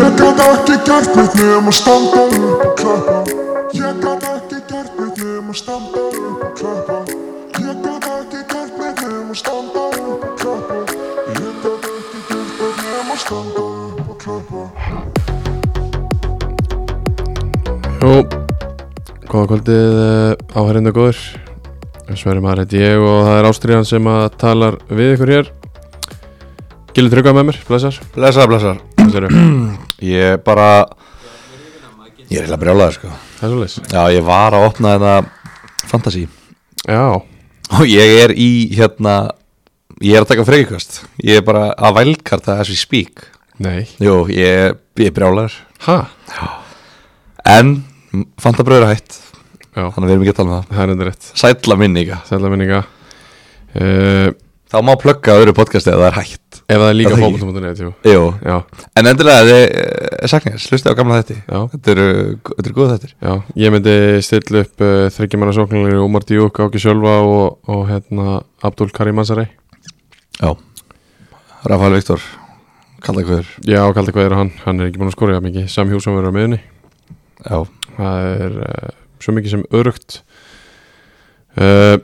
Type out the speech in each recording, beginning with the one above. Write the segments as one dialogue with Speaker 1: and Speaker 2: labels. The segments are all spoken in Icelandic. Speaker 1: ekki gert neitt nema standa upp og klappa Ég gat ekki gert neitt nema standa upp og klappa Ég gat ekki gert neitt nema standa upp og klappa Ég gat ekki gert neitt nema standa upp og klappa
Speaker 2: Jú, góða kvöldið eh, áhærindu góður Sverri maður heiti ég og það er Ástriðan sem að talar við ykkur hér Gilið trygga með mér, blessar
Speaker 3: Blessaður, blessaður
Speaker 2: Blessaru,
Speaker 3: Ég bara Ég er heila brjálaður sko
Speaker 2: það er svolítið
Speaker 3: Já, ég var að opna þetta Fantasí
Speaker 2: Já,
Speaker 3: Og ég er í hérna Ég er að taka freykjökast Ég er bara að vælkarta as we speak
Speaker 2: nei,
Speaker 3: Jú, ég, ég er brjálaður
Speaker 2: ha,
Speaker 3: En Fantabröður hætt
Speaker 2: já,
Speaker 3: Þannig að við erum ekki að tala um það
Speaker 2: það er endur rétt
Speaker 3: Sætla minninga
Speaker 2: Sætla minninga uh,
Speaker 3: Þá má plugga öðru podcasti að það er
Speaker 2: Ef
Speaker 3: hætt
Speaker 2: það er
Speaker 3: Það
Speaker 2: líka
Speaker 3: er ekki.
Speaker 2: fólkvöldum.net, jú
Speaker 3: Jú
Speaker 2: Já,
Speaker 3: En endilega þið eh, saknið þess Hlustið á gamla þetta
Speaker 2: Já.
Speaker 3: Þetta eru, þetta eru góð þetta
Speaker 2: já, ég myndi stilla upp uh, þryggjumanna sóknarlegri Umar Díuk, Áki Sjölva og, og hérna Abdul Karim Ansari
Speaker 3: Já Rafael Viktor Kalla ykkur
Speaker 2: Já, kaldi hvað er hann, hann er ekki búin að skora jafn mikið Sam Hjússon verður á miðunni
Speaker 3: Já
Speaker 2: það er uh, svo mikið sem örugt uh,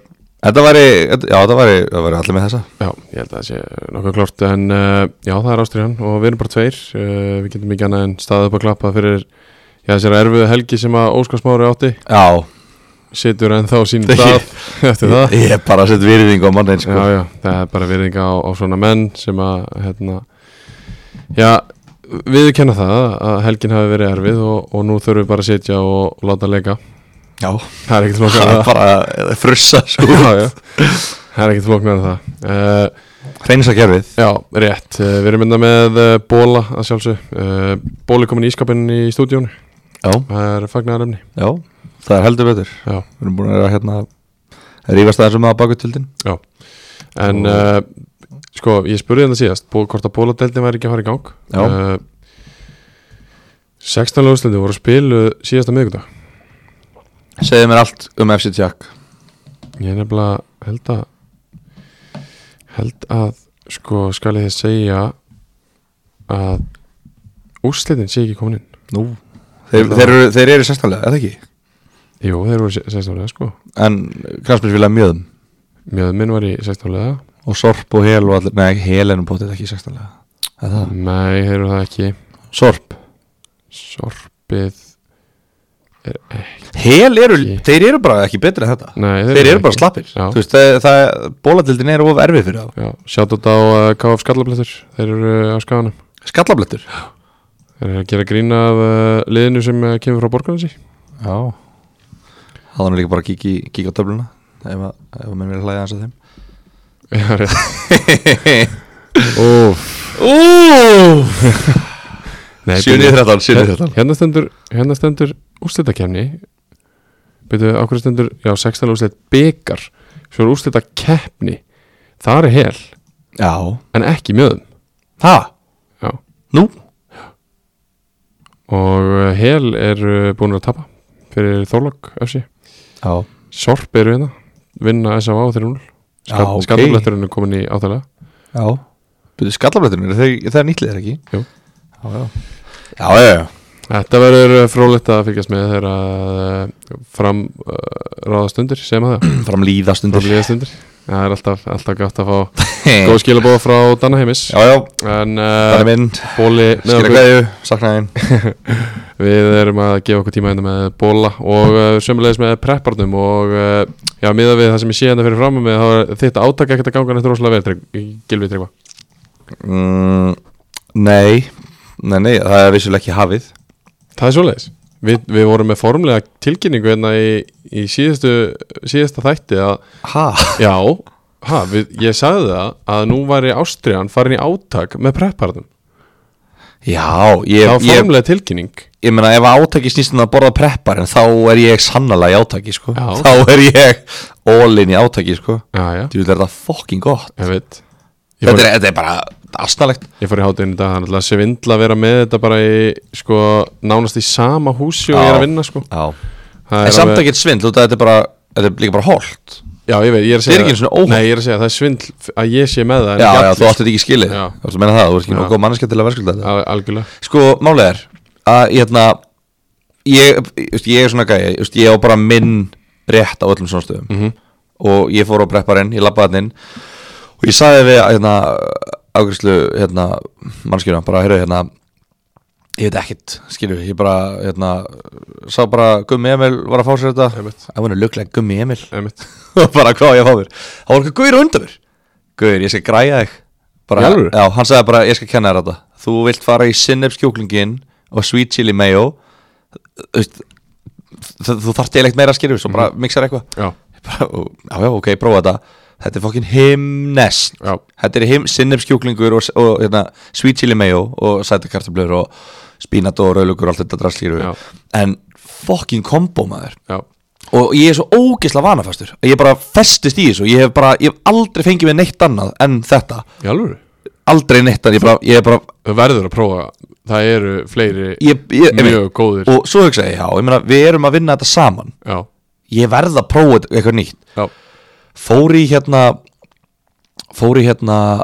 Speaker 3: Þetta væri, já þetta væri, það væri allir með þessa
Speaker 2: já, ég held að það sé nokkuð klort en uh, já, það er ástriðan og við erum bara tveir uh, við getum ekki annað en staðið upp að klappa fyrir já, þessar erfiðu helgi sem að Óskar Smári átti
Speaker 3: Já,
Speaker 2: situr en þá sínum
Speaker 3: Ég-
Speaker 2: stað eftir það
Speaker 3: ég er bara að setja virðingu á mannin sko
Speaker 2: já, já, það er bara virðinga á, á svona menn sem að hérna, já, við kenna það að helgin hafi verið erfið og, og nú þurfum við bara að sitja og láta leika
Speaker 3: Já,
Speaker 2: það er ekkert flóknar
Speaker 3: það
Speaker 2: en
Speaker 3: er
Speaker 2: það
Speaker 3: bara að frussa sko
Speaker 2: já, já. það er ekkert flóknar en það uh,
Speaker 3: Hreinsa kerfið
Speaker 2: Já, rétt. Eh, Við erum mynda með eh, Bóla að sjálfsög. Bóli komin í ískapin í stúdíónu.
Speaker 3: Já,
Speaker 2: Það er fagnaðaröfni.
Speaker 3: já, það er heldur betur
Speaker 2: Já.
Speaker 3: Við erum búin að vera hérna Rífast aðeins um það baku tildin
Speaker 2: En
Speaker 3: Og-
Speaker 2: uh, sko, ég spurði þetta síðast, bó, hvort að Bóladeldin væri ekki að fara í gang.
Speaker 3: Já.
Speaker 2: Eh, 16 lögslandi voru spiluð síðasta miðgudag.
Speaker 3: Segðu mér allt um FC Tjakk
Speaker 2: Ég er nefnilega held að, held að, sko, skal ég þið segja að úrslitin sé ekki komin inn.
Speaker 3: Nú Þeir, þeir, eru, þeir eru sérstæðlega, eða ekki
Speaker 2: Jú, þeir voru 16 lög, sko.
Speaker 3: En kransmissfélag mjöðum
Speaker 2: Mjöðminn var í 16 lög.
Speaker 3: Og sorp og hel og allir Nei, hel er nú potið ekki sérstæðlega Eða það
Speaker 2: Nei, þeir eru það ekki
Speaker 3: Sorp
Speaker 2: Sorpið er ekki
Speaker 3: Hel eru,
Speaker 2: Ekki.
Speaker 3: þeir eru bara ekki betri en þetta
Speaker 2: Nei,
Speaker 3: Þeir eru bara slappir
Speaker 2: Já.
Speaker 3: Þú veist, það, það, bóladildin er of erfið fyrir þá
Speaker 2: Já, sjátt á uh, KF Skallablettur Þeir eru uh, á skaganum
Speaker 3: Skallablettur
Speaker 2: Þeir eru að gera grína af uh, liðinu sem uh, kemur frá borgarnansi
Speaker 3: Já Það er líka bara að kíkja í- kíkja á töfluna Ef að, ef að menn vilja hlæða hans að þeim
Speaker 2: Já, rétt
Speaker 3: Úf Úf
Speaker 2: Nei,
Speaker 3: 7.13
Speaker 2: Hérna
Speaker 3: 7.13
Speaker 2: hérna stendur, hérna stendur úrslitakefni Byrju, á hverju stendur Já, 16 úrslit byggar Svo er úrslitakefni Það er hel,
Speaker 3: Já
Speaker 2: en ekki mjöðum
Speaker 3: Ha?
Speaker 2: Já.
Speaker 3: Nú?
Speaker 2: Og uh, hel er uh, búin að tapa Fyrir Þorlokk, össi
Speaker 3: Já
Speaker 2: Sorp eru hérna vinna S.A.A. 3-0
Speaker 3: Já, ok.
Speaker 2: Skallabletturinn er komin í áttalega
Speaker 3: Já Byrðu skallabletturinn er þeir- Það er nýtlið er ekki
Speaker 2: Jú.
Speaker 3: Já, já Já, já, já
Speaker 2: Þetta verður uh, frólætt að fylgjast með þegar að uh, fram uh, ráðast undir, segjum að það
Speaker 3: Fram líðast
Speaker 2: fram
Speaker 3: undir
Speaker 2: líðast undir Það er alltaf, alltaf gætt að fá góð skilabóð frá Danaheimis
Speaker 3: Já, já
Speaker 2: En
Speaker 3: Það er
Speaker 2: uh,
Speaker 3: minn
Speaker 2: bóli með
Speaker 3: Skilja
Speaker 2: okkur
Speaker 3: gæðu Saknaðin
Speaker 2: Við erum að gefa okkur tíma hérna með bóla og uh, sömulegis með prepparnum og uh, já, miða við það sem ég sé hérna fyrir fram með þá er þitt átak ekkert að ganga nættur rosalega vel, Tryggvi- Gylfi Tryggva
Speaker 3: mm, Nei Nei, nei Það er vissulega ekki hafið
Speaker 2: Það er svoleiðis Við, við vorum með formlega tilkynningu hérna í, í síðustu, síðasta þætti að
Speaker 3: Ha?
Speaker 2: já, ha, við, ég sagði það að nú væri Ástriðan farin í átak með prepparðum.
Speaker 3: Já, ég,
Speaker 2: Það var
Speaker 3: ég,
Speaker 2: formlega tilkynning.
Speaker 3: ég meina ef átaki snýst um að borða preppar en þá er ég sannlega í átaki sko.
Speaker 2: Já.
Speaker 3: þá er ég all in í átaki sko.
Speaker 2: Já, já,
Speaker 3: Þú veit, er þetta fucking gott
Speaker 2: ég veit. Ég
Speaker 3: þetta
Speaker 2: fór,
Speaker 3: er, þetta er bara asnalegt
Speaker 2: ég fór í hátinn í dag, það er alltaf svindla að vera með þetta bara í, sko, nánast í sama húsi og
Speaker 3: Já.
Speaker 2: ég er að vinna, sko.
Speaker 3: Já.
Speaker 2: Það
Speaker 3: en
Speaker 2: er
Speaker 3: samt
Speaker 2: alveg-
Speaker 3: ekkert svindl út af þetta er bara þetta er líka bara holt
Speaker 2: Já, ég veit, ég er að
Speaker 3: Þetta er
Speaker 2: segja.
Speaker 3: ekki einu sinni óhollt.
Speaker 2: Nei, ég er að segja, það er svindl að ég sé með það. en
Speaker 3: já,
Speaker 2: ekki
Speaker 3: já,
Speaker 2: allir,
Speaker 3: þú átti þetta ekki skilið
Speaker 2: Já.
Speaker 3: þú veist að meina það, þú ert ekki
Speaker 2: Já.
Speaker 3: nokkuð manneskja til að verðskulda þetta
Speaker 2: sko. Al- Algjörlega.
Speaker 3: sko, málið er að hérna ég, ég, ég er svona gæja ég, ég á bara minn rétt á öllum svona stöðum -hmm. og ég fór á prepparinn, ég labbaði hann inn og ég sagði við hérna, ágriðslu hérna, mannskjuna, bara heyrðu hérna ég veit ekkert, skilju ég bara, hérna, sá bara Gummi Emil var að fá sér þetta
Speaker 2: Einmitt.
Speaker 3: I wanna look like Gummi Emil
Speaker 2: einmitt
Speaker 3: og bara hvað á ég að fá þér þá var eitthvað gauður undan mér gauður, ég skal græja þig
Speaker 2: Í
Speaker 3: bara,
Speaker 2: alvöru?
Speaker 3: já, hann sagði bara, ég skal kenna þér þetta þú vilt fara í sinnefskjúklingin og sweet chili mayo þú veist, þú þú þarft eiginlegt meira að skilja svo
Speaker 2: Mhm.
Speaker 3: bara mixar eitthvað
Speaker 2: Já,
Speaker 3: Ég bara, ó, já, já, ok, prófa þetta þetta er fokkin himnest
Speaker 2: Já.
Speaker 3: þetta er him, sinnefskjúklingur og, og hérna, sweet chili mayo og sætakartablur og spínat og rauðlugur og allt þetta drastlýru
Speaker 2: Já.
Speaker 3: en fokkin kombo maður
Speaker 2: já,
Speaker 3: og ég er svo ógeðslega vanafastur og ég bara festist í þessu ég hef bara, ég hef aldrei fengið mér neitt annað en þetta,
Speaker 2: í alvöru
Speaker 3: aldrei neitt annað ég bara, ég er bara,
Speaker 2: Þú verður að prófa, það eru fleiri
Speaker 3: ég, ég, ég
Speaker 2: mjög góðir
Speaker 3: og svo hugsaði ég, já, ég meina, við erum að vinna þetta saman
Speaker 2: Já,
Speaker 3: ég verð að prófa þetta- eitthvað nýtt
Speaker 2: já,
Speaker 3: fór í hérna fór í hérna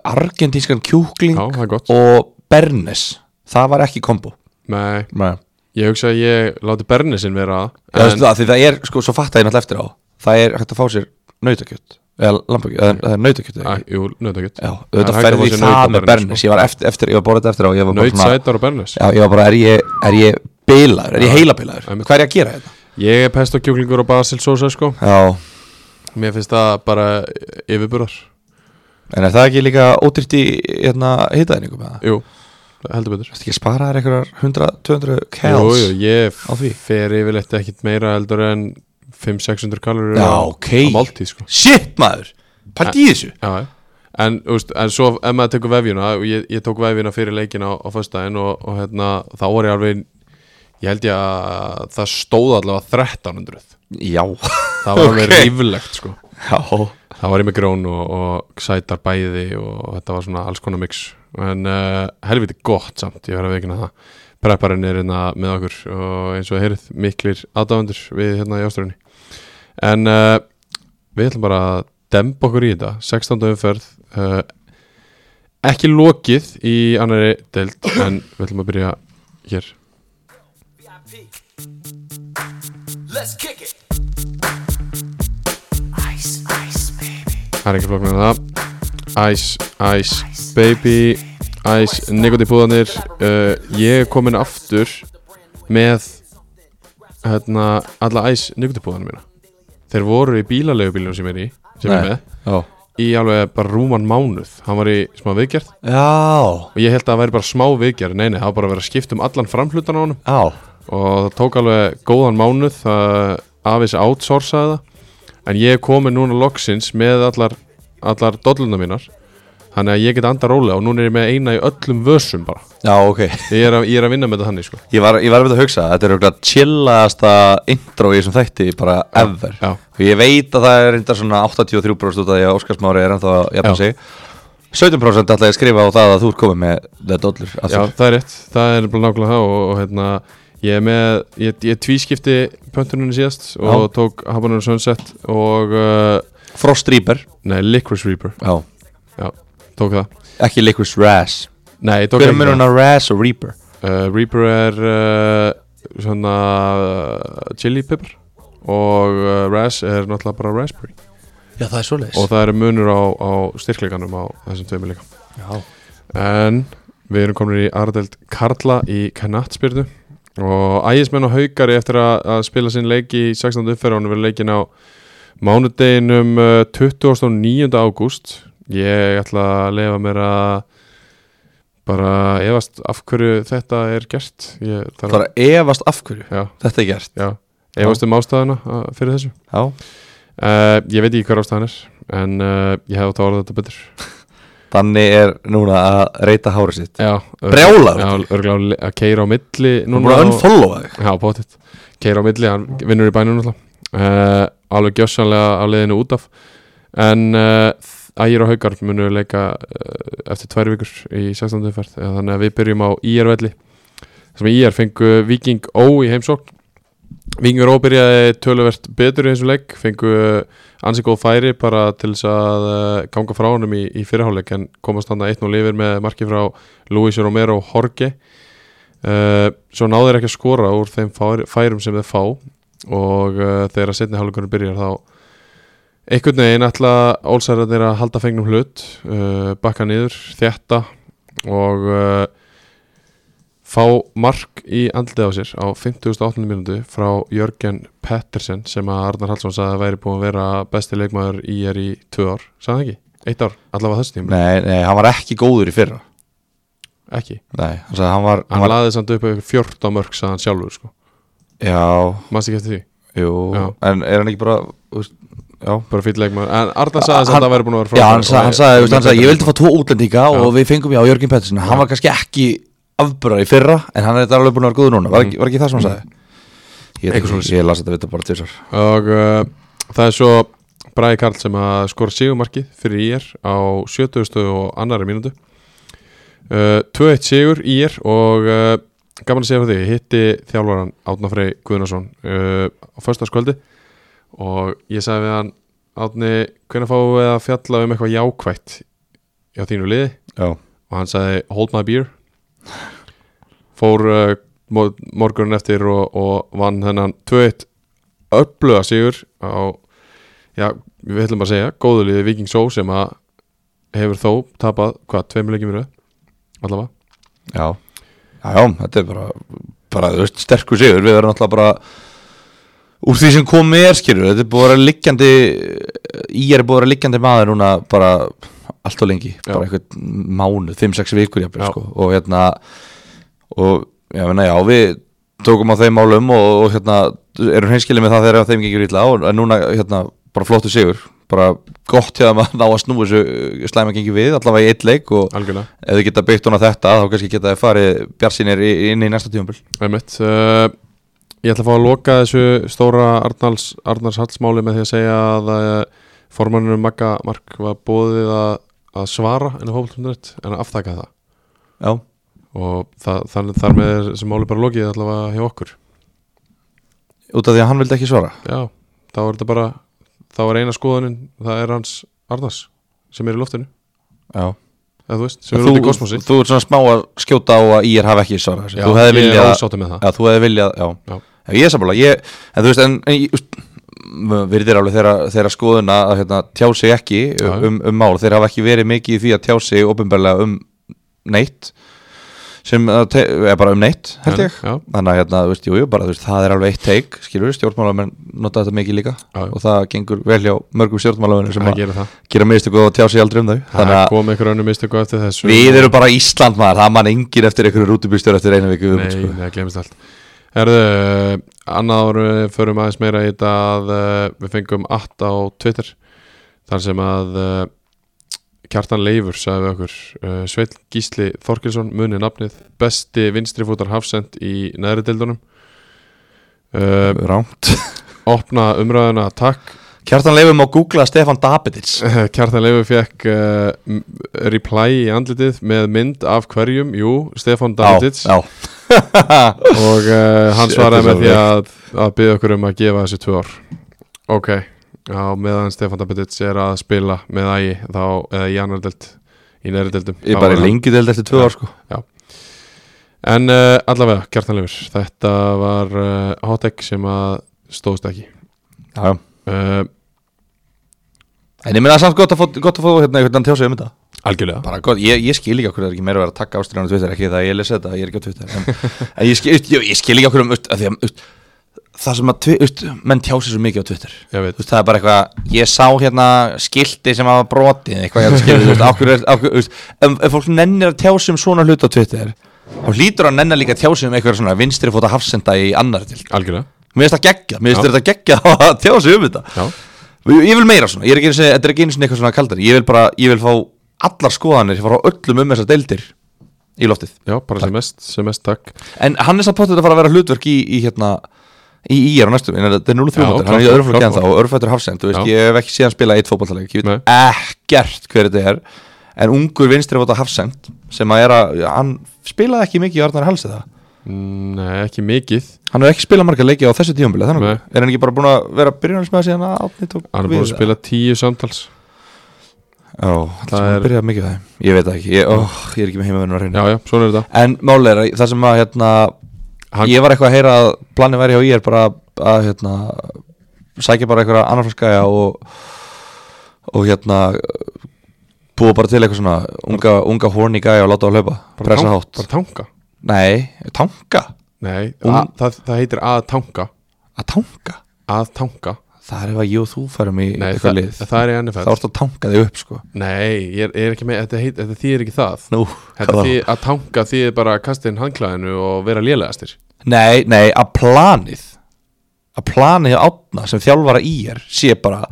Speaker 3: argentínskan kjúkling
Speaker 2: já, það er gott
Speaker 3: og bernes það var ekki kombo
Speaker 2: Nei,
Speaker 3: Nei.
Speaker 2: ég hugsa að ég láti Bernesin vera
Speaker 3: Já,
Speaker 2: en,
Speaker 3: veistu það, því það er, sko, svo fatta ég náttúrulega eftir á það er hægt að fá sér nautakjött eða lambakjött, eða það er nautakjött eða
Speaker 2: að,
Speaker 3: ekki?
Speaker 2: Ah, Jú, nautakjöt
Speaker 3: Já,
Speaker 2: Það er
Speaker 3: auðvitað
Speaker 2: hægt að
Speaker 3: ferði
Speaker 2: fá
Speaker 3: í
Speaker 2: sér
Speaker 3: það
Speaker 2: naut á
Speaker 3: með
Speaker 2: Bernes,
Speaker 3: Bernes
Speaker 2: sko.
Speaker 3: Ég var, eftir, eftir, ég var borðið eftir á og ég var bara
Speaker 2: Naut sætar og Bernes
Speaker 3: Já, ég var bara, er ég, er ég bilaður, er ég heilabilaður
Speaker 2: Einmitt.
Speaker 3: Hvað er ég að gera hérna? þetta?
Speaker 2: Ég er pesto kjúklingur og basilsósa sko
Speaker 3: Já,
Speaker 2: Mér finnst það bara yfirburðar
Speaker 3: en er það ekki líka ódýrt í hérna, hitaðningu með það?
Speaker 2: Jú, heldur betur
Speaker 3: Ertu ekki að spara þér einhverjar 100, 200
Speaker 2: Jú,
Speaker 3: kæls?
Speaker 2: jú, ég
Speaker 3: á því.
Speaker 2: fer yfirleitt ekkit meira heldur en 500-600 kalorir
Speaker 3: Já,
Speaker 2: á-
Speaker 3: ok.
Speaker 2: á máltíð sko
Speaker 3: Shit, maður, pældi í þessu
Speaker 2: Já, já. en, úst, en svo ef maður tekur vefjuna og ég, ég tók vefjuna fyrir leikin á, á föstudaginn og, og hérna, þá var ég alveg ég held ég að það stóð allavega 1300
Speaker 3: Já,
Speaker 2: það var alveg
Speaker 3: Ok.
Speaker 2: ríflegt sko
Speaker 3: já,
Speaker 2: það var ég með grón og, og sætar bæði og þetta var svona alls konar mix en uh, helviti gott samt ég verð að veikina það prepparinn er hérna með okkur og eins og þið heyrið miklir aðdáðandur við hérna í ásturinni en uh, við ætlum bara að demba okkur í þetta 16. umferð uh, ekki lokið í annari deild en við ætlum að byrja hér
Speaker 4: VIP. Let's kick it. Ice, ice, baby.
Speaker 2: það er ekki flokknar en það Ice, Ice, Baby Ice, Nikoti Púðanir uh, ég er komin aftur með hérna, alla Ice Nikoti Púðanir mína þeir voru í bílalegu bílum sem ég er í sem ég er
Speaker 3: Nei.
Speaker 2: með
Speaker 3: já
Speaker 2: í alveg bara rúman mánuð hann var í smá viðgerð
Speaker 3: Já,
Speaker 2: og ég held að það væri bara smá viðgerð nei, nei, það var bara að vera að skipta um allan framhlutan á honum
Speaker 3: já,
Speaker 2: og það tók alveg góðan mánuð það afis outsourcaði það en ég er komin núna loksins með allar, allar dolluna mínar þannig að ég get anda rólega og núna er ég með eina í öllum vössum bara
Speaker 3: já, ok
Speaker 2: ég er að, ég er að vinna með þetta þannig sko
Speaker 3: Ég var, ég var að að hugsa, þetta er auðvitað chillaðasta intro í þessum þætti bara ever
Speaker 2: já.
Speaker 3: og ég veit að það er reyndar svona 83% út af því að Óskars Mári er ennþá að jafna
Speaker 2: Já.
Speaker 3: sig 17% ætla ég að skrifa á það að þú ert komið með The Dollar
Speaker 2: já, það er rétt, það er bara nákvæmlega það og, og hérna, ég er með ég, ég tvískipti pöntuninu síðast og
Speaker 3: Já.
Speaker 2: tók Habanur Sunset og uh,
Speaker 3: Frost Reaper,
Speaker 2: nei, Licorice Reaper
Speaker 3: já,
Speaker 2: já, tók það
Speaker 3: ekki Liquid Razz
Speaker 2: nei, ég tók
Speaker 3: Hver er
Speaker 2: ekki það.
Speaker 3: munum að Razz og Reaper?
Speaker 2: Uh, Reaper er uh, svona uh, chili pepper og uh, Raz er náttúrulega bara raspberry
Speaker 3: Já, það er
Speaker 2: og
Speaker 3: svoleiðis
Speaker 2: það eru munur á, á styrkleikanum á þessum tveimur líka
Speaker 3: Já,
Speaker 2: en við erum komin í Ardeld Karla í Kanatsbyrnu og ægismenn og haugari eftir að, að spila sinn leik í 16. uppferðunum verður leikin á mánudeginum uh, 29. ágúst ég ætla að lefa mér að bara efast af hverju þetta er gert ég
Speaker 3: það
Speaker 2: þarf
Speaker 3: er að efast af hverju
Speaker 2: Já,
Speaker 3: þetta er gert
Speaker 2: já, efast um ástæðuna uh, fyrir þessu
Speaker 3: Já,
Speaker 2: uh, Ég veit ekki hver ástæðan er en uh, ég hef átt að orða þetta betur
Speaker 3: þannig er núna að reyta hárið sitt
Speaker 2: Já,
Speaker 3: Brjálaður.
Speaker 2: Já, örgulega að keira á milli
Speaker 3: Nú er að
Speaker 2: á-
Speaker 3: unfollowa þig
Speaker 2: Já, bóttið Keira á milli, hann vinnur í bænum náttúrulega uh, Alveg gjössanlega á leiðinu út af En uh, Ægir og Haukar munu leika uh, eftir tvær vikur í 16. umferð Eða Þannig að við byrjum á IR velli Þessum IR fengu Viking Ó í heimsókn Vikingur Ó byrjaði töluvert betur í þessum leik Fengu eh, ansi góð færi bara til þess að uh, ganga frá honum í, í fyrirháleik En komast þannig að 1-0 yfir með marki frá Luis Romero Jorge uh, svo náður ekki að skora úr þeim fær, færum sem þeir fá og uh, þegar að setni hálfleikunum byrjar þá einhvern veginn ætla ólsærarnir að halda fengnum hlut uh, bakka niður, þjætta og uh, fá mark í andlið á sér á 58. minútu frá Jörgen Pettersen sem að Arnar Hallsson sagði að væri búin að vera besti leikmaður í er í tvö ár, sagði hann ekki? Eitt ár, allavega þessu tíma,
Speaker 3: Nei, nei, hann var ekki góður í fyrra
Speaker 2: ekki
Speaker 3: Nei, hann sagði hann var,
Speaker 2: Hann
Speaker 3: var
Speaker 2: laði samt upp yfir 14 mörg sagði hann sjálfur sko,
Speaker 3: Já,
Speaker 2: mannst ekki eftir því
Speaker 3: jú,
Speaker 2: Já.
Speaker 3: en er hann ekki bara þú veist, Já,
Speaker 2: bara fyrir leikmaður, en Arnar sagði samt að
Speaker 3: Hann-
Speaker 2: það væri búin að vera
Speaker 3: já hann, sagði, hann, sagði, þú veist, hann sagði, ég vildi fá tvo útlendinga og við fengum já Jörgin Pettersson Hann var kannski ekki afbúrar í fyrra En hann er þetta alveg búin að vera góður núna Var ekki, var ekki það sem hann sagði? Ég,
Speaker 2: Eitthvað svoleiðis.
Speaker 3: ég, ég las þetta vita bara tvisar
Speaker 2: og uh, það er svo Bræði Karl sem að skora sigumarkið fyrir IR á 70. og annari mínútu uh, 2-1 sigur IR og uh, gaman að segja frá því, hitti þjálfaran Átna Frey Guðnason uh, á föstaskvöldi og ég sagði við hann Átni, hvernig fáum við að fjalla um eitthvað jákvætt hjá þínu liði
Speaker 3: Já,
Speaker 2: og hann sagði hold my beer fór uh, mo- morgunin eftir og, og vann þennan 2-1 uppluga sigur á, já, við ætlum að segja góðu liði Viking Só sem að hefur þó tapað, hvað, tveimur leikjum í röð allavega,
Speaker 3: já, já, já þetta er bara, bara þú veist, sterkur sigur Við verðum alltaf bara Úr því sem kom með er skilur Þetta er búið að vera liggjandi Ég er búið að vera liggjandi maður núna bara Allt og lengi,
Speaker 2: Já.
Speaker 3: bara einhvern mánu 5-6 vikur jafnir,
Speaker 2: Já.
Speaker 3: sko. Og hérna Og já, menna, já, við tókum á þeim málum og, og hérna, erum hreinskilið með það þegar þeim gengur illa og en núna, hérna, bara flottu sigur bara gott hjá þeim að ná að snú þessu uh, slæma gengi við, allavega í eitt leik og
Speaker 2: algjörlega
Speaker 3: ef þið geta byggt hún á þetta þá kannski geta þið farið bjarsinir inn í næsta tíumbil
Speaker 2: Einmitt. Uh, ég ætla að fá að loka þessu stóra Arnals, Arnars Hallsmáli með því að segja að uh, formannunum Magga Mark var bóðið að, að svara en að hófaldum um en að aftaka það
Speaker 3: já,
Speaker 2: og það, þannig þar með er sem máli bara lokið allavega hjá okkur
Speaker 3: út af því að hann vildi ekki svara
Speaker 2: já, þá er þetta bara þá er eina skoðunin, það er hans Arnars sem er í loftinu
Speaker 3: já.
Speaker 2: eða þú veist, sem er
Speaker 3: þú,
Speaker 2: út í kosmosi
Speaker 3: þú ert svona smá að skjóta á að ég hafi ekki svara
Speaker 2: Já,
Speaker 3: þú hefði
Speaker 2: ég er
Speaker 3: viljað
Speaker 2: ásáttu með það
Speaker 3: já, þú hefði viljað, já,
Speaker 2: Já.
Speaker 3: já. ég er sammála ég, en þú veist, en, en ég- úst, m- virðir alveg þeirra, þeirra skoðuna að hérna, tjá sig ekki
Speaker 2: Já.
Speaker 3: um, um mál þeir hafa ekki verið mikið í því að tjá sig ofinbarlega um neitt sem að te- er bara um neitt held
Speaker 2: En-
Speaker 3: ég,
Speaker 2: já,
Speaker 3: þannig að hérna, þú veist, jú, jú, bara, þú veist, það er alveg eitt teik, skilur við, stjórnmálamenn nota þetta mikið líka
Speaker 2: Já, já.
Speaker 3: og það gengur vel hjá mörgum stjórnmálamenn sem
Speaker 2: það
Speaker 3: að
Speaker 2: gerir það
Speaker 3: gera mistöku og tjá sig aldrei um þau
Speaker 2: það
Speaker 3: þannig að
Speaker 2: kom einhver önnu mistöku eftir þessu
Speaker 3: við erum bara Ísland maður, það mann engin eftir einhverju rútubýrstjór eftir einu viku
Speaker 2: Nei,
Speaker 3: viðbót, sko.
Speaker 2: það glemist allt Herðu, annað áru förum aðeins meira í þetta að uh, við fengum att á Twitter þar sem að uh, Kjartan Leifur sagði við okkur uh, Sveitl Gísli Þorkilsson muni nafnið besti vinstrifútar hafsend í neðri deildunum uh,
Speaker 3: Rangt
Speaker 2: opna umræðuna takk
Speaker 3: Kjartan Leifum á googla Stefan Dabitits
Speaker 2: Kjartan Leifur fekk uh, m- reply í andlitið með mynd af hverjum, jú, Stefan Davidits
Speaker 3: Já,
Speaker 2: og uh, hann
Speaker 3: Shit,
Speaker 2: svaraði
Speaker 3: þetta
Speaker 2: með
Speaker 3: er svo
Speaker 2: því að, að byggja okkur um að gefa þessi tvö ár ok, á meðan Stefan Dabitits er að spila með ægi þá, eða í annar delt í neðri deltum
Speaker 3: ég er bara í lengi deild eftir tvö ár sko
Speaker 2: en uh, allavega, Kjartan Leifur, þetta var uh, hot egg sem að stóðst ekki
Speaker 3: Já, já
Speaker 2: uh,
Speaker 3: En ég meina samt gott að fá, gott að fá hérna einhvern tjá sig um þetta
Speaker 2: algjörlega
Speaker 3: Bara gott, ég, ég skil ekki okkur er ekki meira að vera að taka ástriðan á Twitter Ekki það að ég lesi þetta, ég er ekki á Twitter En, en ég, skil, ég, ég skil ekki okkur um, að því að ust, Það sem að, tvi- ust, menn tjá sig svo mikið á Twitter
Speaker 2: ég veit,
Speaker 3: Þú veist, það er bara eitthvað, ég sá hérna skildi sem hafa brotið eitthvað, ég skildi, þú veist, okkur er, okkur, þú veist, ef, ef fólk nennir að tjá sig um svona hlut á Twitter, þá hlýtur að nennar líka að tjá sig um eitthvað svona vinstri fóta hafsenda í annar til.
Speaker 2: algjörlega
Speaker 3: Mér finnst það geggja, mér finnst
Speaker 2: Já.
Speaker 3: þetta geggja að tjá sig um þetta.
Speaker 2: já,
Speaker 3: Ég ég vil meira svona, ég er ekki, einu sinni- þetta er ekki einu sinni eitthvað svona kaldari, ég vil bara, ég vil fá allar skoðanir, ég fá frá öllum um þessar deildir í loftið.
Speaker 2: já bara sem mest, sem mest takk
Speaker 3: En hann er samt potið að fara að vera hlutverk í, í hérna í íjar á næstum, en þetta er 0-3
Speaker 2: Já,
Speaker 3: mótur,
Speaker 2: klárt,
Speaker 3: hann er í öðrum flokki
Speaker 2: klárt
Speaker 3: en þá
Speaker 2: mál.
Speaker 3: og örfættur hafsend, þú veist,
Speaker 2: Já.
Speaker 3: ég hef ekki síðan spilað eitt fótballtaleg, ég veit ekkert hver þetta er, en ungur vinstri fóta hafsend, sem að er að hann spilaði ekki mikið í Arnar Halsi það
Speaker 2: nei, ekki mikið
Speaker 3: hann hefur ekki spilað marga leiki á þessu tíumbili þannig
Speaker 2: Nei.
Speaker 3: er hann ekki bara búin að vera byrjunars með síðan að átni tók
Speaker 2: hann er búin að
Speaker 3: við?
Speaker 2: spila tíu samtals
Speaker 3: Já, það
Speaker 2: Það
Speaker 3: er
Speaker 2: er-
Speaker 3: byrjað mikið á það Ég veit það ekki, ég, ó, ég er ekki með heimavinn að reyna
Speaker 2: Já, já, svona er þetta
Speaker 3: En máli er að það sem að hérna,
Speaker 2: Hann-
Speaker 3: Ég var eitthvað að heyra að planið væri hjá ég er bara að hérna, sækja bara einhverja annar flaskaja og, og hérna búa bara til eitthvað svona unga, unga horny gæja og láta á hlaupa pressa
Speaker 2: tang-
Speaker 3: hátt
Speaker 2: Bara tanka
Speaker 3: Nei, tanka
Speaker 2: Nei,
Speaker 3: Um-
Speaker 2: að, það, það heitir að tanka
Speaker 3: að tanka
Speaker 2: Að tanka
Speaker 3: Það er ef að ég og þú færum í
Speaker 2: Nei,
Speaker 3: eitthvað
Speaker 2: það,
Speaker 3: lið
Speaker 2: það er í NFL
Speaker 3: Þá ertu að tanka þig upp sko
Speaker 2: Nei, ég er, ég er ekki með, þetta, heit, þetta þýðir ekki það
Speaker 3: Nú,
Speaker 2: Þetta
Speaker 3: hvað þá?
Speaker 2: þýðir að tanka þýðir bara að kasta inn handklæðinu og vera lélegastir
Speaker 3: Nei, nei, að planið að planið átna sem þjálfara í er sé bara,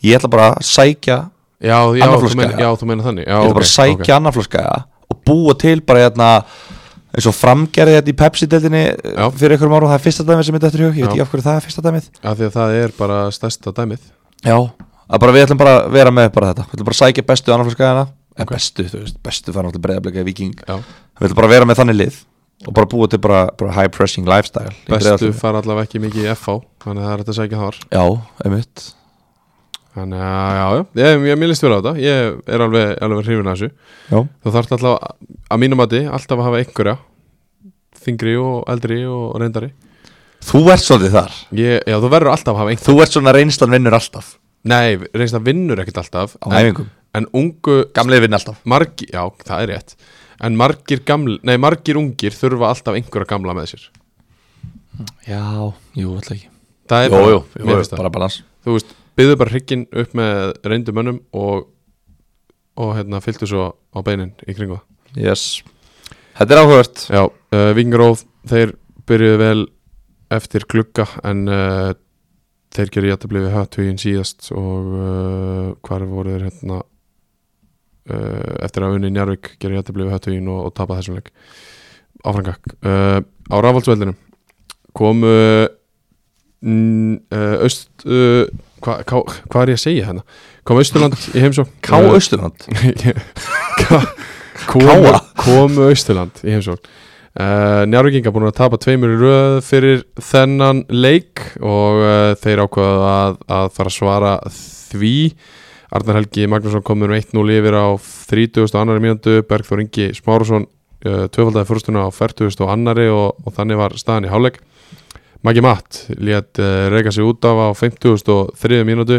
Speaker 3: ég ætla bara að sækja ég
Speaker 2: Já, já,
Speaker 3: Annar
Speaker 2: þú
Speaker 3: flokks
Speaker 2: meina,
Speaker 3: gæja.
Speaker 2: já, þú meina þannig já,
Speaker 3: ætla bara að sækja okay. annarflöskaða og búa til bara hérna eins og framgerði þetta í Pepsi-deltinni
Speaker 2: Já.
Speaker 3: fyrir einhverjum árum, það er fyrsta dæmið sem þetta eftir hug ég veit
Speaker 2: Já.
Speaker 3: ekki af hverju það er fyrsta dæmið
Speaker 2: Af því að það er bara stærsta dæmið
Speaker 3: Já, að bara við ætlum bara að vera með bara þetta, við ætlum bara að sækja bestu annarflöskaðana okay. en bestu, þú veist, bestu fann alltaf breyðablega viking,
Speaker 2: Já,
Speaker 3: við ætlum bara að vera með þannig lið og bara búa til bara, bara high pressing lifestyle í
Speaker 2: bestu
Speaker 3: Breiðabliki.
Speaker 2: fara allavega ekki mikið í FH Þannig að það er þetta að sækja þar
Speaker 3: Já, einmitt
Speaker 2: Þannig að, já, já, ég, ég mér líst fyrir á þetta Ég er alveg, alveg hrifin að þessu
Speaker 3: Já,
Speaker 2: Þú þarft allavega, að mínum mati, alltaf að hafa einhverja Þingri og eldri og reyndari
Speaker 3: þú ert svolítið þar
Speaker 2: ég, Já, þú verður alltaf að hafa einhverja
Speaker 3: Þú ert svona reynslan vinnur alltaf
Speaker 2: Nei, reynslan vinnur ekkert alltaf
Speaker 3: Á
Speaker 2: en-
Speaker 3: æfingum.
Speaker 2: En ungu,
Speaker 3: Gamlega vinn alltaf
Speaker 2: margi, já, það er rétt En margir, gaml, nei, margir ungir þurfa alltaf einhverja gamla með sér
Speaker 3: Já, jú, alltaf ekki
Speaker 2: Það er
Speaker 3: Jú,
Speaker 2: bara,
Speaker 3: jú, jú,
Speaker 2: mér finnst það
Speaker 3: bara balans
Speaker 2: Þú veist, byggðu bara hrygginn upp með reyndu mönnum og, og hérna, fylltu svo á beinin í kringu það
Speaker 3: Yes Þetta er áhugavert
Speaker 2: Já, uh, Vingaróð, þeir byrjuðu vel eftir glugga en uh, þeir gerðu jættabli við Hattvíin síðast og uh, hvar voru þeir hérna uh, eftir að unni Njarvík gerðu jættabli við Hattvíin og, og tapa þessum leik áfrangak uh, á rafaldsveldinu komu uh, öst uh, hvað hva, hva er ég að segja hérna kom Östurland í heimsók
Speaker 3: Ká Austurland
Speaker 2: komu,
Speaker 3: Káa.
Speaker 2: komu Austurland í heimsókn uh, Njárvíkinga búin að tapa tveimur í röð fyrir þennan leik og uh, þeir ákvaðu að, að fara að svara því Arnar Helgi Magnússon komur um 1-0 yfir á 30. annari mínútu Bergþór Ingi Smárusson uh, tvöfaldaði fyrstuna á 40. annari og, og þannig var staðan í hálfleik Maggi Matt lét uh, reyka sig út af á 53. mínútu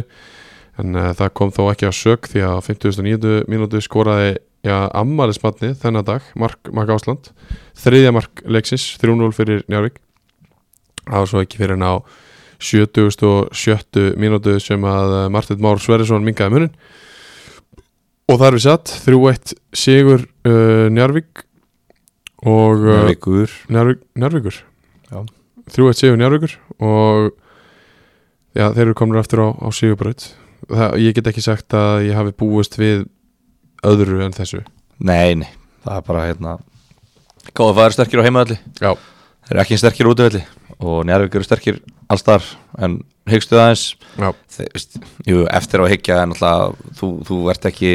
Speaker 2: en uh, það kom þó ekki að sök því að á 59. mínútu skoraði já, ammælismatni þennan dag Mark, Mark Ásland, þriðja Mark leiksins, 3-0 fyrir Njárvík það var svo ekki fyrir en á 77. mínútu sem að eh, Martin Már Sverrisson mingaði munin og þar við satt 3-1 sigur uh, Njárvík og uh,
Speaker 3: Vikur
Speaker 2: Njárvík, Njárvíkur
Speaker 3: Já.
Speaker 2: 3-1 sigur Njárvíkur og já, þeir eru komin aftur á, á sigurbraut Það- ég get ekki sagt að ég hafi búist við öðru en þessu
Speaker 3: Nei, nei Það er bara hérna Káða fæður sterkir á heimaðalli
Speaker 2: já,
Speaker 3: Þeir eru ekki eins sterkir útivalli Og Njárvík eru sterkir alls þar En hyggstu það eins
Speaker 2: já,
Speaker 3: Þe- veist, Jú, eftir á að hyggja En alltaf þú, þú ert ekki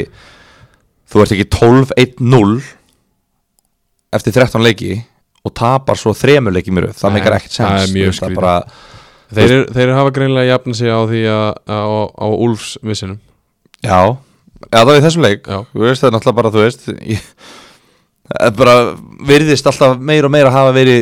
Speaker 3: Þú ert ekki 12-1-0 Eftir 13 leiki Og tapar svo þremur leiki mér Það
Speaker 2: Nei,
Speaker 3: meikar ekkert sens
Speaker 2: það er
Speaker 3: Þú
Speaker 2: mjög
Speaker 3: veist,
Speaker 2: skrýtið.
Speaker 3: bara,
Speaker 2: þeir, eru- þeir hafa greinlega jafna sig á því að á, á Úlfs vissinum
Speaker 3: Já, já það var í þessum leik
Speaker 2: Já.
Speaker 3: Þú veist það er náttúrulega bara, þú veist ég, það er bara virðist alltaf meira og meira hafa verið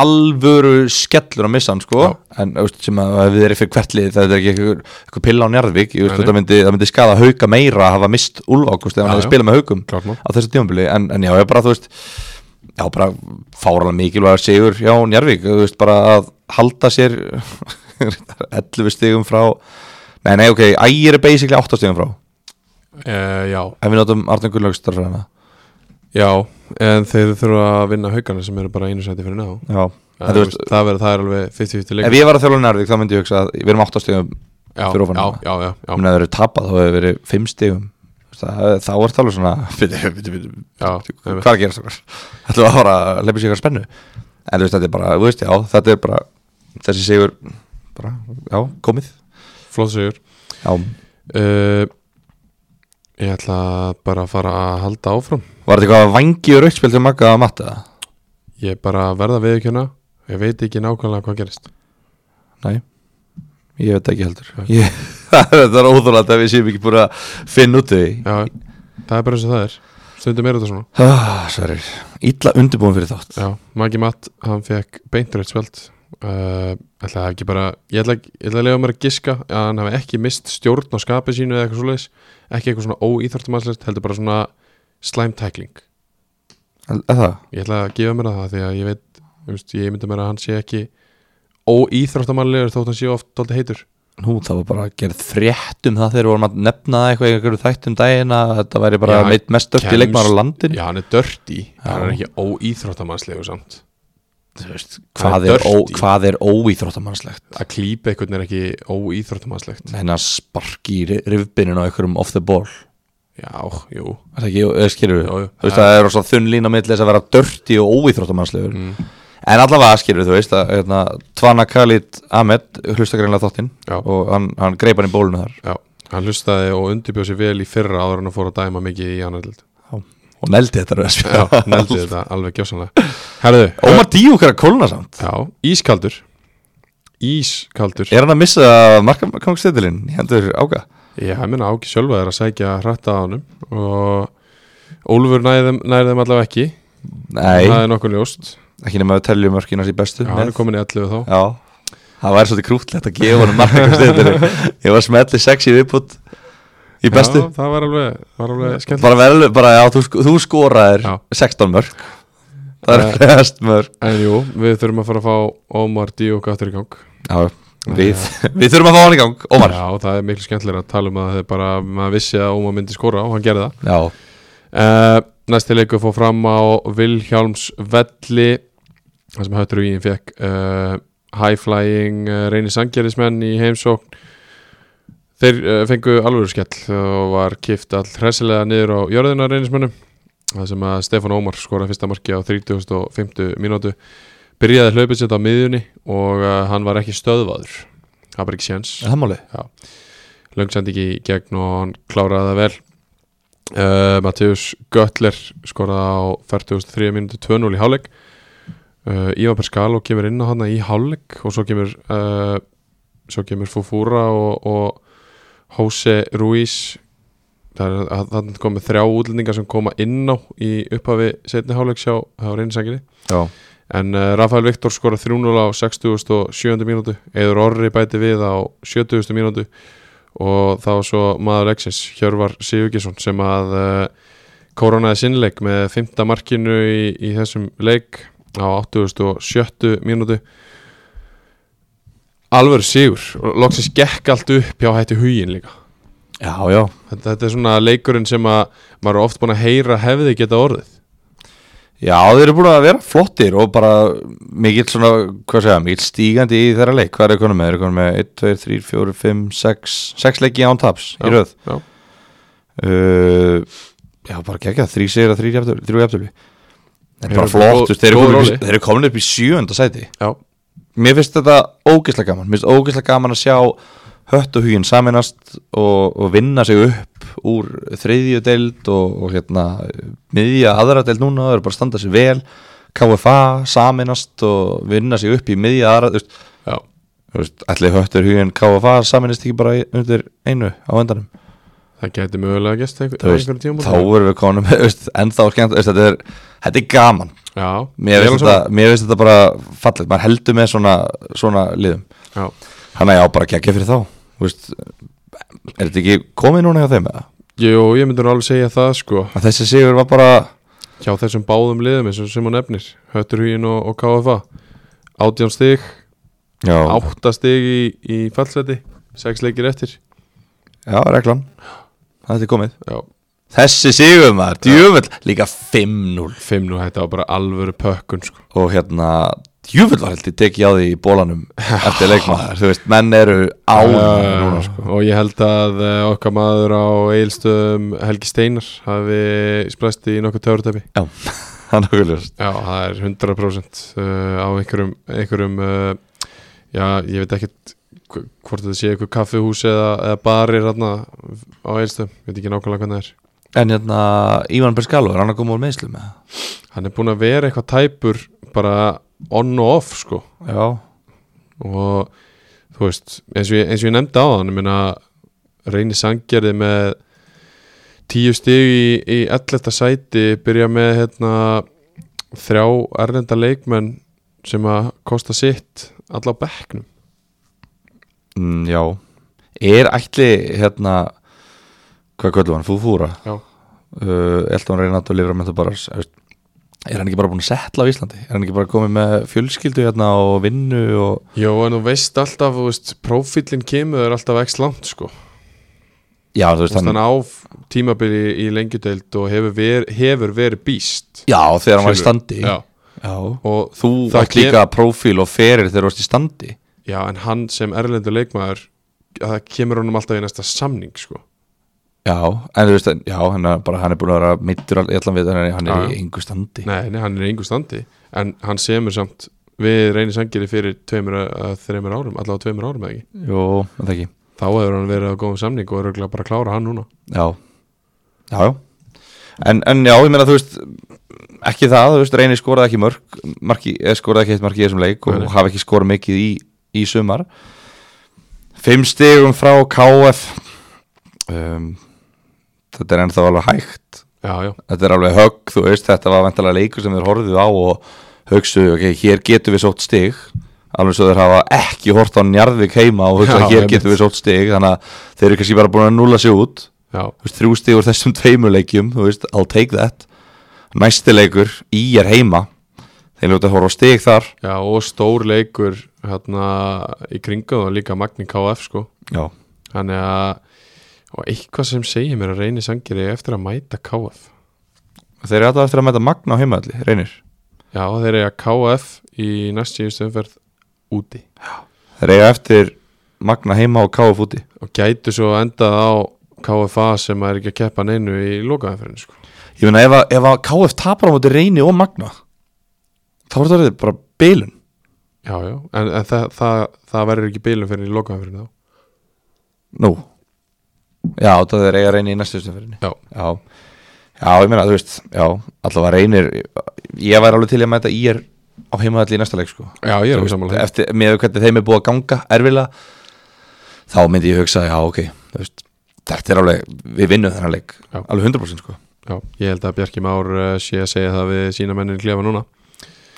Speaker 3: alvöru skellur að missa hann sko en þú veist, sem að ef við erum fyrir hvertlið það er ekki eitthvað, eitthvað pilla á Njarðvík ég veist,
Speaker 2: Nei, nei.
Speaker 3: það, myndi, það myndi skada hauka meira að hafa mist úlfákust ef
Speaker 2: Já,
Speaker 3: hann hefði
Speaker 2: já.
Speaker 3: spilað með haukum
Speaker 2: Klart mál.
Speaker 3: á þessu tímabili en, en já, ég bara, þú veist já, bara fáralega mikilvæg sigur já, Njarðvík, þú veist, bara að halda sér 11 stigum frá nei, nei, ok, ægir er basically 8 stigum frá
Speaker 2: uh, já,
Speaker 3: Ef við notum Arnur Gunnlaugs starfræðina
Speaker 2: já en þeir þurfa að vinna haugana sem eru bara einu sæti fyrir ná
Speaker 3: Já En
Speaker 2: það,
Speaker 3: þú
Speaker 2: veist,
Speaker 3: veist,
Speaker 2: það, verður- það er alveg 50-50
Speaker 3: ef
Speaker 2: leikur
Speaker 3: ég var að þjóla Njarðvík þá myndi ég hugsa að við erum 8 stegum
Speaker 2: já,
Speaker 3: fyrir ofan
Speaker 2: já,
Speaker 3: hana.
Speaker 2: já, já, já,
Speaker 3: Ég meina ef það eru tapað þá hefur verið 5 stegum það, Þá er það alveg svona Fyrir, fyrir, fyrir,
Speaker 2: já,
Speaker 3: hvað er að gera stokkar? Ætlum við að fara að leipa sér eitthvað spennu En þú veist, þetta er bara, þú veist, já, þetta er bara Þessi sigur, bara, já, komið
Speaker 2: flott sigur
Speaker 3: Já,
Speaker 2: uh, Ég ætla bara að fara að halda áfram
Speaker 3: var þetta eitthvað vangi og rautspil til Magga að matta?
Speaker 2: Ég er bara að verða viðkjöna Ég veit ekki nákvæmlega hvað gerist
Speaker 3: Nei, Ég veit ekki heldur ég, Það er óþólandi að við séum ekki búin að finna út af því
Speaker 2: Já, það er bara eins og það er Stundum er þetta svona
Speaker 3: ah, Sverir, illa undirbúin fyrir þátt
Speaker 2: Já, Maggi Matt, hann fekk beinturreitt spjöld uh, ætla það ekki bara ég ætla, ég ætla að lega mér að giska að hann hafi ekki mist stjórn á skapi sínu eða eitthvað svoleiðis ekki eitthvað svona óíþortumannslegt heldur bara svona slime tackling
Speaker 3: Er er það?
Speaker 2: ég ætla að gefa mér það því að ég veit þú veist, ég myndi mér að hann sé ekki óíþortumannlegur þótt hann sé oft dálítið heitur
Speaker 3: Nú, það var bara að gera frétt um það þegar við vorum að nefna eitthvað í einhverju þættum daginn að þetta væri bara
Speaker 2: Já,
Speaker 3: meitt mest dörti
Speaker 2: kemst-
Speaker 3: leikmar á landin
Speaker 2: Já, hann er dörti, hann er
Speaker 3: Já.
Speaker 2: ekki óíþortumannlegur samt
Speaker 3: veist,
Speaker 2: hann
Speaker 3: hvað,
Speaker 2: er
Speaker 3: er ó,
Speaker 2: dirty.
Speaker 3: hvað er óíþróttamannslegt?
Speaker 2: að klípa einhvern er ekki óíþortumannslegt
Speaker 3: Hennar sparki í rifbinin á einhverjum off the ball
Speaker 2: Já, jú,
Speaker 3: Er það ekki, eða skilur við
Speaker 2: Jú, jú.
Speaker 3: Þú veist, það er rosa þunn lína milli þess að vera dörti og óíþróttamannslegur En allavega skilur við, þú veist að hérna, Tvana Khalid Ahmed hlusta greinlega þáttinn
Speaker 2: Já.
Speaker 3: og hann, hann greip hann í bólinu þar
Speaker 2: Já, hann hlustaði og undirbjóð sér vel í fyrra áður en að fóra að dæma mikið í annarlild
Speaker 3: og neldi þetta röðs
Speaker 2: Já, neldi þetta alveg gjásanlega Herðu,
Speaker 3: Ómar Díuk er að kólna samt
Speaker 2: já, ískaldur Ískaldur Já,
Speaker 3: Er hann að missa markamangstítilinn í hendur ága?
Speaker 2: ég menna áki sjálfa er að sækja hrætta á honum og Ólfur næðum, næðum allavega ekki
Speaker 3: Nei,
Speaker 2: Það er nokkuð ljóst
Speaker 3: ekki nema að telja mörkina sér bestu
Speaker 2: Já, hann er
Speaker 3: Nei.
Speaker 2: komin í 11 þá
Speaker 3: Já, það væri svolítið krútlegt að gefa hann markamangstítilinn Ég var smellið sex í viðbútt í bestu
Speaker 2: Já, það var alveg, var alveg skemmt
Speaker 3: bara vel, bara já, þú, sk- þú skoraðir
Speaker 2: Já.
Speaker 3: 16 mörg það er rest mörg
Speaker 2: En jú, við þurfum að fara að fá Ómar Díok aftur í gang
Speaker 3: já, við, við þurfum að fá hann í gang Ómar já,
Speaker 2: Já, það er miklu skemmtilega að tala um að það er bara, maður vissi að Ómar myndi skora og hann gerði það
Speaker 3: já.
Speaker 2: Uh, næsti leikur fór fram á Vilhjálms velli þar sem höttur íin fekk uh, high-flying uh, reynir sangjarismenn í heimsókn þeir uh, fengu alvöru skell og var kift all hressilega niður á jörðina reynismennum þar sem að Stefán Ómar skoraði fyrsta marki á 3050 mínútu byrjaði hlaupið sitt á miðjunni og uh, hann var ekki stöðvaður það var ekki séns
Speaker 3: Er það máli
Speaker 2: langsending í gegn og hann kláraði það vel uh, Mattius Göttler skoraði á 43 minúti 2-0 í hálfleik uh, Ívan Perskalo kemur inn á hana í hálfleik og svo kemur uh, svo kemur Fufura og, og Jose Ruiz það er þannig komið þrjá útlendingar sem koma inn á í upphafi setni hálfleik sjá á reynisanginni
Speaker 3: já,
Speaker 2: En uh, Rafael Viktor skora 3-0 á 67. mínútu Eður Orri bæti við á 70. mínútu og þá svo maður leiksins Hjörvar Sigurgesson sem að uh, koronaði sinnleik með 5. markinu í, í þessum leik á 87. mínútu Alvöru Sigur og loksins gekk allt upp hjá hætti hugin líka
Speaker 3: já, já
Speaker 2: Þetta, þetta er svona leikurinn sem að maður er oft búin að heyra hefði geta orðið
Speaker 3: já, þeir eru búin að vera flottir og bara mikill svona, hvað segja, mikill stígandi í þeirra leik, hvað er konum með? Þeir eru konum með 1, 2, 3, 4, 5, 6 6 leiki án taps í röð
Speaker 2: Já,
Speaker 3: uh, já, bara gegja þrý sigra, þrý jafntöfli þrjú jafntöfli það er
Speaker 2: Þeir
Speaker 3: bara
Speaker 2: eru
Speaker 3: flott,
Speaker 2: góð-
Speaker 3: þú veist, þeir eru
Speaker 2: góð
Speaker 3: komin
Speaker 2: róli.
Speaker 3: upp í- þeir eru komin upp í sjöunda sæti
Speaker 2: já,
Speaker 3: mér finnst þetta ógeðslega gaman mér finnst ógeðslega gaman að sjá hött og huginn saminast og, og vinna sig upp úr þriðju deild og, og hérna miðja aðra deild núna, það eru bara að standa sig vel KFA saminast og vinna sig upp í miðja aðra þú veist,
Speaker 2: já.
Speaker 3: þú veist, ætli höttur huginn KFA saminast ekki bara í- undir einu á endanum
Speaker 2: Það gæti mögulega gæst einhver,
Speaker 3: Þú veist,
Speaker 2: einhverjum tíma
Speaker 3: þá erum við konum ennþá skemmt, þú veist, þetta er, þetta er gaman
Speaker 2: Já,
Speaker 3: mér
Speaker 2: ég er
Speaker 3: finnst
Speaker 2: alveg
Speaker 3: þetta, mér finnst þetta bara fallið, maður heldur með svona, svona liðum
Speaker 2: sammála.
Speaker 3: þannig að já, bara gekkja fyrir þá þú veist, er þetta ekki komið núna hjá þeim eða?
Speaker 2: Já, jú, ég myndi nú alveg segja það sko
Speaker 3: Að þessi sigur var bara
Speaker 2: hjá þessum báðum liðum eins og sem hún nefnir Hötturhugin og, og KFA 18 stig,
Speaker 3: já,
Speaker 2: 8 stig í, í fallseti 6 leikir eftir
Speaker 3: já reglan þetta er komið
Speaker 2: Já,
Speaker 3: þessi sigur maður, djöfull, líka 5-0
Speaker 2: 5 nú, þetta var bara alvöru pökkun sko
Speaker 3: og hérna, djöfull var heldur tekið á því í bólanum eftir leikmaður, þú veist, menn eru á núna, sko.
Speaker 2: Og ég held að eh, okkar maður á Egilstöðum Helgi Steinar hafi splæst í nokkuð törutæpi
Speaker 3: já, hann okkur ljóst
Speaker 2: Já, það er 100% uh, á einhverjum, einhverjum uh, já, ég veit ekkert hv- hvort þetta sé eitthvað kaffihús eða, eða barir hérna á eilstöðum, ég veit ekki nákvæmlega hvernig það er
Speaker 3: En hérna, Ívan Berskalo, er hann að koma úr meðslu með það?
Speaker 2: Hann er búinn að vera eitthvað tæpur bara on og off sko
Speaker 3: Já
Speaker 2: og þú veist, eins og ég, eins og ég nefndi á þann, ég meina reyni sangerði með tíu stig í, í 11. sæti, byrja með hérna þrjá erlenda leikmenn sem að kosta sitt alla á bekknum.
Speaker 3: mm, Já Er ætli hérna Hvað kvöldu hann? Fúfúra
Speaker 2: Já.
Speaker 3: uh, Elton Reynat og Livra Mentabaras Er hann ekki bara búin að setla á Íslandi? Er hann ekki bara komið með fjölskyldu hérna og vinnu og
Speaker 2: Jó, en þú veist alltaf, þú veist, prófílinn kemur er alltaf ekki langt, sko.
Speaker 3: Já, þú veist
Speaker 2: Þannig
Speaker 3: hann
Speaker 2: hann á tímabili í lengjudeild og hefur, ver, hefur verið býst.
Speaker 3: Já, þegar hann var í standi
Speaker 2: Já,
Speaker 3: Já.
Speaker 2: og
Speaker 3: Þú
Speaker 2: það
Speaker 3: átt líka prófíl og ferir þegar þú varst í standi
Speaker 2: Já, en hann sem erlendur leikmaður það kemur honum alltaf í næsta samning sko.
Speaker 3: Já, en þú veist, en- já, hann er, bara, hann er búin að vera mittur all- í allan við, en hann
Speaker 2: Já,
Speaker 3: er
Speaker 2: já.
Speaker 3: í engu standi
Speaker 2: nei, nei, hann er í yngu standi en hann semur samt við reynir sangeri fyrir tveimur að þreimur árum allavega tveimur árum eða ekki
Speaker 3: Jó, en það ekki
Speaker 2: þá hefur hann verið á góðum samning og er örugglega bara að klára hann núna
Speaker 3: Já, já, já. En, en já, ég meina þú veist ekki það, þú veist, reynir skoraði ekki mörg marki, eh, skoraði ekki eitt marki í þessum leik og
Speaker 2: Nei, nei.
Speaker 3: hafa ekki skorað mikið í, í sumar Fimm stigum frá KF um, Þetta er ennþá alveg hægt
Speaker 2: Já, já,
Speaker 3: Þetta er alveg högg, þú veist, þetta var vantalega leikur sem þeir horfðu á og hugsu, ok, hér getum við sótt stig alveg svo þeir hafa ekki hort á Njarðvík heima og hugsa
Speaker 2: Já,
Speaker 3: hér
Speaker 2: einmitt.
Speaker 3: getum við sótt stig þannig að þeir eru kannski bara búin að núla sig út
Speaker 2: já,
Speaker 3: Þú veist, þrjú stig úr þessum tveimur leikjum þú veist, I'll take that næsti leikur, í er heima þeir ljóta að horfa á stig þar
Speaker 2: já og stór leikur hérna í kringa og líka Magni KF sko
Speaker 3: já,
Speaker 2: þannig að og eitthvað sem segir mér að reynir sangeri eftir að mæta KF
Speaker 3: þeir eru alltaf eftir að mæta magna á heimaðli, reynir
Speaker 2: Já, þeir eiga KF í næst síðustu umferð úti
Speaker 3: þeir eiga eftir magna heima og káf úti
Speaker 2: og gætu svo endað á KFA sem er ekki að keppa neinu í lokaðanferðinu sko.
Speaker 3: ég meina ef, að- ef að KF tapar á móti reyni og magna þá voru þetta orðið bara bilun
Speaker 2: Já, já, en, en það, það, það verður ekki bílum fyrir í lokaðanferðinu þá.
Speaker 3: nú já, þá þeir eiga reyni í næstu stundferinni
Speaker 2: Já.
Speaker 3: já, já, ég meina, þú veist já, allavega reynir ég væri alveg til í að mæta í er á heimaðalli í næsta leik sko
Speaker 2: Já, ég er
Speaker 3: Þú
Speaker 2: um
Speaker 3: veist,
Speaker 2: sammála.
Speaker 3: eftir, með hvernig þeim er búið að ganga erfilega þá myndi ég hugsa já ok, þú veist, þetta er alveg við vinnum þennan leik,
Speaker 2: Já.
Speaker 3: alveg 100% sko.
Speaker 2: Já, ég held að Bjarki Már eh, sé að segja það við sína mennin klefa núna.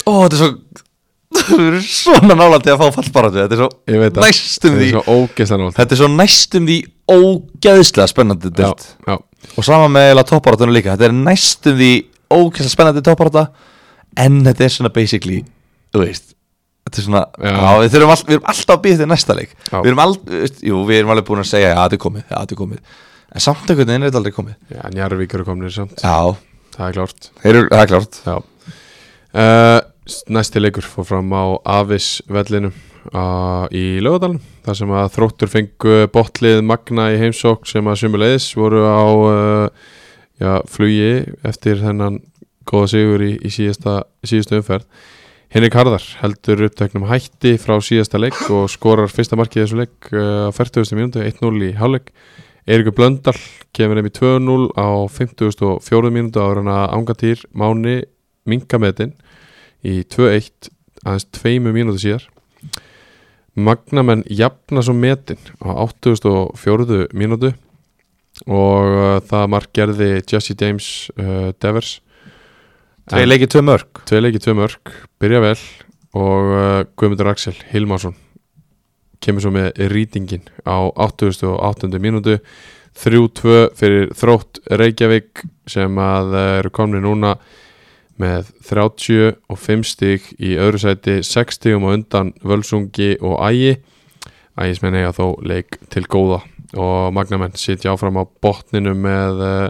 Speaker 3: ó þetta er svo þetta er svona nálægt til að fá fallbaratu þetta er
Speaker 2: Ég veit
Speaker 3: svo
Speaker 2: að
Speaker 3: næstum
Speaker 2: það
Speaker 3: því
Speaker 2: er svo ógeðslega nátt.
Speaker 3: þetta er svo næstum því ógeðslega spennandi
Speaker 2: Já,
Speaker 3: delt
Speaker 2: já,
Speaker 3: og sama með eiginlega topparatunum líka þetta er næstum því ógeðslega spennandi topparata en þetta er svona basically þú veist þetta er svona,
Speaker 2: Já.
Speaker 3: já. við, þurfum all, við erum alltaf að býða til næsta leik
Speaker 2: Já.
Speaker 3: við erum, all, veist, jú, við erum alveg búin að segja já, þetta er komið, já, þetta er komið en samt einhvern veginn er þetta aldrei komið
Speaker 2: já, Njarvík eru komnir samt.
Speaker 3: já,
Speaker 2: Það er klárt.
Speaker 3: þeir eru, það er klart
Speaker 2: Já uh, Næsti leikur fór fram á Avis vellinu uh, í Lögadalum þar sem að þróttur fengu botlið Magna í heimsók sem að sumulegis voru á uh, já, flugi eftir þennan góða sigur í, í síðasta, síðasta umferð Henrik Harðar heldur upptöknum hætti frá síðasta leik og skorar fyrsta markið í þessu leik uh, á 40. mínútu, 1-0 í hálfleik Eirikur Blöndal kemur heim í 2-0 á 54. mínútu ára en að ángatýr Máni Minkametin í 2-1 aðeins tveimu mínútu síðar Magnamenn jafna svo metin á 84. mínútu og uh, það mark gerði Jesse James uh, Devers
Speaker 3: þeir leikið tvö mörg
Speaker 2: Tvei leiki, tvei mörg, byrja vel og uh, Guðmundur Axel Hilmarsson kemur svo með rýtingin á 88. mínútu 3-2 fyrir þrótt Reykjavík sem að uh, eru komni núna með 35 stík í öðru sæti 6 stíkum og undan Völsungi og Ægi Ægis menn eiga þó leik til góða og Magnamenn sitja áfram á botninu með uh,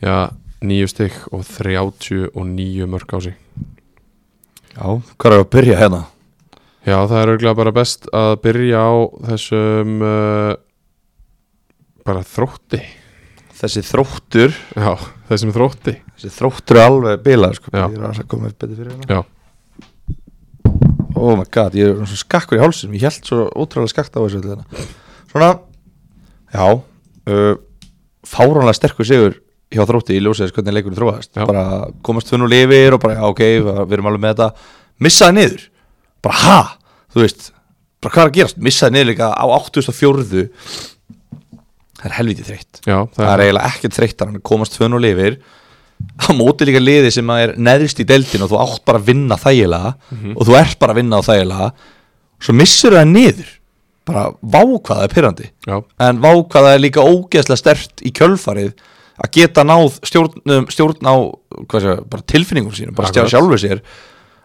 Speaker 2: já, nýju stygg og 39 mörg á sig
Speaker 3: já, hvað er að byrja hérna?
Speaker 2: Já, það er auðvitað bara best að byrja á þessum uh, bara þrótti
Speaker 3: þessi þróttur,
Speaker 2: Já, þessum þrótti
Speaker 3: þessi þróttur er alveg bilað sko,
Speaker 2: Já.
Speaker 3: ég er aðeins að koma upp betur fyrir hérna
Speaker 2: Já,
Speaker 3: oh my god, ég er svona skakkur í hálsum ég held svo ótrúlega skakt á þessu öllu hérna. svona, já uh, fáránlega sterkur sigur hjá þrótti í ljósiðis hvernig leikurinn þróaðast
Speaker 2: Já.
Speaker 3: bara komast tvun og lifir og bara já, ok, við erum alveg með þetta missaði niður, bara ha þú veist, bara hvað er að gerast, missaði niður líka á 804 það er helviti þreytt
Speaker 2: Já,
Speaker 3: það er e- eiginlega ekkert þreyttar hann að komast fönn og lifir á móti líka liði sem að er neðrist í deildin og þú átt bara að vinna þægilega og þú ert bara að vinna á þægilega svo missur það niður bara vákvaða er pyrrandi
Speaker 2: Já,
Speaker 3: en vákvaða er líka ógeðslega stert í kjölfarið að geta náð stjórn, um, stjórn á hvað sé, bara tilfinningum sínum, bara stjá
Speaker 2: Akkurat.
Speaker 3: sjálfur sér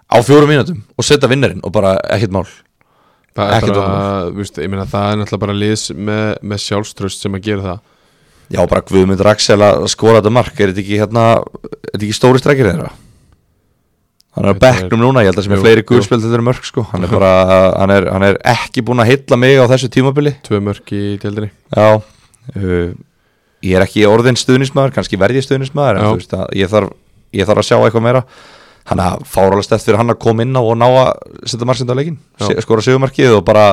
Speaker 3: á fjórum mínutum og setja vinnarinn og bara ekkert mál
Speaker 2: það er
Speaker 3: Ekkert
Speaker 2: bara, víst, ég meina það er náttúrulega bara liðs með, með sjálfströst sem að gera það
Speaker 3: Já, bara Guðmund Raxel að skora þetta mark Er þetta ekki, hérna, er þetta ekki stóri strækir þeirra? Hann
Speaker 2: Þetta
Speaker 3: er á
Speaker 2: er-
Speaker 3: bekknum núna, ég held að sem
Speaker 2: Jú,
Speaker 3: er fleiri
Speaker 2: jú.
Speaker 3: guðspjöld þetta er mörg sko Hann er bara, hann er, hann er ekki búin að hitla mig á þessu tímabili
Speaker 2: Tvö mörk í deildinni
Speaker 3: Já uh, Ég er ekki orðin stuðnismæður, kannski verð ég stuðnismæður
Speaker 2: Já.
Speaker 3: En þú veist að ég þarf, ég þarf að sjá eitthvað meira Hann að fárálega stætt fyrir hann að koma inn á og ná að setja marksind á leikinn
Speaker 2: Já.
Speaker 3: Se- Skora sigumarkið og bara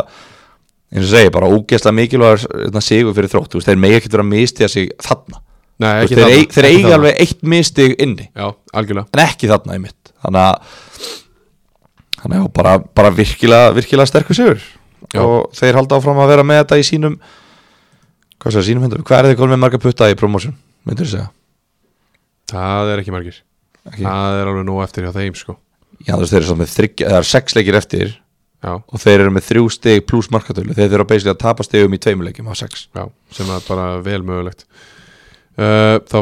Speaker 3: eins og segi, bara ógeðslega mikilvægur hérna, sigur fyrir þrótt, þú veist, þeir megi ekkert vera að mistiða sig þarna
Speaker 2: Nei,
Speaker 3: Þú
Speaker 2: ekki
Speaker 3: veist, þeir,
Speaker 2: þarna,
Speaker 3: eig, þeir
Speaker 2: ekki
Speaker 3: eiga
Speaker 2: þarna.
Speaker 3: alveg eitt misstig inni
Speaker 2: Já, algjörlega
Speaker 3: en ekki þarna í mitt þannig að þannig að bara, bara virkilega, virkilega sterkur sigur
Speaker 2: Já.
Speaker 3: og þeir halda áfram að vera með þetta í sínum hvað sér, sínum hendur, hvað er þeir komin með marga putta í promotion, myndir þú segja
Speaker 2: Það er ekki margir
Speaker 3: ekki?
Speaker 2: Það er alveg nóg eftir hjá þeim sko
Speaker 3: já þú veist þeir eru svo með þryggja, það er sex leikir eftir
Speaker 2: Já,
Speaker 3: og þeir eru með þrjú stig pluss markatölu þeir þurfa basically að tapa stigum í tveimuleikjum á sex
Speaker 2: já, sem er bara vel mögulegt uh, Þá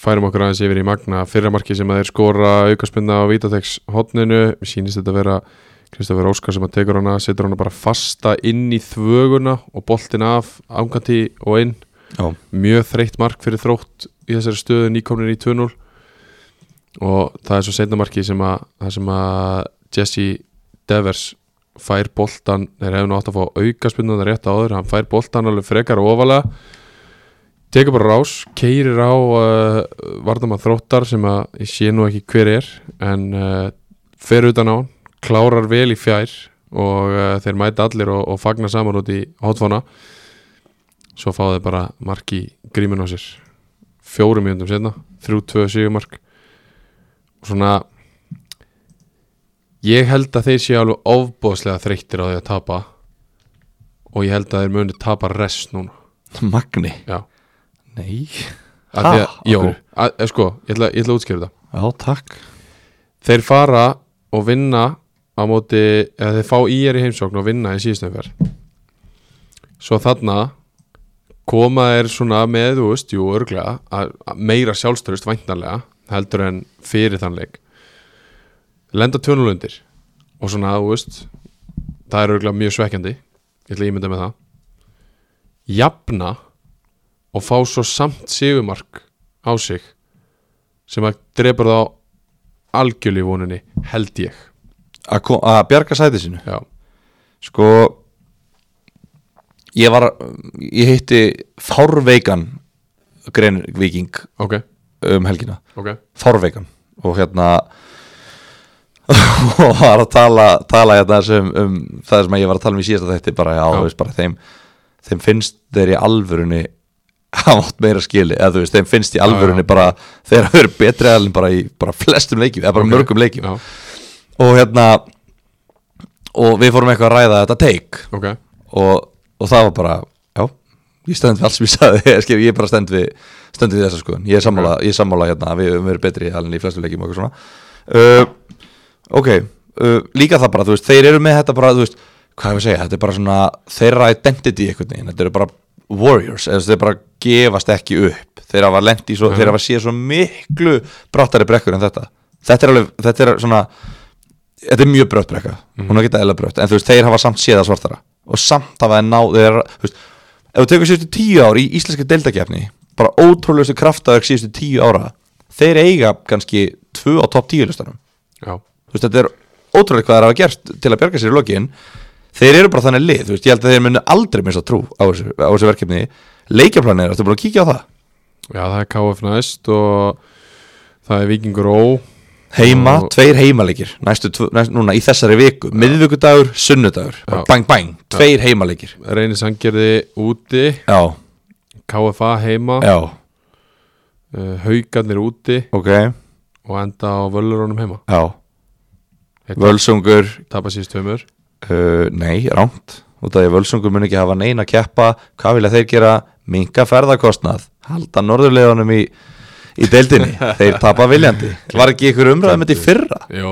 Speaker 2: færum okkur aðeins yfir í Magna Fyrra marki sem að þeir skora aukaspunna á Vítatex hotninu Mér sýnist þetta vera Kristoffer Óskar sem að tekur hana Setur hana bara fasta inn í þvöguna Og boltin af, angandi og inn
Speaker 3: já.
Speaker 2: mjög þreytt mark fyrir þrótt í þessari stöðu nýkomnir í 2-0 og það er svo seinna marki sem að, það sem að Jesse Devers fær boltan, þeir hefðu nú átt að fá auka spynnan rétt áður, hann fær boltan alveg frekar ofalega tekur bara rás, keirir á uh, vardamann þróttar sem að ég sé nú ekki hver er en uh, fer utan á hann, klárar vel í fjær og uh, þeir mæta allir og, og fagna saman út í hotfona svo fá þeir bara mark í grímun á sér fjórum mjöndum setna, 3-2 sigumark og svona ég held að þeir séu alveg ofbóðslega þreyttir á því að tapa og ég held að þeir muni tapa rest núna
Speaker 3: magni,
Speaker 2: já,
Speaker 3: nei
Speaker 2: að því að,
Speaker 3: Ha,
Speaker 2: jó,
Speaker 3: af hverju?
Speaker 2: að, eh, sko ég ætla, ég ætla að útskýra þetta
Speaker 3: já takk
Speaker 2: þeir fara og vinna á móti, eða þeir fá ír í heimsókn og vinna í síðustöfjar svo þarna koma þeir svona með þú veist, jú, örglega að, að meira sjálfstörust væntanlega heldur en fyrir þann leik lenda tjónulundir og svona, þú veist það er örglega mjög svekkjandi ég ætla að ímynda með það jafna og fá svo samt sigumark á sig sem að drepur þá algjörlega í voninni, held ég
Speaker 3: að ko- að bjarga sæti sínu
Speaker 2: já,
Speaker 3: Sko Ég var Ég hitti Fárveikan Greinvíking
Speaker 2: ok,
Speaker 3: um helgina
Speaker 2: ok
Speaker 3: Fárveikan og hérna og var að tala, tala hérna sem, um það sem ég var að tala um í síðasta þætti bara, já,
Speaker 2: Já.
Speaker 3: þú veist, bara þeim þeim finnst þeir í alvörunni hafa átt meira skili, eða þú veist, þeim finnst í alvörunni bara, þeir hafa verið betri aðalinn bara í bara flestum leikjum, eða bara
Speaker 2: Ok.
Speaker 3: mörgum leikjum
Speaker 2: já,
Speaker 3: og hérna og við fórum eitthvað að ræða þetta take
Speaker 2: ok,
Speaker 3: og, og það var bara já, ég stend við allt sem ég sagði ég, skil, ég bara stend við, stend við þessa skoðun ég er sammála, ég er sammála hérna, við höfum verið betri alveg í flestu leikjum og eitthvað svona uh, ok, uh, líka það bara þú veist, þeir eru með þetta bara, þú veist hvað hefur að segja, þetta er bara svona þeirra identity einhvern veginn, þetta eru bara warriors eða þeir bara gefast ekki upp þeir hafa lent í svo, þeir hafa séð svo miklu brattari brekkur en þetta þetta er alveg, þetta er svona þetta er mjög brött brekka,
Speaker 2: Mhm.
Speaker 3: hún er ekki eðla brött en þú veist, þeir hafa samt séð að svartara og samt hafa þeir ná, þeir eru þú veist, ef þú tekur síðustu tíu ár í íslenska deildakefni bara ótrúlegustu kraftaverk síðustu tíu ára þeir eiga kannski tvö á topp tíu listanum
Speaker 2: já
Speaker 3: þú veist, þetta er ótrúlega hvað þeir hafa gert til að bjarga sér í lokin þeir eru bara þannig lið, þú veist, ég held að þeir munu aldrei minnst að trú á þessu, á þessu verkefni leikjaplanir, ertu búin að kíkja á það
Speaker 2: já, það er KF næst og það er Vikingur Ó
Speaker 3: heima,
Speaker 2: Og-
Speaker 3: tveir heimalegir næstu, tv- næst, núna í þessari viku, miðvikudagur sunnudagur, bara
Speaker 2: Já.
Speaker 3: bang bang tveir heimalegir,
Speaker 2: reynir sangjörði úti
Speaker 3: já,
Speaker 2: KFA heima,
Speaker 3: já,
Speaker 2: uh, haugarnir úti
Speaker 3: ok
Speaker 2: og enda á völurónum heima
Speaker 3: já,
Speaker 2: Þetta-
Speaker 3: völsungur
Speaker 2: tapa síðust tveimur
Speaker 3: Uh, nei, rámt út af því að völsungur mun ekki hafa neina að keppa hvað vilja þeir gera, minka ferðakostnað halda norðurleðunum í í deildinni, þeir tapa viljandi var ekki ykkur umræðum þetta í fyrra
Speaker 2: Jó,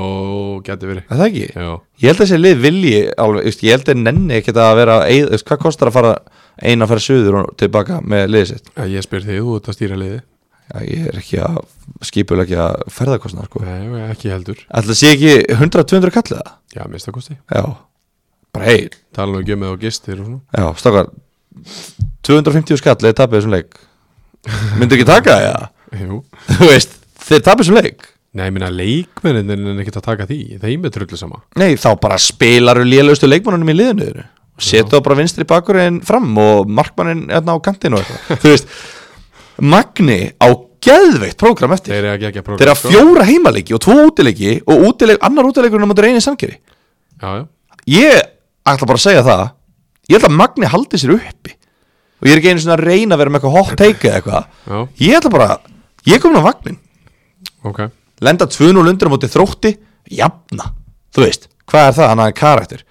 Speaker 2: geti verið
Speaker 3: er það ekki?
Speaker 2: Já,
Speaker 3: ég held að þessi lið vilji alveg, þú veist, ég held að nenni ekkert að vera eð, veist, hvað kostar að fara eina að fara suður og tilbaka með liðið sitt
Speaker 2: Já, Eh, ég spyr þig, þú ert að stýra liði
Speaker 3: Já, ég er ekki að skipulegja ferðakostnað sko.
Speaker 2: Nei, já, ekki heldur
Speaker 3: alltaf sé ekki 100-200 kallið það?
Speaker 2: Já, minnstakosti
Speaker 3: já, bara hei
Speaker 2: Tala nú ekki um eða gistir og svona
Speaker 3: Já, stokkar 250 skall eða tapir þessum leik Myndu ekki taka það, já
Speaker 2: Jú
Speaker 3: Þú veist, þeir tapir þessum leik
Speaker 2: Nei, ég minna leikmennin er ekkert að taka því Þeim er trullu sama
Speaker 3: Nei, þá bara spilaru lélaustu leikmannunum í liðinu þínu. Settu þá bara vinstri bakurinn fram og markmannin hérna á kantinu og eitthvað Þú veist, Magni á geðveitt prógram eftir
Speaker 2: Þeir eru ekki ekki að sko. prófa
Speaker 3: Þeir eru sko. að fjóra heimaleiki og tvo útileiki og útileik, annar útileikurinn á mótur einu samkeri
Speaker 2: Já, já
Speaker 3: Ég ætla bara að segja það Ég ætla að Magni haldi sér uppi Og ég er ekki einu svona að reyna að vera með eitthvað hot take eða eitthvað
Speaker 2: Já,
Speaker 3: Ég ætla bara, ég komin á vagnin
Speaker 2: ok
Speaker 3: Lenda 2-0 undir á móti þrótti Jafna, þú veist Hvað er það, hann er karakter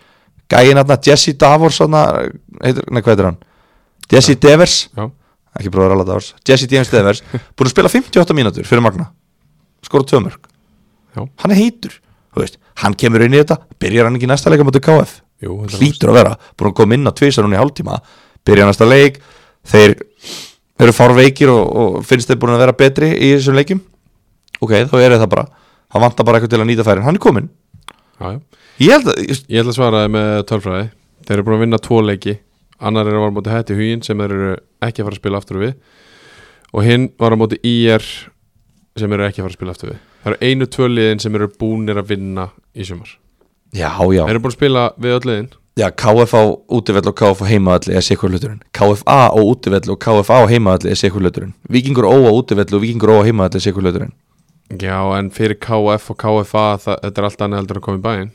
Speaker 3: Gæin hann að Jesse Davors hann heitir, Nei, hvað heitir hann? Jesse Devers,
Speaker 2: Já,
Speaker 3: ekki bróður alveg Davors Jesse James Devers, búin að spila 58 mínútur Fyrir Magna, skora tvö mörg
Speaker 2: Já.
Speaker 3: Hann er heitur, þú veist Hann kemur inn í þetta, byrjar hann ekki í næsta leika móti KF
Speaker 2: jú þetta var-
Speaker 3: hlýtur að vera, búin að koma inn á tvisar hún í hálftíma, byrja næsta leik þeir eru fárveikir og, og finnst þeir búin að vera betri í þessum leikjum ok, þá er það bara það vantar bara eitthvað til að nýta færin, hann er komin
Speaker 2: Já, já
Speaker 3: ég held að, ég-
Speaker 2: Ég ætla að svara þér með tölfræði Þeir eru búin að vinna tvo leiki Annar er að vara á móti hætti hugin sem þeir eru ekki að fara að spila aftur við Og hinn var á móti IR sem eru ekki að fara að spila aftur við Það eru einu tvö liðin sem eru búnir að vinna í sumar
Speaker 3: já, já,
Speaker 2: Þeir eru búin að spila við öll liðin
Speaker 3: já KFA útivell og KFA heimavalli er sikur hluturinn KFA og útivell og KFA og heimavalli er sikur hluturinn, vikingur ó á útivell og vikingur ó á heimavalli er sikur hluturinn
Speaker 2: Já, en fyrir KF og KFA það, þetta er allt annað heldur en að koma í bæinn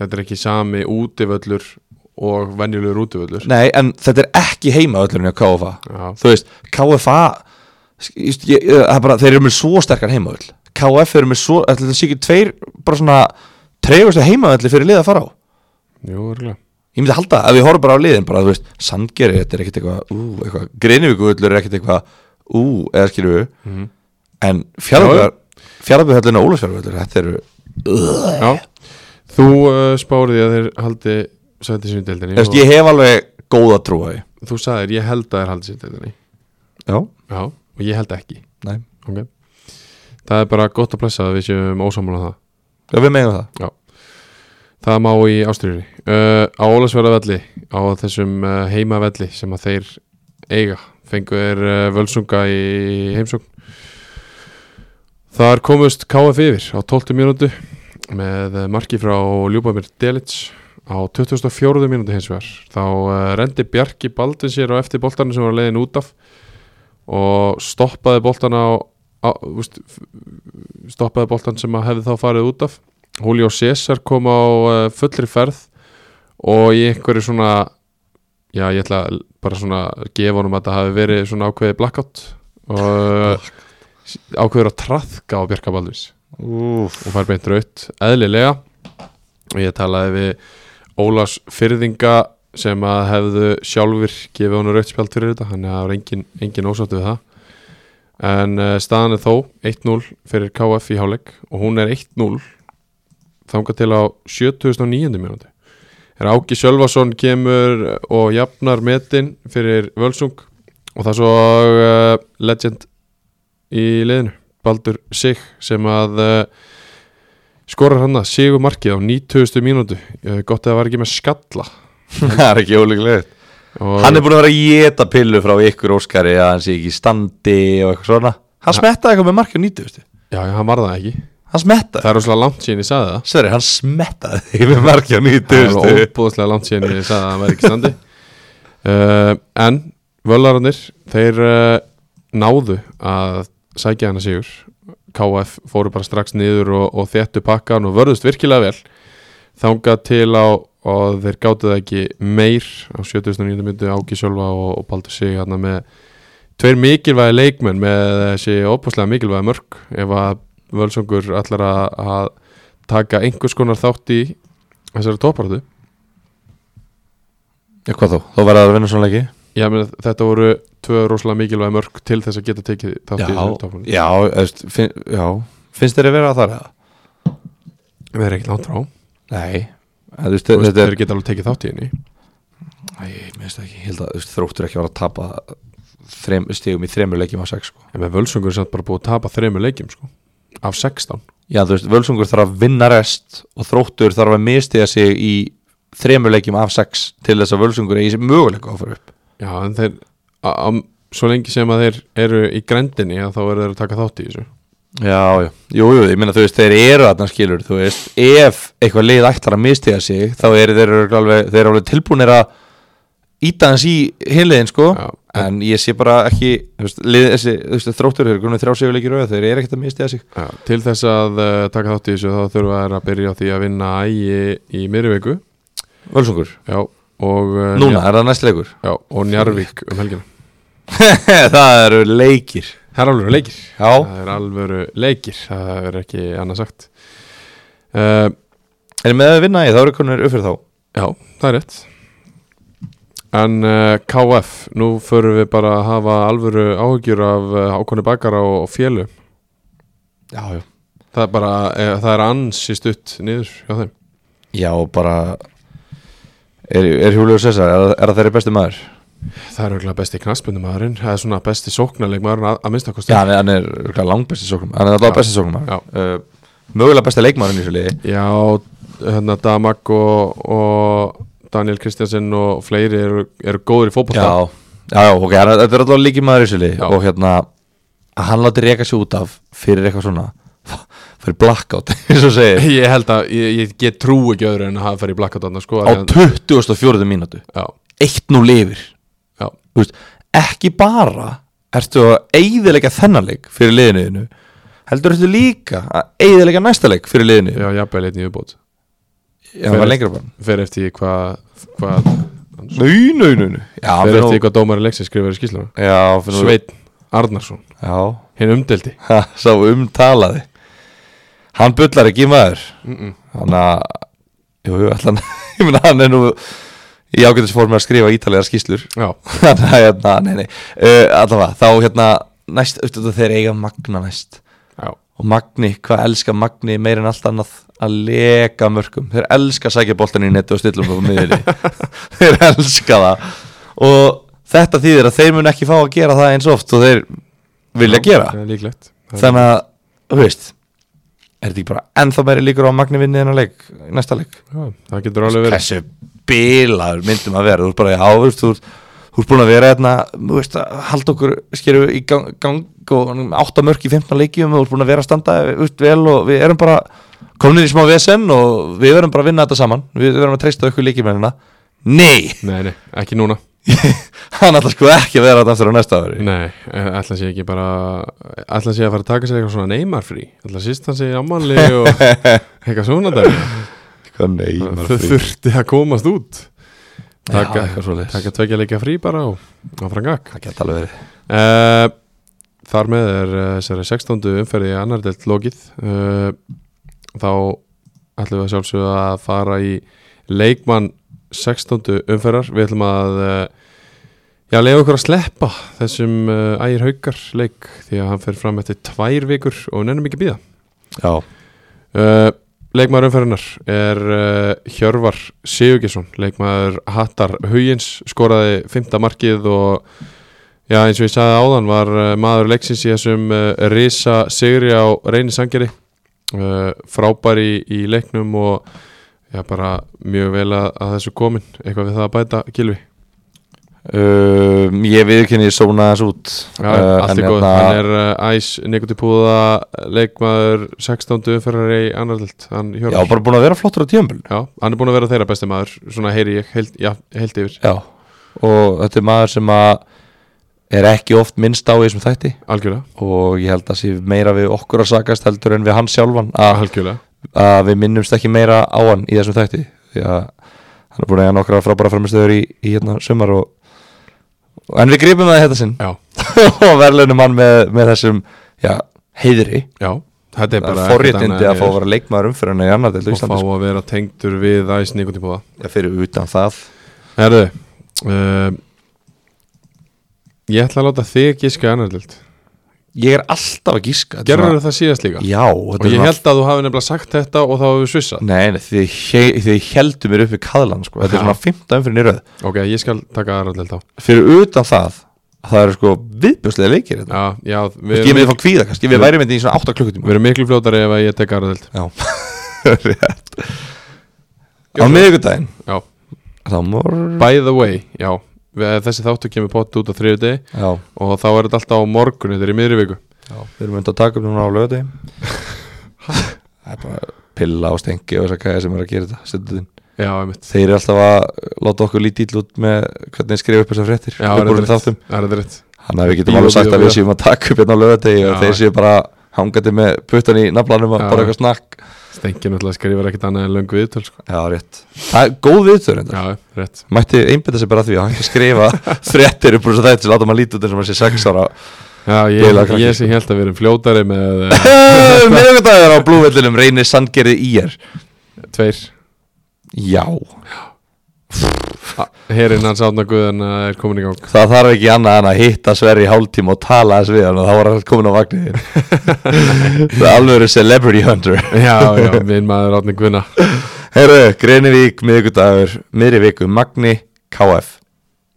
Speaker 2: Þetta er ekki sami útivöllur og venjulegur útivöllur
Speaker 3: Nei, en þetta er ekki heima öllurinn á KFA
Speaker 2: Já.
Speaker 3: Þú veist, KFA sk- just, ég, ég- það er bara, Þeir eru með svo sterkar heima öll KF eru með svo, ætli þetta sé ekki tveir bara svona treyfustu heima öllu fyrir liða að fara á
Speaker 2: Jú, örgulega
Speaker 3: Ég myndi halda, ef ég horf bara á liðin bara, þú veist, Sandgeri, þetta er ekkit eitthvað ú, eitthvað, Greinivíku öllur er ekkit eitthvað ú, eða skilur við en
Speaker 2: Mhm. Já, já.
Speaker 3: fjárabjöðhöllin og Ólafsfjárabjöðhöllin, þetta eru
Speaker 2: Já,
Speaker 3: Eh.
Speaker 2: þú uh, spárið því að þeir haldi sætti sinni deildinni
Speaker 3: Þú veist, ég hef alveg góða trúa í
Speaker 2: og þú sagðir ég held að þeir haldi sinni deildinni
Speaker 3: Já,
Speaker 2: Já, og ég held ekki
Speaker 3: nei,
Speaker 2: okay. Það er bara gott að blessa að við séum ósámála það
Speaker 3: já, við megum það
Speaker 2: Það má í ástriðinni uh, Á Ólasverðavelli, á þessum uh, heimavelli sem að þeir eiga fengu þeir uh, völsunga í heimsókn Þar komust KF yfir á 12. mínútu með eh, marki frá Ljúbamir Delits á 24. mínútu hins vegar þá uh, rendi Bjarki Baldvin sér á eftir boltarna sem var leiðin út af og stoppaði boltana á, á, úst, stoppaði boltan sem að hefði þá farið út af Julio César kom á eh, fullri ferð og í einhverju svona já ég ætla bara svona að gefa honum að það hafi verið svona ákveði blackout og eh, ákveður að traðka á Björka Baldvins
Speaker 3: Úf.
Speaker 2: og fær beint raut eðlilega og ég talaði við Ólars Fyrðinga sem að hefðu sjálfur gefið honum raut spjald fyrir þetta þannig að það var engin, engin ósátt við það en uh, staðan er þó 1-0 fyrir KF í háleik og hún er 1-0 þangað til á 7009. mínúti er Áki Sjölvason kemur og jafnar metin fyrir Völsung og það er svo uh, legend í liðinu Baldur Sig sem að uh, skorar hann að sigur markið á 90. mínútu uh, gott að það var ekki með skalla
Speaker 3: Það er ekki ólíklegt
Speaker 2: og
Speaker 3: Hann er búin að vera að geta pillu frá ykkur Óskari að hann sé ekki í standi og eitthvað svona Hann smettaði eitthvað með markið á 90 veistu?
Speaker 2: já, já, hann var það ekki
Speaker 3: Hann smettaði
Speaker 2: það er óslega langt síðan ég sagði það
Speaker 3: Sverri, hann smettaði þig með markið á 90
Speaker 2: það var
Speaker 3: veistu?
Speaker 2: óbúðslega langt síðan ég sagði að hann væri ekki í standi uh, en völararnir þeir uh, náðu að sækja hann að sigur KF fóru bara strax niður og, og þéttu pakkan og vörðust virkilega vel þangað til á og þeir gáttu það ekki meir á 79. myndu Áki Sjölva og, og Baldur sig hérna með tveir mikilvægi leikmenn með þessi óbúslega mikilvægi mörg ef að völsungur allar að taka einhvers konar þátt í þessari topparötu
Speaker 3: Já, hvað þá? Þá verður það að vinna svona leiki
Speaker 2: Já, meni, þetta voru tvö rosalega mikilvæg mörg til þess að geta tekið þátt í þessu toppun
Speaker 3: já, eðst, finn, já, finnst þér að vera þar eða?
Speaker 2: Við erum ekki langt frá
Speaker 3: Nei, eða, veist,
Speaker 2: Þú veist,
Speaker 3: þetta er
Speaker 2: Þeir geta alveg tekið þátt í henni
Speaker 3: Æ, ég minnst ekki, ég held að þú veist, þróttur ekki að vera að tapa þrem, stigum í þremur leikjum af sex sko.
Speaker 2: En með völsungur er samt bara búið að tapa þremur leikjum sko. Af 16
Speaker 3: Já, þú veist, Völsungur þarf að vinna rest og þróttur þarf að mistiða sig í þremur leikjum af sex til þess að Völsungur eigi sér möguleika á að fara upp
Speaker 2: Já, en þeir a, a, Svo lengi sem að þeir eru í grendinni að þá eru þeir að taka þátt í þessu
Speaker 3: Já, já, jú, jú, ég minna þú veist, þeir eru þarna skilur, þú veist, ef eitthvað lið ætlar að mistiða sig, þá eru þeir eru alveg, þeir eru alveg tilbúinir að íta hans í hinliðin, sko
Speaker 2: Já.
Speaker 3: en ég sé bara ekki, þú veist, lið, þessi, þú veist, þróttur eru grunni þrjá sigurleikir auðvitað, þeir eru ekkert að mistiða sig
Speaker 2: Já, til þess að uh, taka þátt í þessu þá þurfa þeir að byrja á því að vinna ægi í miðri viku
Speaker 3: Völsungur,
Speaker 2: Já, og, uh,
Speaker 3: núna er það næst leikur
Speaker 2: já, og Njarvík um helgina
Speaker 3: Það eru leikir
Speaker 2: Það er alveg leikir
Speaker 3: Já,
Speaker 2: Það er alvöru leikir, það er ekki annað sagt uh,
Speaker 3: en með að vinna ég, þá eru konur upp fyrir þá
Speaker 2: Já, það er rétt En uh, KF, nú förum við bara að hafa alvöru áhugjur af uh, ákonni bakara og, og fjölu
Speaker 3: Já, já
Speaker 2: Það er bara, uh, það er ansi stutt niður hjá þeim
Speaker 3: Já, og bara Er, er Hjúlegur Sessar, er, er það þeirri besti maður?
Speaker 2: Það er auðvitað besti knaspundumæðurinn, það er svona besti sóknarleik maðurinn að, að minnstakosti
Speaker 3: Já, hann er, hann er örugglega langbesti sóknum Hann er alltaf
Speaker 2: Já.
Speaker 3: besti sóknum
Speaker 2: Já.
Speaker 3: uh, Mögulega besti leikmaðurinn í svo liði
Speaker 2: Já, hérna Damak og, og Daniel Kristjansen og fleiri eru, eru góður í
Speaker 3: Já,
Speaker 2: fótbolta
Speaker 3: já, já, ok, hann er, þetta er alltaf líki maður í svo liði
Speaker 2: Já.
Speaker 3: Og hérna, að hann láti reka sér út af Fyrir eitthvað svona Fyrir blackout, eins og segir
Speaker 2: Ég held að, ég, ég, ég trú ekki öðru en að hafa farið í blakkátt annars sko
Speaker 3: Á
Speaker 2: af því
Speaker 3: 24. mínútu
Speaker 2: að- Já,
Speaker 3: Eitt nú lifir
Speaker 2: já,
Speaker 3: Þú veist, Ekki bara Ertu að eyðilega þennanleik fyrir liðinuðinu Heldur ertu líka að eyðilega næsta leik fyrir liðinu
Speaker 2: já, jafnvel einn í viðbót
Speaker 3: Já, það var lengra bara
Speaker 2: Fer eftir því hvað, hvað
Speaker 3: Nei, nei, nei, nei. Já,
Speaker 2: Fer
Speaker 3: fyrir
Speaker 2: eftir því
Speaker 3: nú-
Speaker 2: hvað dómari leiksins skrifar í skýsluna
Speaker 3: Já, fyrir nú-
Speaker 2: Sveinn Arnarsson,
Speaker 3: Já,
Speaker 2: hinn umdeldi
Speaker 3: ha, sá umtalaði Hann bullar ekki í maður Þannig að Jú, jú, allan Ég meina, hann er nú Í ágætis fór með að skrifa ítalega skýslur
Speaker 2: Já,
Speaker 3: Þannig að, hérna, nei, nei uh, Allavega, þá, hérna Næst, auðvitað þeir eiga Magna næst
Speaker 2: já,
Speaker 3: Og Magni, hvað elska Magni meir en allt annað að leka mörgum þeir elska að sækja boltan í netu og stillum upp á miðinni þeir elska það og þetta þýðir að þeir mun ekki fá að gera það eins oft og þeir vilja gera
Speaker 2: það er líklegt Það er-
Speaker 3: þannig að, þú veist er þetta ekki bara ennþá meiri líkur á að Magni vinni þennan leik, næsta leik
Speaker 2: já, Það getur alveg verið
Speaker 3: þessu bilaður myndum að vera þú ert bara í áfust, þú ert Þú ert búin að vera hérna, þú veist að halda okkur skeru í gang, gang og átta mörk í 15 leikjum og þú ert búin að vera að standa þú veist, vel og við erum bara komin í smá vesen og við verum bara að vinna þetta saman við verum að treysta okkur leikjumennina Nei,
Speaker 2: Nei, nei, ekki núna
Speaker 3: hann ætla sko ekki að vera þetta aftur á næsta ári
Speaker 2: Nei, ætla sé ekki bara ætla sé að fara að taka sér eitthvað svona neymarfrí ætla síst hann sé ammali og eitthvað svona dæmi
Speaker 3: Hvað nei,
Speaker 2: þau þurfti að komast út
Speaker 3: Taka,
Speaker 2: taka,
Speaker 3: eitthvað svo leis
Speaker 2: taka tvekja leikja frí bara og áfram gag
Speaker 3: Það geta alveg verið
Speaker 2: uh, Þar með er eh, þessari 16. umferði annar delt lokið uh, þá ætlum við að sjálfsögðu að fara í leikmann 16. umferðar við ætlum að uh, Já, leiðu okkur að sleppa þessum uh, ægir haukar leik því að hann fer fram eftir tvær vikur og við nennum ekki að býða.
Speaker 3: Já,
Speaker 2: Uh, leikmaður umferðinar er uh, Hjörvar Sigurgesson leikmaður Hattar Huyins skoraði fymta markið og já, eins og ég sagði áðan var uh, maður leiksins í þessum uh, Risa Sigri á reyni sangeri uh, frábæri í leiknum og já, bara mjög vel að, að þessu komin eitthvað við það að bæta, Gilvi
Speaker 3: um, ég viðkynni svona þessu út
Speaker 2: Já,
Speaker 3: Eh,
Speaker 2: allt
Speaker 3: en
Speaker 2: er góð,
Speaker 3: hérna-
Speaker 2: hann er uh, æs nekutipúða leikmaður 16. umferðar í annarlilt, hann Hjörvar
Speaker 3: Já, bara búin að vera flottur á tíðanbölu
Speaker 2: Já, hann er búin að vera þeirra besti maður Svona heyri ég heilt, já, heilt yfir
Speaker 3: Já, og þetta er maður sem að er ekki oft minnst á í þessum þætti
Speaker 2: Algjörlega,
Speaker 3: og ég held að sé meira við okkur að sakast heldur en við hann sjálfan að,
Speaker 2: algjörlega
Speaker 3: að við minnumst ekki meira á hann í þessum þætti því að hann er búin að eiga nokkra frábæra framistöður í, í hérna sumar og, og en við gripum það í þetta sinn
Speaker 2: Já,
Speaker 3: og verðlunum hann með, með þessum já, heiðri
Speaker 2: já, þetta er
Speaker 3: það
Speaker 2: bara
Speaker 3: er
Speaker 2: ekkert
Speaker 3: forréttindi
Speaker 2: annað
Speaker 3: að fá
Speaker 2: en
Speaker 3: að vera leikmaður umfyrirna í annar til
Speaker 2: er. Og fá
Speaker 3: Íslandi sko.
Speaker 2: að vera tengdur við æs nekutipúða
Speaker 3: Já, fyrir utan það
Speaker 2: Herðu, uh, Ég ætla að láta þig gíska annar dild
Speaker 3: Ég er alltaf að gíska þetta er
Speaker 2: Gerður
Speaker 3: svona-
Speaker 2: það síðast líka?
Speaker 3: Já
Speaker 2: Og ég held að þú hafi nefnilega sagt þetta og þá hefur við svissað
Speaker 3: Nei, nei þið, he- þið heldur mér upp við kaðlan sko. Þetta
Speaker 2: Já.
Speaker 3: er svona 15 fyrir nýröð
Speaker 2: Ok, ég skal taka annar dild þá
Speaker 3: Fyrir utan það Það eru sko viðbjörslega leikir þetta.
Speaker 2: Já, já,
Speaker 3: Þú
Speaker 2: við
Speaker 3: veist, Ég
Speaker 2: erum,
Speaker 3: myndi fá kvíða kannski Við værum þetta í svona 8 klukkutíma
Speaker 2: við erum miklu fljótari ef að ég tek annar dild
Speaker 3: Já Rétt Á miðvikudaginn
Speaker 2: Já,
Speaker 3: Þá mor
Speaker 2: by the way, já við- Þessi þáttu kemur pott út á þriðu deg
Speaker 3: Já,
Speaker 2: og þá er þetta alltaf á morgun þetta er í miðri viku
Speaker 3: já Við erum myndið að taka upp núna á lögði Það er bara pilla og stengi og þess að sem er að gera þetta setja þetta inn.
Speaker 2: Já, einmitt
Speaker 3: Þeir eru alltaf að láta okkur lítið ill út með hvernig þeir skrifa upp þessar fréttir
Speaker 2: Já,
Speaker 3: Upp úr
Speaker 2: er þetta
Speaker 3: þáttum.
Speaker 2: rétt Það er þetta rétt
Speaker 3: Þannig að við getum
Speaker 2: Bíó,
Speaker 3: alveg sagt
Speaker 2: bíó,
Speaker 3: að við
Speaker 2: bíó.
Speaker 3: séum að taka upp hérna á lögadegi og
Speaker 2: Já.
Speaker 3: þeir séu bara hangandi með puttan í naflanum og
Speaker 2: Já.
Speaker 3: bara eitthvað snakk
Speaker 2: Stengi náttúrulega skrifar ekkert annað en löngu viðtöl sko.
Speaker 3: Já, rétt Það er góð viðtöður þetta
Speaker 2: Já, rétt
Speaker 3: Mætti einbyrða sér bara að því að hann ekki skrifa fréttir upp úr þessu þætti sem láta maður lítið út eins og maður sé sex ára
Speaker 2: Já,
Speaker 3: Bila
Speaker 2: ég,
Speaker 3: krakki,
Speaker 2: ég sem held að við erum fljótari með uh,
Speaker 3: Miðvikudagur Eh, á blúvellinum reynir sandgerði í er
Speaker 2: tveir
Speaker 3: Já,
Speaker 2: Herinn hans átna guðana er komin í gang
Speaker 3: það þarf ekki annað en að hitta Sverri í hálftíma og tala þess við hann og þá var hann komin á vagnir Það er alveg celebrity hunter
Speaker 2: Já, já, minn maður átni guðna
Speaker 3: Herru, Greinivík, miðvikudagur, miðri viku, Magni, KF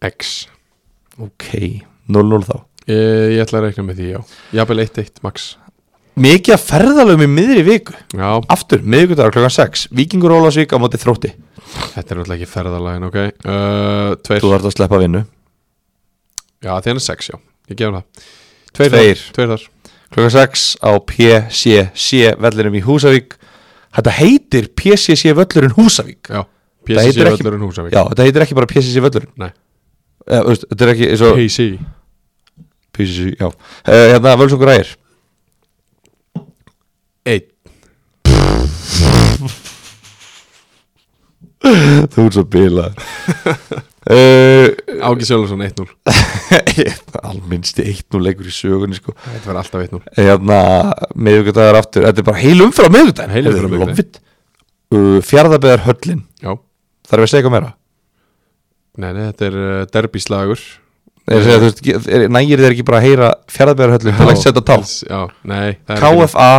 Speaker 2: X
Speaker 3: Ok, 0-0 þá
Speaker 2: Ég, ég ætla að reikna með því, já Jafnvel 1-1, max
Speaker 3: Mikið að ferðalöfum í miðri viku
Speaker 2: Já,
Speaker 3: Aftur, miðvikudagur klokkan 6 Víkingur Ólasvík á móti þrótti
Speaker 2: þetta er náttúrulega ekki ferðalagin, ok uh, Tveir,
Speaker 3: Þú þarf að sleppa vinnu
Speaker 2: já, því hann er 6, já Ég gefum það Tveir,
Speaker 3: Tveir.
Speaker 2: Þar, tveir þar
Speaker 3: Klokkan 6 á PCC vellinum í Húsavík Þetta heitir PCC völlurinn Húsavík
Speaker 2: Já,
Speaker 3: Þetta heitir
Speaker 2: PCC
Speaker 3: ekki-
Speaker 2: völlurinn Húsavík
Speaker 3: Já, þetta heitir ekki bara PCC völlurinn
Speaker 2: Nei,
Speaker 3: Eh, veist, Þetta er ekki eins og
Speaker 2: PC
Speaker 3: PCC, já Eh, Hérna, völsungur ægir
Speaker 2: Einn
Speaker 3: Þú ert svo bilað uh,
Speaker 2: Áki Sjölusson 1-0
Speaker 3: Alminnsti 1-0 leikur í sögunni sko
Speaker 2: Þetta verður alltaf 1-0
Speaker 3: hérna, miðvikudagur aftur þetta er bara heil umfra miðvikudagur
Speaker 2: Heil umferð á miðvikudaginn.
Speaker 3: uh, fjárðabeðar höllin
Speaker 2: Já
Speaker 3: þarf ég að segja eitthvað meira
Speaker 2: Nei, nei, þetta er uh, derbyslagur
Speaker 3: er, segja, þú veist, ge- er, nægir þeir ekki bara að heyra fjárðabeðar höllin til að setja tal
Speaker 2: s- Já, nei það er ekki-
Speaker 3: KFA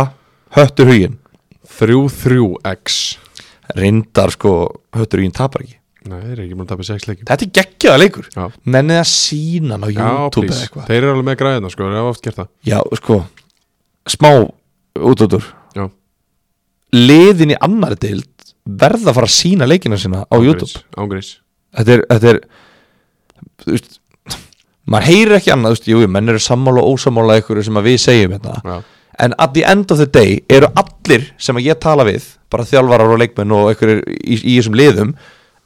Speaker 3: höttur hugin
Speaker 2: 3-3-X
Speaker 3: reyndar sko höttur hugin tapar ekki
Speaker 2: Nei, þeir eru ekki búin að tapa 6 leikjum
Speaker 3: þetta er geggjaða leikur
Speaker 2: Já.
Speaker 3: nennið að sína hann á
Speaker 2: Já,
Speaker 3: YouTube eða
Speaker 2: please
Speaker 3: eitthvað
Speaker 2: Þeir eru alveg með græðina, sko, þeir hafa oft gert það
Speaker 3: já sko smá út út úr
Speaker 2: Já,
Speaker 3: liðin í annari deild verða að fara að sína leikina sína á YouTube
Speaker 2: Ángrís
Speaker 3: þetta er, þetta er þú veist maður heyrir ekki annað, þú veist, jú, jú, menn eru sammála og ósammála ykkur sem að við segjum hérna
Speaker 2: Já,
Speaker 3: en at the end of the day eru allir sem að ég tala við, bara þjálfarar og leikmenn og ykkur í, í, í þessum liðum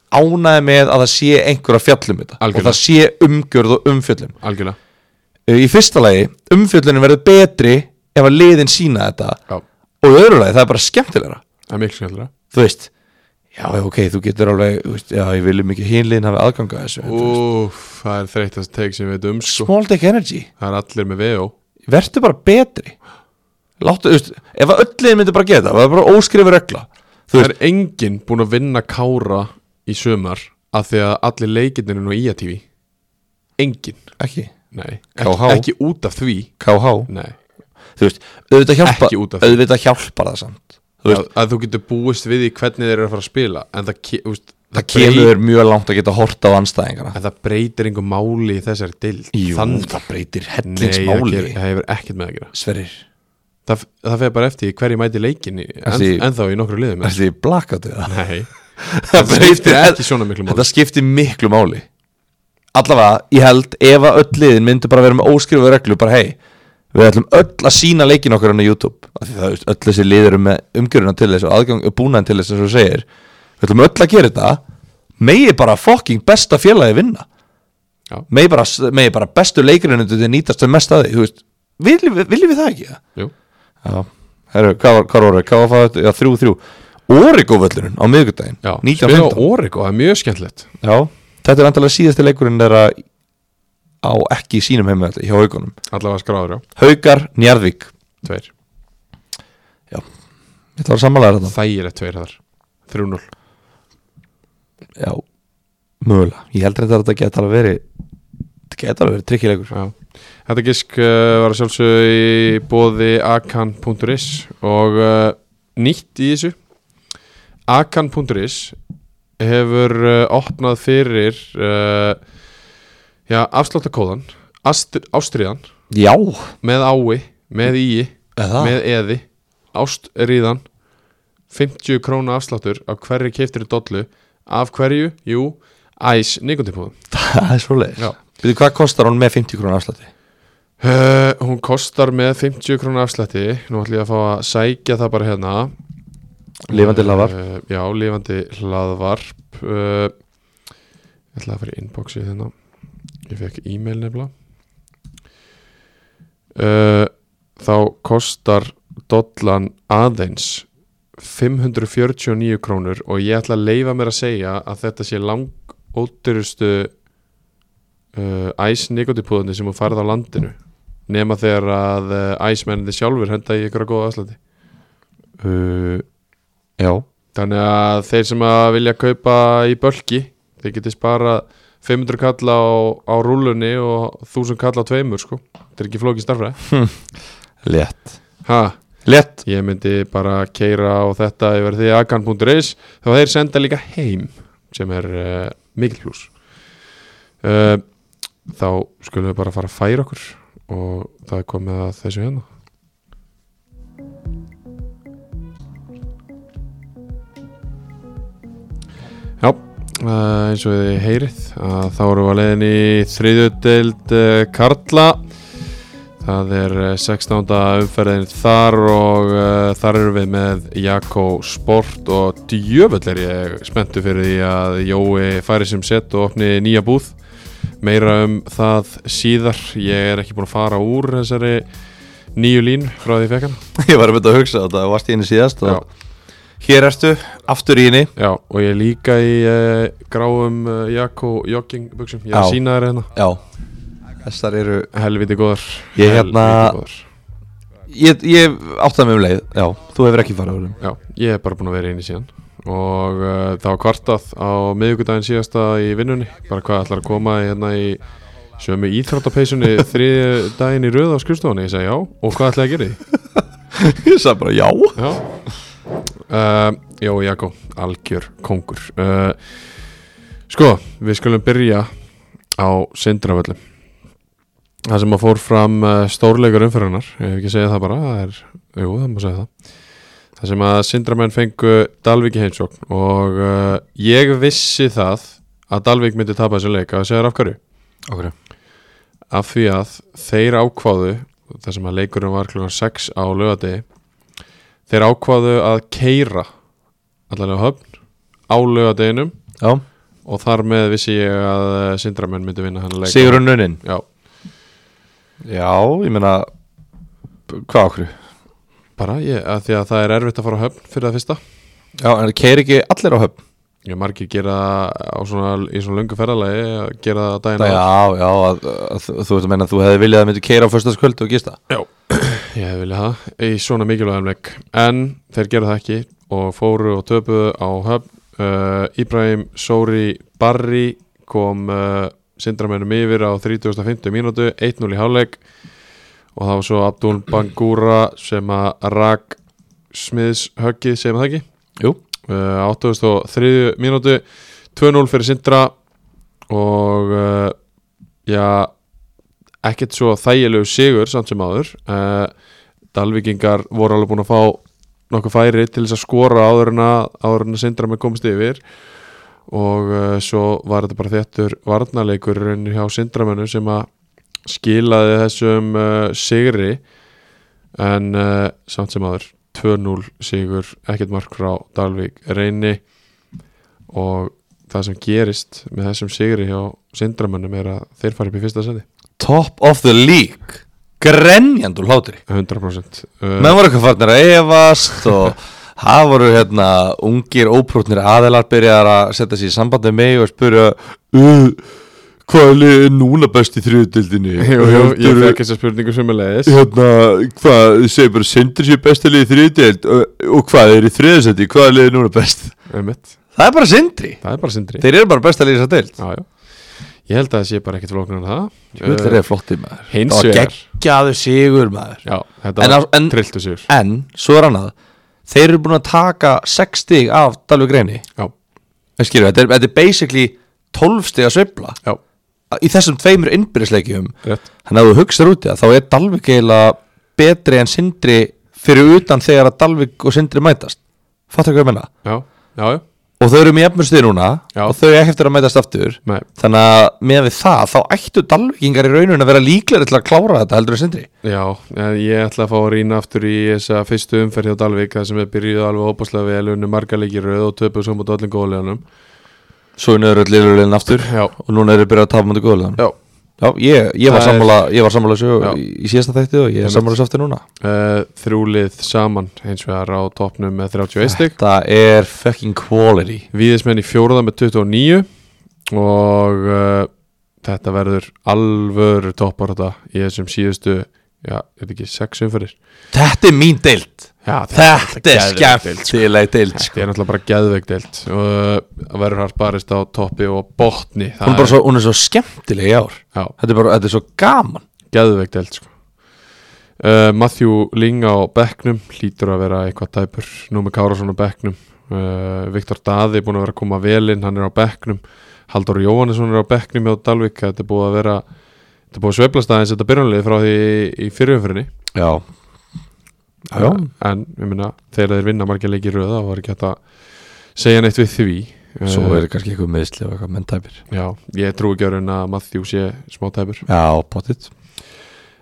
Speaker 3: ánæði með að það sé einhver að fjallum þetta
Speaker 2: Algjörlega.
Speaker 3: og það sé umgjörð og umfjöllum
Speaker 2: algjörlega
Speaker 3: í fyrsta lagi, umfjöllunum verður betri ef að liðin sína þetta
Speaker 2: Já,
Speaker 3: og í öðru lagi, það er bara skemmtilegra
Speaker 2: það er mikil skemmtilega
Speaker 3: þú veist, já, já, ok, þú getur alveg, þú veist, já, ég viljum ekki hinliðin hafi aðganga þessu en þú veist,
Speaker 2: Úf, það er þreytt að teik sem við
Speaker 3: um,
Speaker 2: veitum sko
Speaker 3: small dick energy
Speaker 2: Það er allir með VO
Speaker 3: verður bara betri Láttu, þú veist, ef að öll liðin myndi bara geta það er bara óskrifu regla þú
Speaker 2: Það er
Speaker 3: veist,
Speaker 2: enginn búin að vinna Kára í sömar af því að allir leikirnir er nú í IATV Enginn
Speaker 3: ekki,
Speaker 2: Nei,
Speaker 3: KH.
Speaker 2: ekki, ekki út af því
Speaker 3: KH
Speaker 2: Nei,
Speaker 3: þú veist, auðvitað hjálpa,
Speaker 2: Ekki út af því.
Speaker 3: auðvitað hjálpar það samt þú
Speaker 2: að,
Speaker 3: veist,
Speaker 2: að þú getur búist við í hvernig þeir eru að fara að spila en það, ke, úst,
Speaker 3: það kemur þér mjög langt að geta horta á anstæðingana
Speaker 2: en það breytir einhver máli í þessari dild
Speaker 3: Jú,
Speaker 2: Þann-
Speaker 3: það breytir
Speaker 2: Nei,
Speaker 3: hellings
Speaker 2: það,
Speaker 3: máli
Speaker 2: ger, það hefur ekkert með að gera
Speaker 3: Sverrir,
Speaker 2: það, það fer bara eftir í hverju mæti leikin en,
Speaker 3: Ætli-
Speaker 2: ennþá í nokkru liðum
Speaker 3: ertu í blakatu það?
Speaker 2: Nei,
Speaker 3: það
Speaker 2: skiptir ekki svona miklu máli.
Speaker 3: Þetta skiptir miklu máli Allavega, ég held ef að öll liðin myndi bara vera með óskrifuð reglu bara hei, við ætlum öll að sína leikin okkar hann á YouTube af því það veist, öll þessi liðir með umgjöruna til þess og aðgang búnaðin til þess eins og þú segir við ætlum öll að gera þetta megi bara fucking besta félagi vinna
Speaker 2: Já.
Speaker 3: megi bara, megi bara bestu leikirinn þetta nýtast sem mest að því þú veist, viljum, við- viljum við það ekki það?
Speaker 2: jú
Speaker 3: Já, herru, hvað var, hvað voru, hvað var það, já, þrjú, þrjú, Origóvöllurinn á miðvikudaginn,
Speaker 2: Já,
Speaker 3: 19.15.
Speaker 2: spila Origo, það er mjög skemmtilegt
Speaker 3: Já, þetta er andalega síðasti leikurinn þeirra á ekki í sínum heimvelli hjá haugunum.
Speaker 2: Allavega skráður, já,
Speaker 3: Haukar, Njarðvík,
Speaker 2: tveir
Speaker 3: ég ætla að sammála þér þetta.
Speaker 2: Þægilegt tveir þar, 3-0
Speaker 3: Já, mögulega, ég heldur þetta að þetta geta alveg verið þetta geta alveg verið tryggilegur
Speaker 2: Já. Þetta gísk uh, var að sjálfsögðu í bóði akan.is og uh, nýtt í þessu akan.is hefur uh, opnað fyrir uh, já, afsláttakóðan Ast- Ástriðan
Speaker 3: Já,
Speaker 2: með ái, með íi
Speaker 3: Eða?
Speaker 2: með eði, ástriðan 50 krónu afsláttur af hverju keiftir dollu af hverju, jú, æs nikundipúðum
Speaker 3: það er svo
Speaker 2: Já.
Speaker 3: leiðis Veitu hvað kostar hún með 50 krónu afslætti?
Speaker 2: Uh, hún kostar með 50 krónu afslætti Nú ætlum ég að fá að sækja það bara hérna
Speaker 3: Lifandi lafar
Speaker 2: uh, Já, lifandi hlaðvarp uh, Ég ætla að fara í inboxið hérna Ég fekk e-mail nefnilega uh, Þá kostar dollan aðeins 549 krónur og ég ætla að leifa mér að segja að þetta sé langótturustu uh, æs nikotipúðunni sem hún farið á landinu nema þegar að uh, æsmennandi sjálfur henda í ykkur að góða afslætti uh,
Speaker 3: Já,
Speaker 2: þannig að þeir sem að vilja kaupa í bölki þeir geti sparað 500 kalla á, á rúlunni og 1000 kalla á tveimur sko þetta er ekki flókin starfræði
Speaker 3: létt
Speaker 2: ha,
Speaker 3: Létt
Speaker 2: ég myndi bara keira á þetta yfir því akan.is þá þeir senda líka heim sem er uh, mikil plus uh, þá skulum við bara fara að færa okkur og það er komið að þessu hérna Já, uh, eins og þið heyrið að þá erum við að leiðin í þriðjudeld uh, Karla Það er eh, 16. umferðin þar og uh, þar erum við með Jakko Sport og djöfull er ég spenntu fyrir því að Jói færi sem sett og opni nýja búð. Meira um það síðar, ég er ekki búin að fara úr þessari nýju lín frá því ég fekk hana.
Speaker 3: Ég var að byrja að hugsa þetta, varst í henni síðast og Hér ertu, aftur í henni
Speaker 2: Já, og ég er líka í uh, gráum uh, Jakko joggingbuksum, ég er að
Speaker 3: Já.
Speaker 2: sína þér hérna.
Speaker 3: Já, þessar eru
Speaker 2: Helviti góðar.
Speaker 3: Ég hérna-
Speaker 2: Helvíti góðar.
Speaker 3: Ég, ég átta mig um leið, já, þú hefur ekki farað úr þeim
Speaker 2: Já, ég er bara búin að vera einu síðan og uh, það var kvartað á miðvikudaginn síðasta í vinnunni bara hvað ætlar að koma hérna í sömu íþróttapeysunni þriði daginn í röð á skurstofunni, ég segi já og hvað ætlaði að gera í því?
Speaker 3: Ég sagði bara já
Speaker 2: Já uh, Jó, Jakko, algjör kongur uh, Sko, við skulum byrja á Sindravöllum Það sem að fór fram uh, stórleikur umferðunar Ég hef ekki segið það bara það er, Jú, það má segja það Það sem að Sindramenn fengu Dalvík í heimsókn og uh, ég vissi það að Dalvík myndi tapa þessu leik að segja af hverju
Speaker 3: okay.
Speaker 2: af því að þeir ákváðu þar sem að leikurinn var klukkan 6 á lögadegi þeir ákváðu að keira allavega á höfn á lögadeginum
Speaker 3: Já,
Speaker 2: og þar með vissi ég að eh, sindramenn myndi vinna hann að leika
Speaker 3: Sigurinn Nunin
Speaker 2: Já,
Speaker 3: Já, ég meina Hvað okkur?
Speaker 2: bara ég, að því að það er erfitt að fara á höfn fyrir það fyrsta
Speaker 3: Já, en það keir ekki allir á höfn
Speaker 2: ég margir gera það á svona, í svona löngu ferðalagi að gera það daginn
Speaker 3: Já,
Speaker 2: áður.
Speaker 3: já, að, að, þú- þú veist að menna að þú hefði viljað að myndi keira á föstaskvöld og gista
Speaker 2: Ég hef viljað það í svona mikilvægum leik en þeir gerðu það ekki og fóru og töpuðu á höfn uh, Íbrahim Sóri Barri kom uh, sindramennum yfir á 30.50 mínútu 1-0 í hálfleik og það var svo Abdul Bangura sem að rak smiðshöggið sem það ekki
Speaker 3: Jú.
Speaker 2: uh, 8.3 mínútu 2-0 fyrir sindra og uh, já ekkert svo þægilegu sigur samt sem áður uh, Dalvíkingar voru alveg búin að fá nokkuð færi til þess að skora áður en að, áður en að sindra með komst yfir og uh, svo var þetta bara þettur varnarleikur í rauninni hjá sindramennu sem að skilaði þessum uh, sigri en uh, samt sem áður 2-0 sigur, ekkert mark frá Dalvík reyni og það sem gerist með þessum sigri hjá sindramennum er að þeir fara upp í fyrsta seti
Speaker 3: Top of the league Grenjandul hlátri
Speaker 2: 100% uh,
Speaker 3: Menn voru eitthvað farnir að efast og það voru hérna ungir óprútnir aðelar byrjaðar að setja sér í samband með mig og spyrja "Uh, Hvað er liðið núna best í þriðutildinni?
Speaker 2: Jú, jú, Eh, ég fekk þessa spurningu sumulegis
Speaker 3: hérna, hvað, þú segir bara Sindri sér besta liðið þriðdeild og, og hvað er í þriðasætti, hvað er liðið núna best
Speaker 2: um mitt
Speaker 3: það er bara sindri
Speaker 2: það er bara sindri
Speaker 3: þeir eru bara best að lýsa deild
Speaker 2: já, já. ég held að það sé bara ekkert flóknar en það Eh,
Speaker 3: Gull er flottir maður
Speaker 2: hins
Speaker 3: Það var
Speaker 2: vegar.
Speaker 3: geggjaður sigur maður
Speaker 2: já,
Speaker 3: En
Speaker 2: þetta var
Speaker 3: á- en-
Speaker 2: trilltu sigur
Speaker 3: En, svo er annað Þeir eru búin að taka 6 stig af Dalvik Reyni
Speaker 2: já,
Speaker 3: Skilur, þetta, er, þetta er basically 12 stig að sveifla
Speaker 2: já,
Speaker 3: Í þessum tveimur innbyrðisleikjum
Speaker 2: rétt
Speaker 3: Þannig að þú hugsaður út í það Þá er Dalvik eiginlega betri en Sindri Fyrir utan þegar að Dalvik og Sindri mætast Fattu hvað ég menna
Speaker 2: já, já, já,
Speaker 3: Og þau eru með jafnmjöndstuði núna
Speaker 2: Já.
Speaker 3: Og þau ekki eftir að mætast aftur
Speaker 2: nei,
Speaker 3: Þannig að með við það, þá ættu Dalvíkingar í rauninu að vera líklegri til að klára þetta heldur en Sindri
Speaker 2: já en ég ætla að fá að rýna aftur í þessa fyrstu umferð hjá Dalvik það sem er byrjuð alveg óbáslega vel unni margarleiki rauð og töpuð svo mútið öllum góðleganum
Speaker 3: Svo er nöður öll liðurlegin aftur
Speaker 2: já,
Speaker 3: og núna eru byrjað að tapa mútið góðlegan
Speaker 2: já
Speaker 3: Já, ég, ég var
Speaker 2: Það er-
Speaker 3: sammála, ég var sammála svo
Speaker 2: Já.
Speaker 3: í í síðasta þætti og ég er
Speaker 2: Einmitt.
Speaker 3: sammála svo aftur núna
Speaker 2: uh, þrjúlið saman hins vegar á topnum með 31 stygg
Speaker 3: Þetta er fucking quality
Speaker 2: Víðismenn í fjóruða með 29 og uh, þetta verður alvöru toppar þetta í þessum síðustu já, er þetta ekki sex umfyrir
Speaker 3: Þetta er mín deild
Speaker 2: já,
Speaker 3: Þetta er
Speaker 2: náttúrulega geðveik deild, sko.
Speaker 3: skemmtileg deild sko.
Speaker 2: þetta er náttúrulega bara geðveik deilt og uh, verður hart barist á toppi og botni
Speaker 3: Hún, er bara svo, hún er svo skemmtileg í ár
Speaker 2: já,
Speaker 3: Þetta er bara, þetta er svo gaman
Speaker 2: geðveik deilt sko. uh, Matthew Ling á bekknum hlýtur að vera eitthvað tæpur Númi Kárásson á bekknum uh, Viktor Daði er búin að vera að koma vel inn hann er á bekknum Haldur Jóhannesson er á bekknum hjá Dalvik þetta er búið að vera þetta er búið að sveiflast aðeins þetta byrjanlega frá því í fyrirumfyrinni
Speaker 3: Já Já, já.
Speaker 2: Eh, en ég minna þegar þeir vinna margir leikir röða var ekki hægt að segja neitt við því Eh,
Speaker 3: Svo er kannski eitthvað meðsli og eitthvað menntæpir
Speaker 2: já, ég trúi ekki að að Matthew sé smá tæpur
Speaker 3: Já, pottitt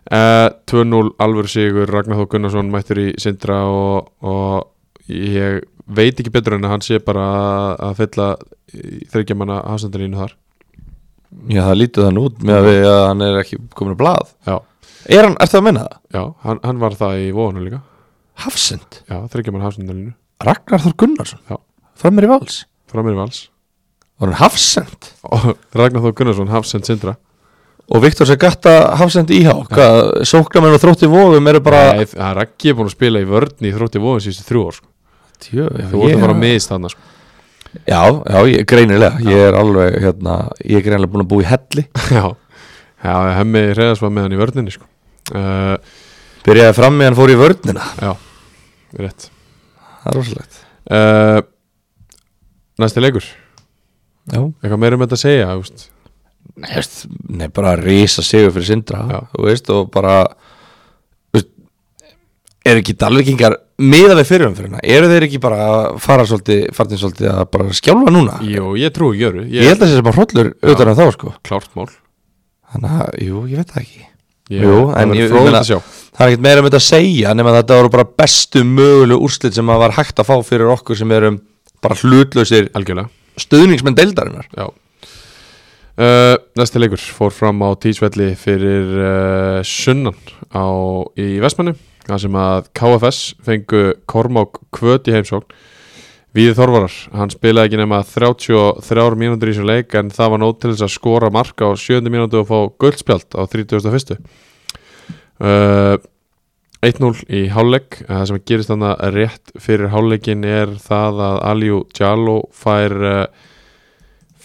Speaker 2: Eh, 2-0 alvöru sigur Ragnar Þó Gunnarsson mættur í Sindra og, og ég veit ekki betur en að hann sé bara að- að fylla þryggjamanna hafsendarínu þar
Speaker 3: Já, það lítið þann út með að við að hann er ekki komin að blað
Speaker 2: já,
Speaker 3: Er hann, ertu að menna það?
Speaker 2: já hann, hann var það í vóðunum líka
Speaker 3: Hafsend,
Speaker 2: já, þryggjamanna hafsendarínu,
Speaker 3: Ragnar Þór Gunnarsson
Speaker 2: Já.
Speaker 3: Framir í vals
Speaker 2: framir í vals
Speaker 3: Var hann Hafsend?
Speaker 2: og Ragnar Þó Gunnarsson hafsend Sindra
Speaker 3: Og Viktor Sagatta Hafsend íhá Hvað, sóknarmenn og þrótti vóðum eru bara
Speaker 2: Nei, það er ekki búin að spila í vörðni í þrótti vóðun síðustu þrjú ár sko.
Speaker 3: Tjö,
Speaker 2: þú voru að fara að miðist þarna sko.
Speaker 3: Já, já, ég, greinilega Ég er alveg, hérna Ég er greinilega búin að búa í helli
Speaker 2: já, já, hemmi reyðast var með hann í vörðninni sko. uh,
Speaker 3: Byrjaði fram meðan fór í vörnina
Speaker 2: já, rétt
Speaker 3: Það er rosalegt
Speaker 2: uh, Næsti leikur
Speaker 3: Já
Speaker 2: Eitthvað meira um þetta að segja þú veist?
Speaker 3: Nei, veist, nei bara risa sigur fyrir sindra
Speaker 2: Já.
Speaker 3: Þú veist, og bara þú veist, Er ekki dalvikingar Miða við fyrirum fyrir hana Eru þeir ekki bara að fara svolítið Fartin svolítið að bara skjálfa núna
Speaker 2: Jú, ég trúi Jöru
Speaker 3: Ég held að það sé sem að hrollur auðvitað en þá sko
Speaker 2: klárt mál
Speaker 3: Þannig að, jú, ég veit það ekki
Speaker 2: ég,
Speaker 3: Jú,
Speaker 2: það
Speaker 3: en
Speaker 2: verður
Speaker 3: ég- ég
Speaker 2: fróðlegt
Speaker 3: meina-
Speaker 2: að sjá.
Speaker 3: Það er ekkert meira um þetta að segja nema að þetta voru bara bestu mögulegu úrslit sem að var hægt að fá fyrir okkur sem erum bara hlutlausir
Speaker 2: Algjörlega,
Speaker 3: stuðningsmenn deildarinnar
Speaker 2: já uh, Næsti leikur fór fram á tísvelli fyrir uh, sunnan á, í Vestmanni þar sem að KFS fengu Kormák Kvöt í heimsókn Víði Þorvarar, hann spilaði ekki nema 33 mínútur í þessu leik en það var nót til þess að skora marka á 7. mínútu og fá guldspjald á 31. Uh, 1-0 í hálfleik það sem gerist þannig rétt fyrir hálfleikin er það að Aliu Djalo fær uh,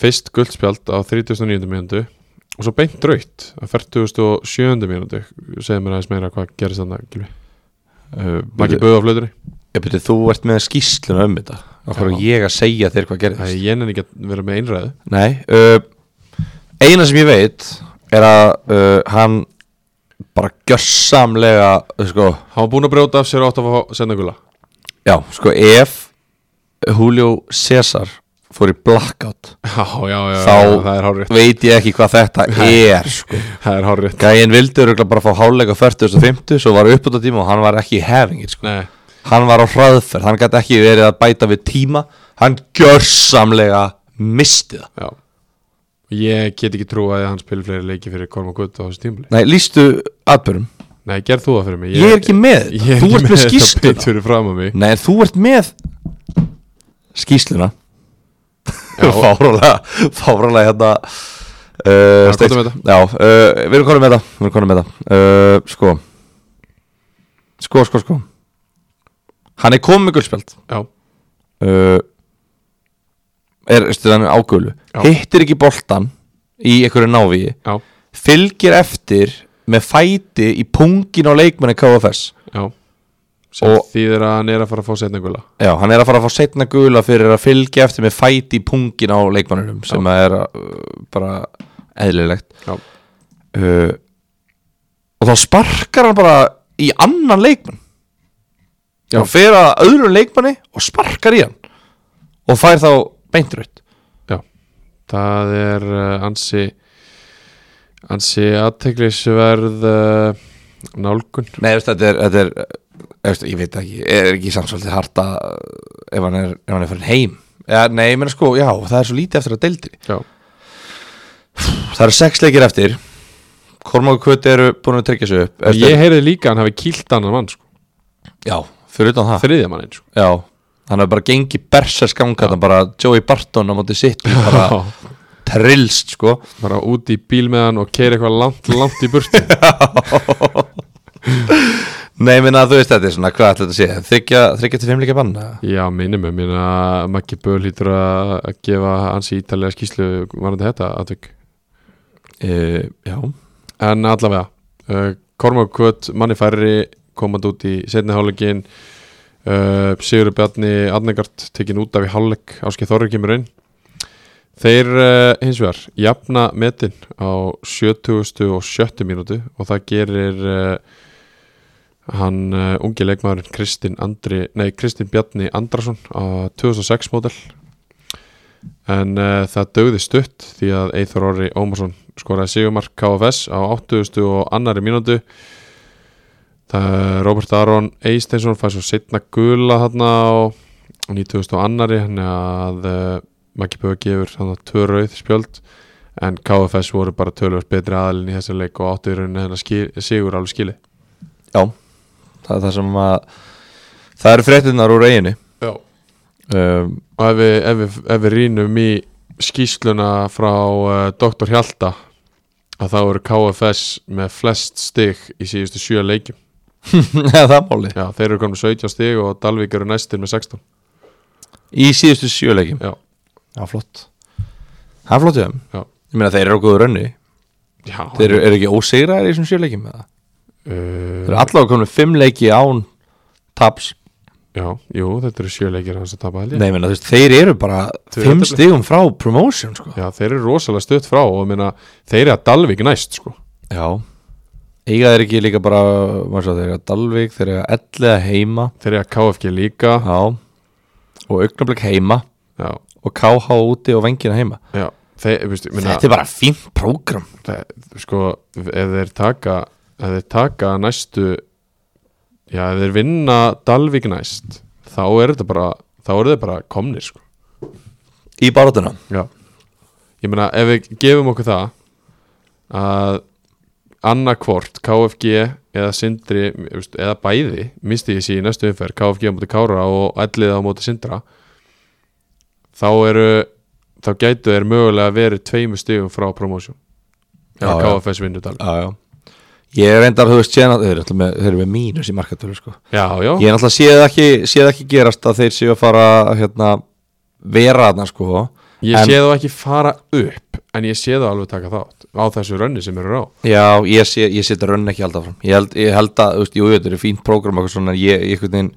Speaker 2: fyrst guldspjald á 39. mínútu og svo beint draut á 47. mínútu segir mér aðeins meira hvað gerist þannig Gilvi Uh, Maggi
Speaker 3: Ég
Speaker 2: Böð á flöðunni
Speaker 3: byrju, þú ert með skýsluna um þetta og
Speaker 2: Já.
Speaker 3: hvað er ég að segja þér hvað gerðist
Speaker 2: Æ, ég nenni ekki að vera með einræðu
Speaker 3: Nei, uh, eina sem ég veit er að uh, hann bara gjörsamlega uh, sko,
Speaker 2: Hann var búinn að brjóta af sér átt að fá senda gula
Speaker 3: já, sko ef Julio César fór í blackout
Speaker 2: Já, já, já,
Speaker 3: Þá-
Speaker 2: já, það er hárrétt
Speaker 3: veit ég ekki hvað þetta er sko.
Speaker 2: Það er hárrétt
Speaker 3: Gæinn vildi örugglega bara fá háleika 40.50 svo var uppbúta tíma og hann var ekki í hefingi sko.
Speaker 2: Nei,
Speaker 3: hann var á hraðferð, hann gæti ekki verið að bæta við tíma, hann gjörsamlega misti það
Speaker 2: já Ég get ekki trú að hann spili fleiri leiki fyrir Korma Gutt á þessu tímli
Speaker 3: Nei, lístu atbyrjum,
Speaker 2: Nei, gerð þú það fyrir mig
Speaker 3: ég, er ekki með
Speaker 2: ég er
Speaker 3: þetta, þú
Speaker 2: ekki
Speaker 3: ert með
Speaker 2: þetta beint
Speaker 3: skýsluna
Speaker 2: fyrir fram að mig
Speaker 3: Nei, en þú ert með skýsluna
Speaker 2: Já.
Speaker 3: Fárálega, fárálega hérna Uh,
Speaker 2: Já, komdu með þetta.
Speaker 3: já, uh, við erum konum með það Við erum konum með það uh, Sko Sko, sko, sko Hann er komið guldspjald
Speaker 2: Já,
Speaker 3: uh, er stuðan ágölu
Speaker 2: Já.
Speaker 3: hittir ekki boltan í einhverju návíi
Speaker 2: já,
Speaker 3: fylgir eftir með fæti í pungin á leikmenni KFS
Speaker 2: já sem
Speaker 3: Og-
Speaker 2: þýðir að hann er að fara að fá setna gula
Speaker 3: Já, hann er að fara að fá setna gula fyrir að fylgja eftir með fæti í pungin á leikmannunum sem að er uh, bara eðlilegt
Speaker 2: já,
Speaker 3: uh, og þá sparkar hann bara í annan leikmann
Speaker 2: Já.
Speaker 3: hann fer að öðrum leikmanni og sparkar í hann og fær þá beintröð
Speaker 2: já það er uh, ansi ansi aðteglisverð uh, nálgun
Speaker 3: Nei, veist, þetta er, þetta er eh, veist, ég veit ekki, er ekki samsvöldið harta eh, ef hann er, ef hann er fyrir heim ja, Nei, ég meina sko, já, það er svo lítið eftir að deildri
Speaker 2: já,
Speaker 3: Það eru sex leikir eftir Kormáku Kvöti eru búin að tryggja sig upp
Speaker 2: ég heyrði líka að hann hafi kýlt annan mann sko,
Speaker 3: Já, fyrir utan það
Speaker 2: þriðja mann eins sko.
Speaker 3: Já, hann hefur bara gengið bersers ganga Þannig bara Joey Barton á móti sitt bara trillst sko
Speaker 2: bara út í bíl með hann og keiri eitthvað langt, langt í burtu
Speaker 3: Nei, ég minna þú veist þetta er svona hvað ætla þetta sé Þryggja, þryggja til fimmleika banna
Speaker 2: já, minnum ég minna að Maggi Böl hýtur að að gefa ansi ítalega skýslu varandi þetta atvik
Speaker 3: uh, Já,
Speaker 2: en allavega uh, Kormák Kvöt, manni færri komand út í setni hálfleikin uh, Sigur Bjarni Adnegart tekin út af í hálfleik Áskei Þorri kemur inn þeir uh, hins vegar jafna metin á 70. og 70. mínútu og það gerir uh, hann uh, ungi leikmaðurinn Kristinn Andri, nei Kristinn Bjarni Andrason á 2006 mótel en uh, það dögði stutt því að Eithor Orri Ómarsson skoraði sigumark KFS á 80. og annari mínútu það er Robert Aron Eisteinsson fær svo setna gula þarna á 90. og annari hann að uh, Maggi Böge gefur þannig að tvö rauð spjöld en KFS voru bara tölvöld betri aðalinn í þessu leik og áttu í rauninni hennar skil, sigur alveg skili
Speaker 3: já Það er það sem að Það eru fréttinnar úr eiginu
Speaker 2: Já.
Speaker 3: um,
Speaker 2: og ef við, ef við, ef við rínum í skýsluna frá uh, Dr. Hjalta að þá eru KFS með flest stig í síðustu sjö leikjum
Speaker 3: Það er máli
Speaker 2: Já, þeir eru komin með 17 stig og Dalvík eru næstir með 16
Speaker 3: Í síðustu sjöleikim
Speaker 2: Já,
Speaker 3: Já, flott Það er flott hjá þeim
Speaker 2: Já.
Speaker 3: Ég meina þeir eru okkur rönni
Speaker 2: já
Speaker 3: Þeir eru, eru ekki ósegrar í þessum sjöleikim með það Þeir eru
Speaker 2: uh,
Speaker 3: allavega komin með fimm leiki án Taps
Speaker 2: Já, jú, þetta eru sjö leikir hans að tapa held ég
Speaker 3: Nei, ég meina, þú veist, þeir eru bara
Speaker 2: Tvö
Speaker 3: Fimm
Speaker 2: jafntefli.
Speaker 3: stigum frá promotion sko.
Speaker 2: Já, þeir eru rosalega stutt frá og minna, þeir eru að Dalvík næst sko
Speaker 3: Já Eiga þeir ekki líka bara maður svo, Þeir eru að Dalvik, þeir eru að Elliða heima
Speaker 2: Þeir eru að KFG líka
Speaker 3: Já Og augnablik heima
Speaker 2: Já,
Speaker 3: Og KH úti og vengina heima
Speaker 2: já Þeir, veist, minna,
Speaker 3: Þetta er bara fínt prógram
Speaker 2: það- sko, ef þeir taka ef þeir taka næstu já, ef þeir vinna Dalvík næst, þá er þetta bara þá eru þeir bara komnir sko
Speaker 3: Í barátuna
Speaker 2: Já Ég meina ef við gefum okkur það að annarkvort KFG eða Sindri þú veist, eða bæði misti ég sér í næstu umferð KFG á móti Kára og ætlið á móti Sindra þá eru þá gætu þeir mögulega verið tveimur stigum frá promotion eða
Speaker 3: Já, já.
Speaker 2: KFS vinnudal
Speaker 3: Já, já Ég er reyndar, þú veist, séðan að þeir eru alltaf með, þeir eru með mínus í markatölu sko.
Speaker 2: Já, já,
Speaker 3: Ég er alltaf séð ekki, séð ekki gerast að þeir séu að fara hérna, vera þarna sko.
Speaker 2: ég
Speaker 3: en-
Speaker 2: sé þá ekki fara upp en ég sé þá alveg taka þátt á þessu rönni sem eru á
Speaker 3: Já, ég, sé, ég setja rönn ekki alltaf fram Ég held, ég held að, þú veist, jú, jú, þetta er fínt prógram og eitthvað svona, ég, ég einhvern veginn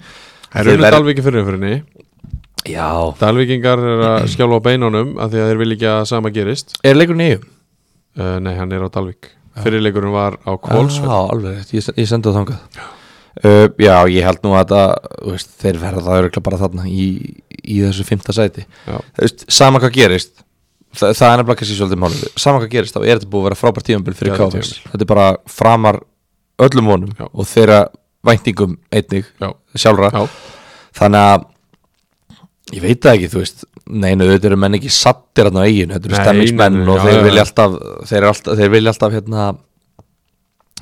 Speaker 2: Það
Speaker 3: Þeir
Speaker 2: eru
Speaker 3: verð-
Speaker 2: Dalvíki fyrir umfyrinni
Speaker 3: Já,
Speaker 2: Dalvíkingar er að skjálfa á beinunum af því að þeir vilja ekki að sama gerist
Speaker 3: er leikur nýju?
Speaker 2: uh, Nei, hann er á Dalvík Fyrirleikurinn var á
Speaker 3: Já,
Speaker 2: Kvolsvöld
Speaker 3: alveg, rétt, ég, ég sendi það þangað uh, Já, ég held nú að það, þú veist, þeir verða það örgulega bara þarna í, í þessu fymta sæti
Speaker 2: Já.
Speaker 3: Þú veist, sama hvað gerist Þa, það er nefnilega kannski svolítið málið Sama hvað gerist, þá er þetta búið að vera frábært tíðanbíl fyrir
Speaker 2: Já, þetta er
Speaker 3: KFS Þetta er bara framar öllum vonum
Speaker 2: Já.
Speaker 3: og þeirra væntingum einnig
Speaker 2: Já,
Speaker 3: sjálfra
Speaker 2: já,
Speaker 3: þannig að ég veit það ekki, þú veist neina, auðvitað eru menn ekki sattir hann á eigin þetta eru
Speaker 2: Nei,
Speaker 3: stemmingsmenn
Speaker 2: nei, nei,
Speaker 3: og
Speaker 2: já,
Speaker 3: þeir
Speaker 2: já, já.
Speaker 3: vilja alltaf þeir, eru alltaf, þeir vilja alltaf hérna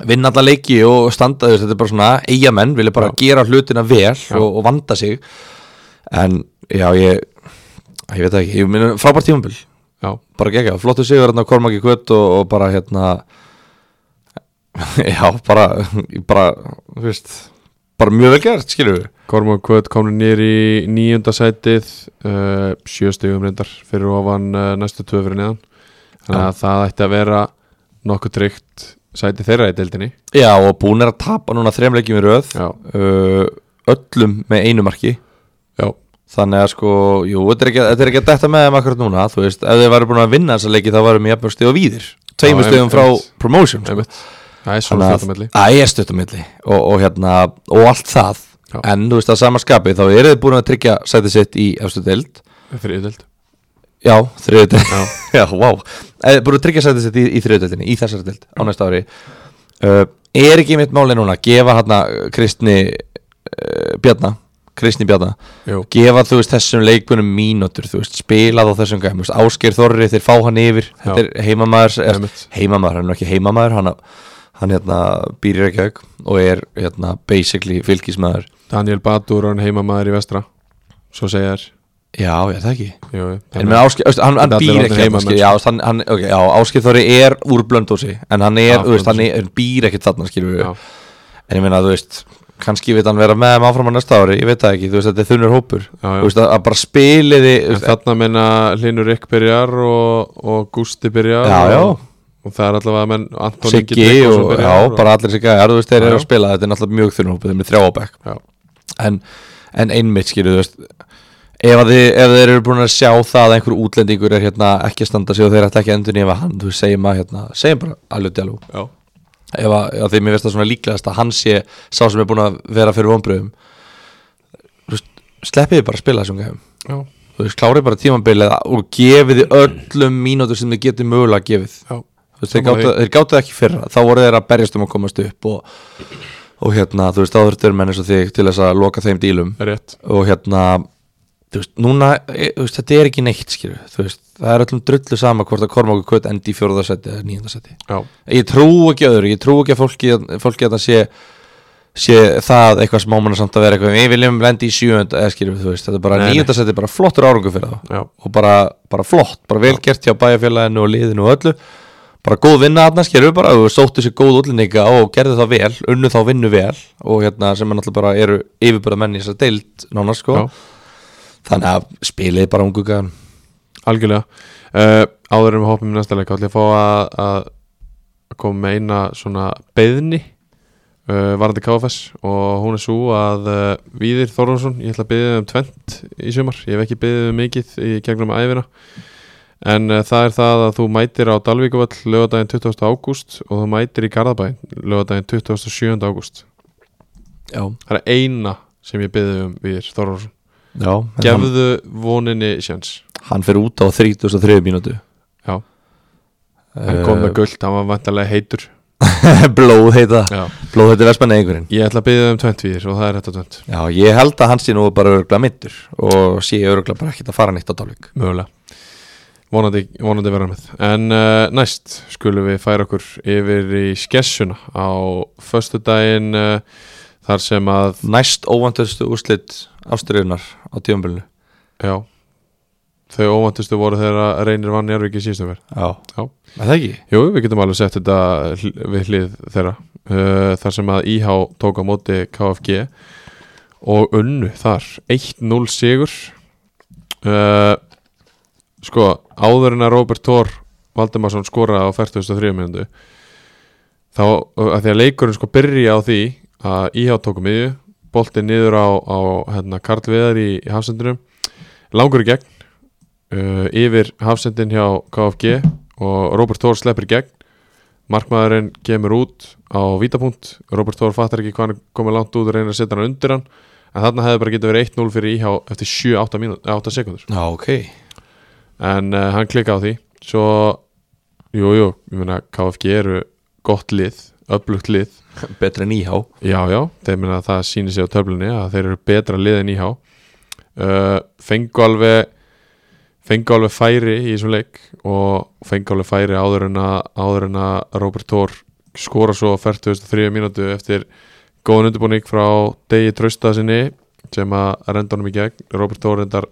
Speaker 3: vinna alla leiki og standa þess þetta er bara svona eigamenn, vilja bara
Speaker 2: Já.
Speaker 3: gera hlutina vel og, og vanda sig en já, ég ég veit það ekki, ég minna frábært tímambil
Speaker 2: já,
Speaker 3: bara gegja, flottu sigur hérna Kormaki Kvöt og, og bara hérna já, bara bara, þú veist bara mjög vel gert, skilur við
Speaker 2: Kormán Kvöt komur nýr í nýjunda sætið uh, sjö stegum reyndar fyrir ofan uh, næstu tvö fyrir neðan þannig að það ætti að vera nokkuð tryggt sæti þeirra í deildinni
Speaker 3: Já, og búin er að tapa núna þremleikjum í röð
Speaker 2: Já.
Speaker 3: uh, öllum með einu marki
Speaker 2: Já,
Speaker 3: þannig að sko, jú, þetta er ekki, þetta er ekki að detta með þeim akkurat núna, þú veist, ef þeir væri búin að vinna þessa leiki þá varum við jafnveg stið og víðir tveimur
Speaker 2: Já,
Speaker 3: stiðum frá
Speaker 2: einmitt.
Speaker 3: promotion sko.
Speaker 2: einmitt Það er svona
Speaker 3: þannig að
Speaker 2: fjöldamölli
Speaker 3: að ég er stuttamilli og, og hérna, og allt það
Speaker 2: Já.
Speaker 3: en þú veist að sama skapi, þá eru þið búin að tryggja sætið sitt í efstu deild
Speaker 2: fyrir yfirdild
Speaker 3: Já, þriðutöld Já, vá wow. Búið að tryggja sætti sér í, í þriðutöldinni, í þessari töld á næsta ári uh, Er ekki mitt máli núna að gefa hérna Kristni uh, Bjarna Kristni Bjarna
Speaker 2: Jú.
Speaker 3: Gefa þú veist þessum leikbunum mínútur Þú veist, spila þá þessum gæm Ásker Þorri, þeir fá hann yfir
Speaker 2: Já.
Speaker 3: Þetta er heimamaður er,
Speaker 2: Einmitt.
Speaker 3: Heimamaður, hann er nú ekki heimamaður Hann, hann hérna, býrir ekki auk Og er hérna, basically fylgismæður
Speaker 2: Daniel Batur, hann heimamaður í vestra Svo segja þér
Speaker 3: Já, ég það ekki
Speaker 2: Jú,
Speaker 3: En menn Áskei, hann, hann
Speaker 2: Þetta allir
Speaker 3: býr
Speaker 2: orðnir
Speaker 3: ekki heima,
Speaker 2: heimamenn, sko.
Speaker 3: skil, já, hann, hann, okay, já, Áskei Þorri er úr blöndósi En hann
Speaker 2: Já,
Speaker 3: er, þú veist, hann
Speaker 2: Blönduósi.
Speaker 3: er, býr ekkert þarna skilur við
Speaker 2: Já.
Speaker 3: En ég meina, þú veist, kannski veit hann vera með þeim áfram á næsta ári Ég veit það ekki, þú veist, þetta er þunnur hópur
Speaker 2: Já, já.
Speaker 3: Þú veist, að, að bara spiliði þú
Speaker 2: En
Speaker 3: veist,
Speaker 2: þarna menna Hlinur Rikk byrjar og, og Gústi byrjar
Speaker 3: Já, já.
Speaker 2: og, og það er allavega menn Anton Ingi
Speaker 3: Siggi
Speaker 2: Tryggvason
Speaker 3: og, já,
Speaker 2: byrjar og-
Speaker 3: bara allir sig gæjar Þú veist, þeir
Speaker 2: Já,
Speaker 3: eru
Speaker 2: já.
Speaker 3: að spila, þetta er náttúrulega mjög þunnur hópur Þeir eru þrjá á bekk
Speaker 2: Já,
Speaker 3: en, en einmitt skilur þú veist ef, að þið, ef þeir eru búin að sjá það að einhver útlendingur er hérna ekki að standa sig og þeir ætti ekki að endur nýfa hann þú veist, segjum að hérna, segjum bara alveg djálú
Speaker 2: já,
Speaker 3: ef að, ef að því mér veist það svona líklegast að hann sé sá sem er búin að vera fyrir vonbröðum þú veist, sleppið þið bara að spila þessum gæfum
Speaker 2: já,
Speaker 3: þú veist, klárið bara tímabilið og gefið þið öllum mínútur sem þið getið mögulega gefið
Speaker 2: já
Speaker 3: Þú veist, þeir,
Speaker 2: Sammála
Speaker 3: gátu, þeir gátu það ekki fyrra þá voru þeir að berjast um að komast upp og, og hérna, þú veist, þá þurftur menn eins og þig til þess að loka þeim dílum
Speaker 2: því. Rétt,
Speaker 3: og hérna þú veist, núna, e, þú veist, þetta er ekki neitt skilur, þú veist, það er öllum drullu sama hvort að Kormáku Kvöt endi í fjórðarsæti eða nýjandarsæti,
Speaker 2: já,
Speaker 3: ég trú ekki öðru ég trú ekki að fólki, fólki að það sé sé það eitthvað smámanna samt að vera eitthvað, við viljum lendi í sjöund eða skilur, þú veist, þetta er bara
Speaker 2: Nei, nei.
Speaker 3: nýjandarsæti bara flottur árangur fyrir þá
Speaker 2: já
Speaker 3: og bara, bara flott, bara vel gert hjá bæjarfélaginu og liðinu og öllu bara góð vinna þarna, skerum við bara og sóttu sér góð útlendinga og gerðu það vel unnu þá vinnu vel og hérna sem er náttúrulega bara eru yfirbyrða menn í þessar deild nána sko,
Speaker 2: Já.
Speaker 3: þannig að spilið bara ungu gæðan
Speaker 2: Algjörlega uh, Áður um hoppum í næsta leik ætla ég að fá að, að koma með eina svona beðni uh, varandi KFS og hún er svo að uh, Víðir Þorvarsson, ég ætla að beðið um tvent í sumar, ég hef ekki beðið um mikið í gegnum æfina en uh, það er það að þú mætir á Dalvíkuvall lögadaginn 20. ágúst og þú mætir í Garðabæ lögadaginn 27. ágúst
Speaker 3: já,
Speaker 2: það er eina sem ég beðið um Víðir Þorvarsson
Speaker 3: já en hann,
Speaker 2: gefðu voninni sjans
Speaker 3: hann fyrir út á 33 mínútu Eh,
Speaker 2: Já. hann kom með gullt, hann var vantarlega heitur
Speaker 3: blóð heita
Speaker 2: Já.
Speaker 3: blóð heita vestmenni einhverjinn
Speaker 2: Ég ætla að byggja um 20 víðir og það er þetta 20
Speaker 3: já, ég held að hann sé nú bara örgla mittur og sé örgla bara ekkert að fara neitt á dálvík
Speaker 2: Mögulega Vonandi, vonandi vera með En uh, næst skulum við færa okkur yfir í skessuna á föstudaginn uh, þar sem að
Speaker 3: næst óvandustu úrslit ástriðunar á tíumbölinu
Speaker 2: já, þau óvantustu voru þegar að reynir vann Jarvík í síðustum verð
Speaker 3: Já,
Speaker 2: Já.
Speaker 3: er það ekki?
Speaker 2: Jú, við getum alveg sett þetta hl- við hlið þeirra uh, þar sem að IH tók á móti KFG og unnu þar 1-0 sigur uh, sko áður en að Robert Thor Valdemarsson skoraði á 43 minundu þá að því að leikurinn sko byrja á því að IH tók um yfir boltið niður á, á hérna, Karl Viðar í, í hafsendinum langur í gegn uh, yfir hafsendin hjá KFG og Robert Thor sleppir í gegn markmaðurinn kemur út á vítapunkt, Robert Thor fattar ekki hvað hann er komið langt út og reynir að setja hann undir hann en þarna hefði bara getið verið 1-0 fyrir IH eftir 7-8 mínú- eh, 8 sekundur
Speaker 3: Já, ok
Speaker 2: en uh, hann klikka á því svo, jú, jú, ég meina KFG eru gott lið, öflugt lið
Speaker 3: Betra en íhá
Speaker 2: já, já, þeir meina að það sýnir sig á töflunni að þeir eru betra lið en IH uh, fengu alveg fengu alveg færi í þessum leik og fengu alveg færi áður en að, áður en að Robert Thor skora svo á 43 mínútu eftir góðan undirbúning frá Degi Trausta sinni sem að renda honum í gegn Robert Thor reyndar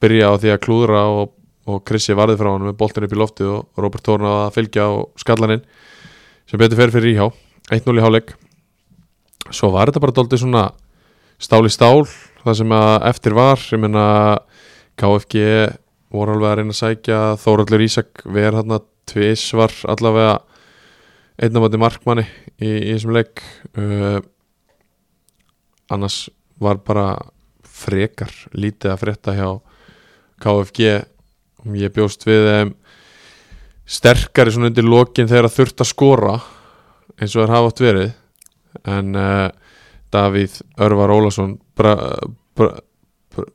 Speaker 2: byrja á því að klúðra og, og Krissi varði frá honum með boltin upp í loftið og Robert Thor náði að fylgja á skallaninn sem betur fer fyrir íhá 1-0 í háleik svo var þetta bara doldið svona stál í stál það sem að eftir var ég meina KFG voru alveg að reyna að sækja Þóraldur Ísak ver hann að tvisvar allavega einnamöndi markmanni í, í þessum leik uh, annars var bara frekar lítið að frétta hjá KFG ég bjóst við um, sterkari svona undir lokin þegar það þurft að skora eins og það hafa átt verið en uh, Davíð Örvar Ólason brá, brá,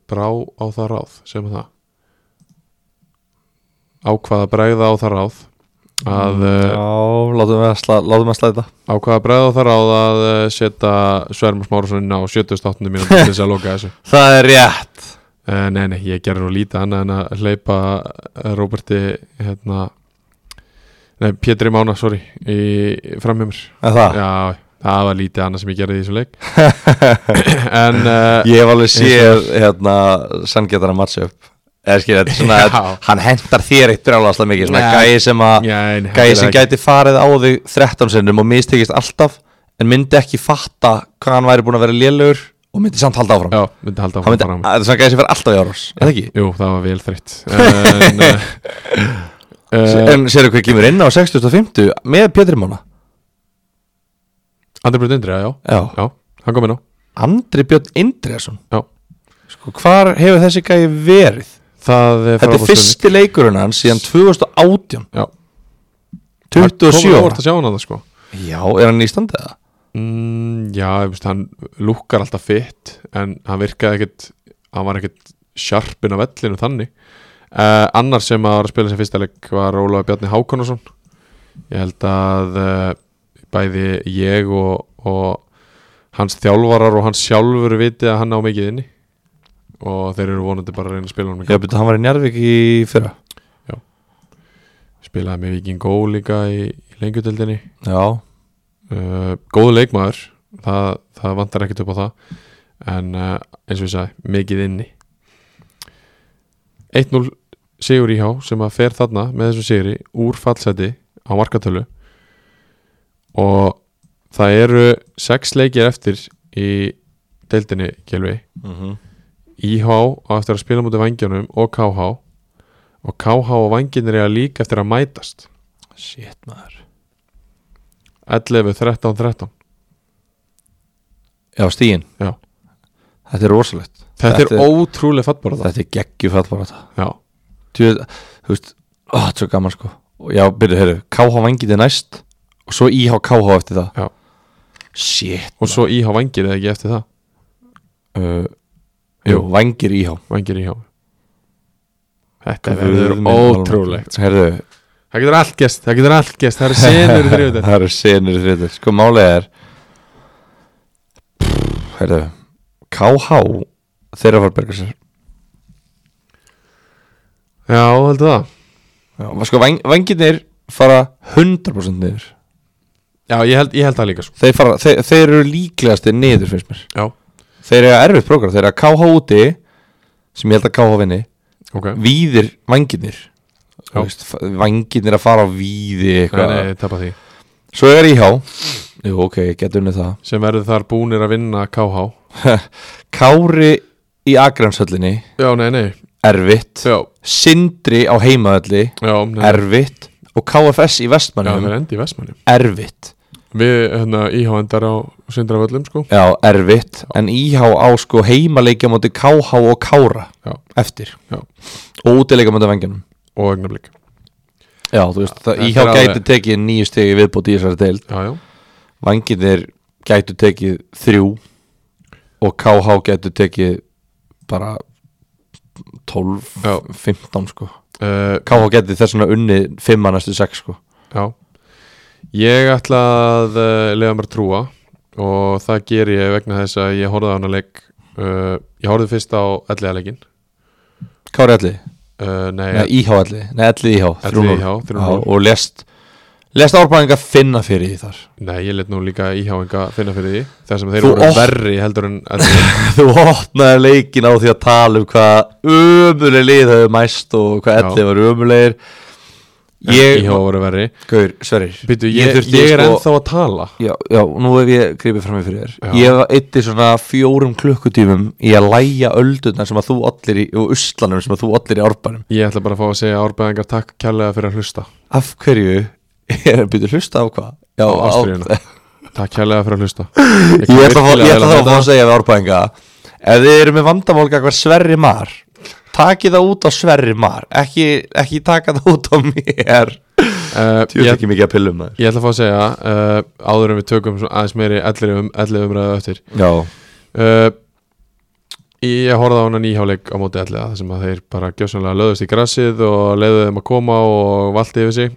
Speaker 2: brá á það ráð sem það ákvað að bregða á það ráð að
Speaker 3: Eh.
Speaker 2: uh,
Speaker 3: Já, látum við að, sla, látum við að slæta
Speaker 2: ákvaða bregða þar á það að eh, setja Svermur Smárasson á 78. mínúti til þess að loka þessu
Speaker 3: Það er rétt
Speaker 2: uh, Nei, nei, ég gerði nú lítið annað en að hleypa eh, Róberti hérna Nei, Pétri Mána, sorry, í framhjumur
Speaker 3: Er það?
Speaker 2: Já, það var lítið annað sem ég gerði í þessum leik En uh,
Speaker 3: Ég hef alveg
Speaker 2: Eins
Speaker 3: séð hérna sanngjötana matchup eða skilja, þetta er svona að
Speaker 2: Já.
Speaker 3: hann hendar þér eitt brjálaðslega mikið, svona
Speaker 2: Nei.
Speaker 3: gæi sem að
Speaker 2: Nei, nei,
Speaker 3: gæi sem
Speaker 2: hann gerði
Speaker 3: gæti farið á þig 13 sinnum og mistekist alltaf en myndi ekki fatta hvað hann væri búin að vera lélugur og myndi samt halda áfram
Speaker 2: Já, myndi halda
Speaker 3: hann
Speaker 2: áfram
Speaker 3: myndi,
Speaker 2: fram
Speaker 3: þetta er svona gæi sem fer alltaf í árás, er það ekki?
Speaker 2: Jú, það var vel þreytt En, uh, uh,
Speaker 3: En sérðu hvað kemur inn á 60.50 með Pétur Mána
Speaker 2: Andri Brut Indri, já,
Speaker 3: Já.
Speaker 2: já, hann kom inn á
Speaker 3: Andri Björn Indriðarsson
Speaker 2: Já.
Speaker 3: sko, Hvar hefur þessi gæi verið?
Speaker 2: Það eh,
Speaker 3: Þetta er
Speaker 2: frábær spurning.
Speaker 3: fyrsti leikurinn hans síðan 2018
Speaker 2: Já. Það
Speaker 3: 27
Speaker 2: komið á
Speaker 3: ára
Speaker 2: óvart að sjá hann að það sko
Speaker 3: Já, er hann í standi eða?
Speaker 2: mm, Já, ég veist, hann lukkar alltaf fitt En hann virkaði ekkit Hann var ekkit sjarpin á vellinu þannig uh, Annar sem að var að spila sem fyrsta leik Var Ólafi Bjarni Hákonarsson Ég held að uh, Bæði ég og, og Hans þjálfarar og hans sjálfur Viti að hann á mikið inni Og þeir eru vonandi bara að reyna að spila hann
Speaker 3: Já, betur hann var í Njarvík í fyrra
Speaker 2: Spilaði með Viking Gó líka í, í lengjudeldinni
Speaker 3: Já,
Speaker 2: uh, góðu leikmaður það, það vantar ekkert upp á það en uh, eins og ég sagði mikið inni 1-0 Sigur Íhá sem að fer þarna með þessum Siguri úr fallseti á markatölu og það eru sex leikir eftir í deildinni Kjölvi Mhm. IH á eftir að spila mútið vangjanum og KH og KH og vanginir eiga líka eftir að mætast
Speaker 3: shit maður
Speaker 2: 11, 13, 13
Speaker 3: Já, stíin
Speaker 2: Já.
Speaker 3: Þetta er rosalegt
Speaker 2: Þetta, er ótrúlega fattbara
Speaker 3: Þetta er geggjufall bara þetta
Speaker 2: Já,
Speaker 3: Þú veit, þú veist, ó, þetta er svo gaman sko Og Já, byrju, heyrðu, KH vangið er næst og svo IH KH eftir það
Speaker 2: Já.
Speaker 3: Shit
Speaker 2: og svo íhá vangir eða ekki eftir það
Speaker 3: uh, Jú, vangir IH
Speaker 2: Vangir íhá Þetta verður
Speaker 3: Guð minn
Speaker 2: ótrúlegt
Speaker 3: almáttugur. Heyrðu,
Speaker 2: Það getur allt gest, það getur allt gest Það eru senur þrjóðir
Speaker 3: það eru senur þrjóðir Sko málið er Pff, Heyrðu KH Þeirra fara að berga sér
Speaker 2: Já, heldur það
Speaker 3: Já, Sko vang, vangirnir fara 100% niður
Speaker 2: Já, ég held, ég held það líka sko
Speaker 3: þeir, fara, þeir, þeir eru líklegasti niður finnst mér
Speaker 2: Já,
Speaker 3: Þeir eru erfitt prógram Þeir eru að KH úti Sem ég held að KH vinni
Speaker 2: ok Nei,
Speaker 3: Víðir vangirnir
Speaker 2: Já.
Speaker 3: Vangirnir að fara á víði eitthvað.
Speaker 2: nei, ég tapa því
Speaker 3: Svo er IH Jú ok, ég get unnið það
Speaker 2: Sem verður þar búnir að vinna KH
Speaker 3: Kári í Akranshöllinni
Speaker 2: Já, nei, nei
Speaker 3: Erfitt
Speaker 2: Já,
Speaker 3: Sindri á heimaðalli
Speaker 2: já, nei
Speaker 3: Erfitt Og KFS í
Speaker 2: Já, það
Speaker 3: Vestmannum
Speaker 2: er endi í Vestmanni
Speaker 3: Erfitt
Speaker 2: Við, hérna, íhá endar á Sindraföllum sko
Speaker 3: Já, erfitt En IH á sko heimaleikja móti KH og Kára
Speaker 2: Já.
Speaker 3: Eftir
Speaker 2: Já.
Speaker 3: Og útileikja móti vengjunum
Speaker 2: Og augnablík
Speaker 3: Já, þú veist, það,
Speaker 2: Þetta
Speaker 3: IH
Speaker 2: er alveg-
Speaker 3: gæti tekið nýju stegi viðbót í þessari deild
Speaker 2: Já, já,
Speaker 3: Vanginir gætu tekið þrjú Og KH gætu tekið bara 12,
Speaker 2: Já.
Speaker 3: 15 sko
Speaker 2: uh,
Speaker 3: KH geti þess vegna unni fimma næstu sex sko
Speaker 2: Já Ég ætla að uh, leiða mér að trúa og það ger ég vegna þess að ég horfði á hana leik uh, ég horfði fyrst á ellega leikin
Speaker 3: Kári Alli,
Speaker 2: uh, Nei,
Speaker 3: neða IH Alli Nei, Alli IH, 3-0.
Speaker 2: IH, 3-0.
Speaker 3: Já, Og lest, lest árbæðinga finna fyrir því þar
Speaker 2: nei ég let nú líka íháinga finna fyrir því þar sem þeir
Speaker 3: Þú
Speaker 2: voru
Speaker 3: oft-
Speaker 2: verri heldur en ellega
Speaker 3: Þú opnaði leikin á því að tala um hvað ömuleg lið hefur mæst og hvað
Speaker 2: Já.
Speaker 3: Alli var ömulegir Ég-
Speaker 2: Íhá voru verri
Speaker 3: Gaur, sverir
Speaker 2: Býtu, ég, ég, er
Speaker 3: sko,
Speaker 2: ennþá að tala
Speaker 3: já, já, nú hef ég gripið fram í fyrir
Speaker 2: Já.
Speaker 3: þér Ég eitti svona fjórum klukkutímum í að læja öldurnar sem að þú allir í og uslanum sem að þú allir í árbænum
Speaker 2: Ég ætla bara að fá að segja árbæðingar takk kærlega fyrir að hlusta
Speaker 3: Af hverju er að byrja hlusta á hvað?
Speaker 2: Á
Speaker 3: Já, á-
Speaker 2: ástríðuna. Takk kærlega fyrir að hlusta
Speaker 3: Ég ætla þá
Speaker 2: virkilega
Speaker 3: ég
Speaker 2: vel
Speaker 3: ætla þá að fá
Speaker 2: þetta.
Speaker 3: að segja við árbæðinga Ef þið eru með vandamálga hver Sverri Mar Takið það út á Sverri Mar Ekki, ekki taka það út á mér
Speaker 2: Eh,
Speaker 3: Tjóð
Speaker 2: ég,
Speaker 3: ekki mikið að pillum maður
Speaker 2: ég ætla að fá að segja uh, áður en við tökum svona aðeins meiri 11 um- 11 umræðu eftir
Speaker 3: Já,
Speaker 2: uh, Ég horfði á hana nýháleik á móti allega þar sem að þeir bara gjössanlega löðust í grassið og leiðu þeim að koma og valdi yfir sig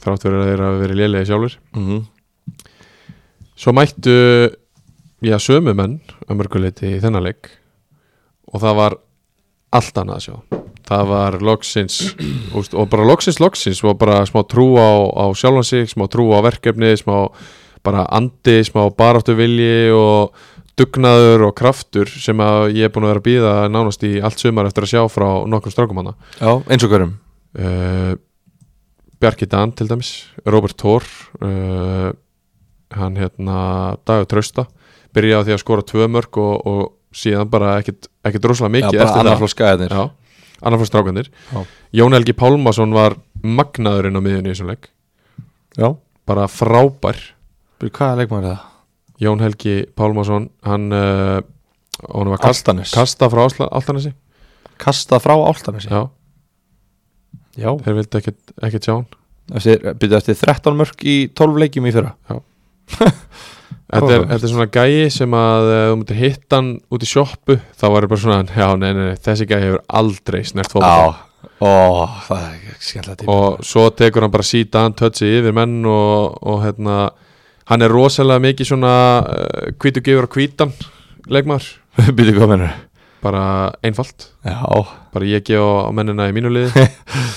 Speaker 2: þrátt fyrir að þeir hafi verið lélegi sjálfur
Speaker 3: mm
Speaker 2: Svo mættu já, sömu menn að mörguleiti í þennan leik og það var allt annað að sjá það var loksins úst, og bara loksins loksins og bara smá trú á, á sjálfan sig, smá trú á verkefni smá bara andi, smá baráttu vilji og dugnaður og kraftur sem að ég er búin að vera að býða nánast í allt sumar eftir að sjá frá nokkrum strákum hana
Speaker 3: já eins og hverjum
Speaker 2: uh, Bjarki Dan til dæmis Robert Thor uh, hann hérna Dagur Trausta byrjaði á því að skora tvö mörg og, og síðan bara ekkit, ekkit rosalega
Speaker 3: Já,
Speaker 2: mikið
Speaker 3: bara annar flóð skæðinir
Speaker 2: Já, annar flóð strákandir
Speaker 3: Já.
Speaker 2: Jón Helgi Pálmason var magnaðurinn á miðunni í þessum leik
Speaker 3: já.
Speaker 2: bara frábær
Speaker 3: Byrju, Hvaða leikmaður er það?
Speaker 2: Jón Helgi Pálmason hann uh, honum var kast,
Speaker 3: Altanes
Speaker 2: kasta frá Ásla- Álftanesi
Speaker 3: Kasta frá áltanesi
Speaker 2: Já,
Speaker 3: já.
Speaker 2: þeir vildi ekkit, ekkit sjá hann
Speaker 3: Eftir, byrju, eftir 13 mörg í 12 leikjum í fyrra
Speaker 2: Þetta er,
Speaker 3: Áhugavert.
Speaker 2: þetta er svona gæi sem að eh, þú myndir hitta hann út í sjoppu þá var bara svona, já, nei, nei, nei, þessi gæi hefur aldrei snert fólk
Speaker 3: Ó, það er skemmtilega tíma
Speaker 2: og svo tekur hann bara síðan tötsi yfir menn og, og hérna hann er rosalega mikið svona uh, hvítu gefur og hvítan leikmar,
Speaker 3: Byrju, hvað mennur?
Speaker 2: bara einfalt
Speaker 3: Já,
Speaker 2: bara ég gef á mennina í mínu liði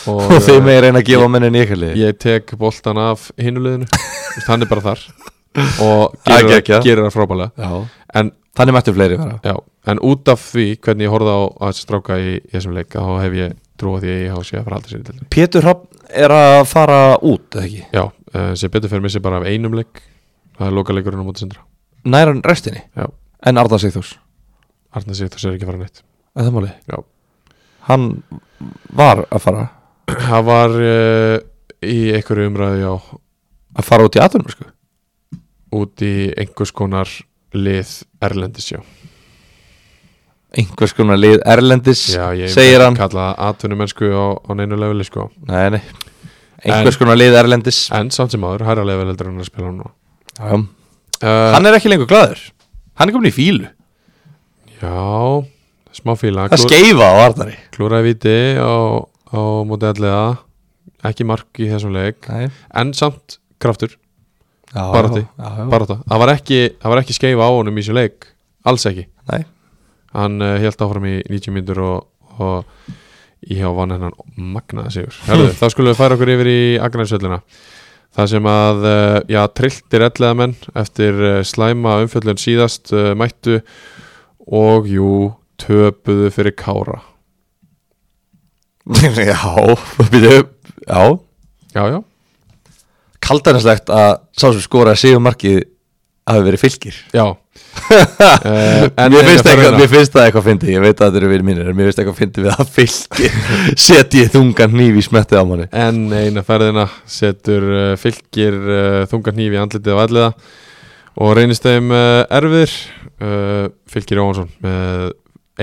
Speaker 2: og,
Speaker 3: og þeir
Speaker 2: eh,
Speaker 3: með reyna að gefa mennin í ykkur liði
Speaker 2: ég tek boltan af hinu liðinu Þú veist, hann er bara þar og
Speaker 3: Það er
Speaker 2: gerir,
Speaker 3: geggjað.
Speaker 2: gerir það frábælega
Speaker 3: Já,
Speaker 2: en
Speaker 3: þannig mættu fleiri vera
Speaker 2: Já, en út af því hvernig ég horfði á að þessi stráka í, í þessum leik þá hef ég trúið því að ég hafa séð að fara aldrei sér til
Speaker 3: Pétur Hrafn er að fara út, eða ekki?
Speaker 2: Já, uh, sem betur fyrir missi bara af einum leik það er lokaleikurinn á móti sindra
Speaker 3: Næran restinni,
Speaker 2: Já,
Speaker 3: en Arda Sigþús
Speaker 2: Arna sér þess er ekki að fara neitt
Speaker 3: Er það máli?
Speaker 2: Já.
Speaker 3: Hann var að fara
Speaker 2: Það var uh, í einhverju umræðu já
Speaker 3: að fara út í aðunum, sko
Speaker 2: út í einhvers konar lið Erlendis já
Speaker 3: Einhvers konar lið Erlendis,
Speaker 2: Já, ég
Speaker 3: segir hann
Speaker 2: kalla atvinnu mennsku á, á neinu leveli sko
Speaker 3: Nei, nei, einhvers konar lið Erlendis
Speaker 2: En samt sem áður, hærra level heldur en hann er að spila núna
Speaker 3: Já.
Speaker 2: uh,
Speaker 3: Hann er ekki lengur glæður Hann er komin í fílu,
Speaker 2: Já, smá fíla
Speaker 3: það
Speaker 2: Gló-
Speaker 3: skeifa á Arnari
Speaker 2: klúraði viti á, á móti allega ekki mark í þessum leik
Speaker 3: Nei,
Speaker 2: en samt kraftur,
Speaker 3: já,
Speaker 2: Baráttu.
Speaker 3: já, já, já.
Speaker 2: barata það var ekki, það var ekki skeifa á honum í þessum leik alls ekki,
Speaker 3: Nei.
Speaker 2: hann uh, held áfram í 90 mínútur og, og í hjá vann hennan magnaða sigur Herðu,
Speaker 3: Hm.
Speaker 2: þá skulum við færa okkur yfir í Agnarsöllina það sem að, uh, já, trilltir ellega menn eftir uh, slæma umfjöllun síðast uh, mættu og jú, töpuðu fyrir Kára
Speaker 3: já, býtu Já,
Speaker 2: já, já,
Speaker 3: kaldaninslegt að sá sem skoraði síðan markið hafi verið fylgir
Speaker 2: já uh,
Speaker 3: mér, finnst eitthvað, mér finnst það eitthvað fyndi, ég veit að þetta eru vinir mínir en mér finnst eitthvað fyndi við að fylgir setji þungan hníf í smettið á manni
Speaker 2: En eina ferðina setur uh, fylgir uh, þungan hníf í andlitið á alliða og reynist þeim uh, erfir uh, fylgir Jóhansson með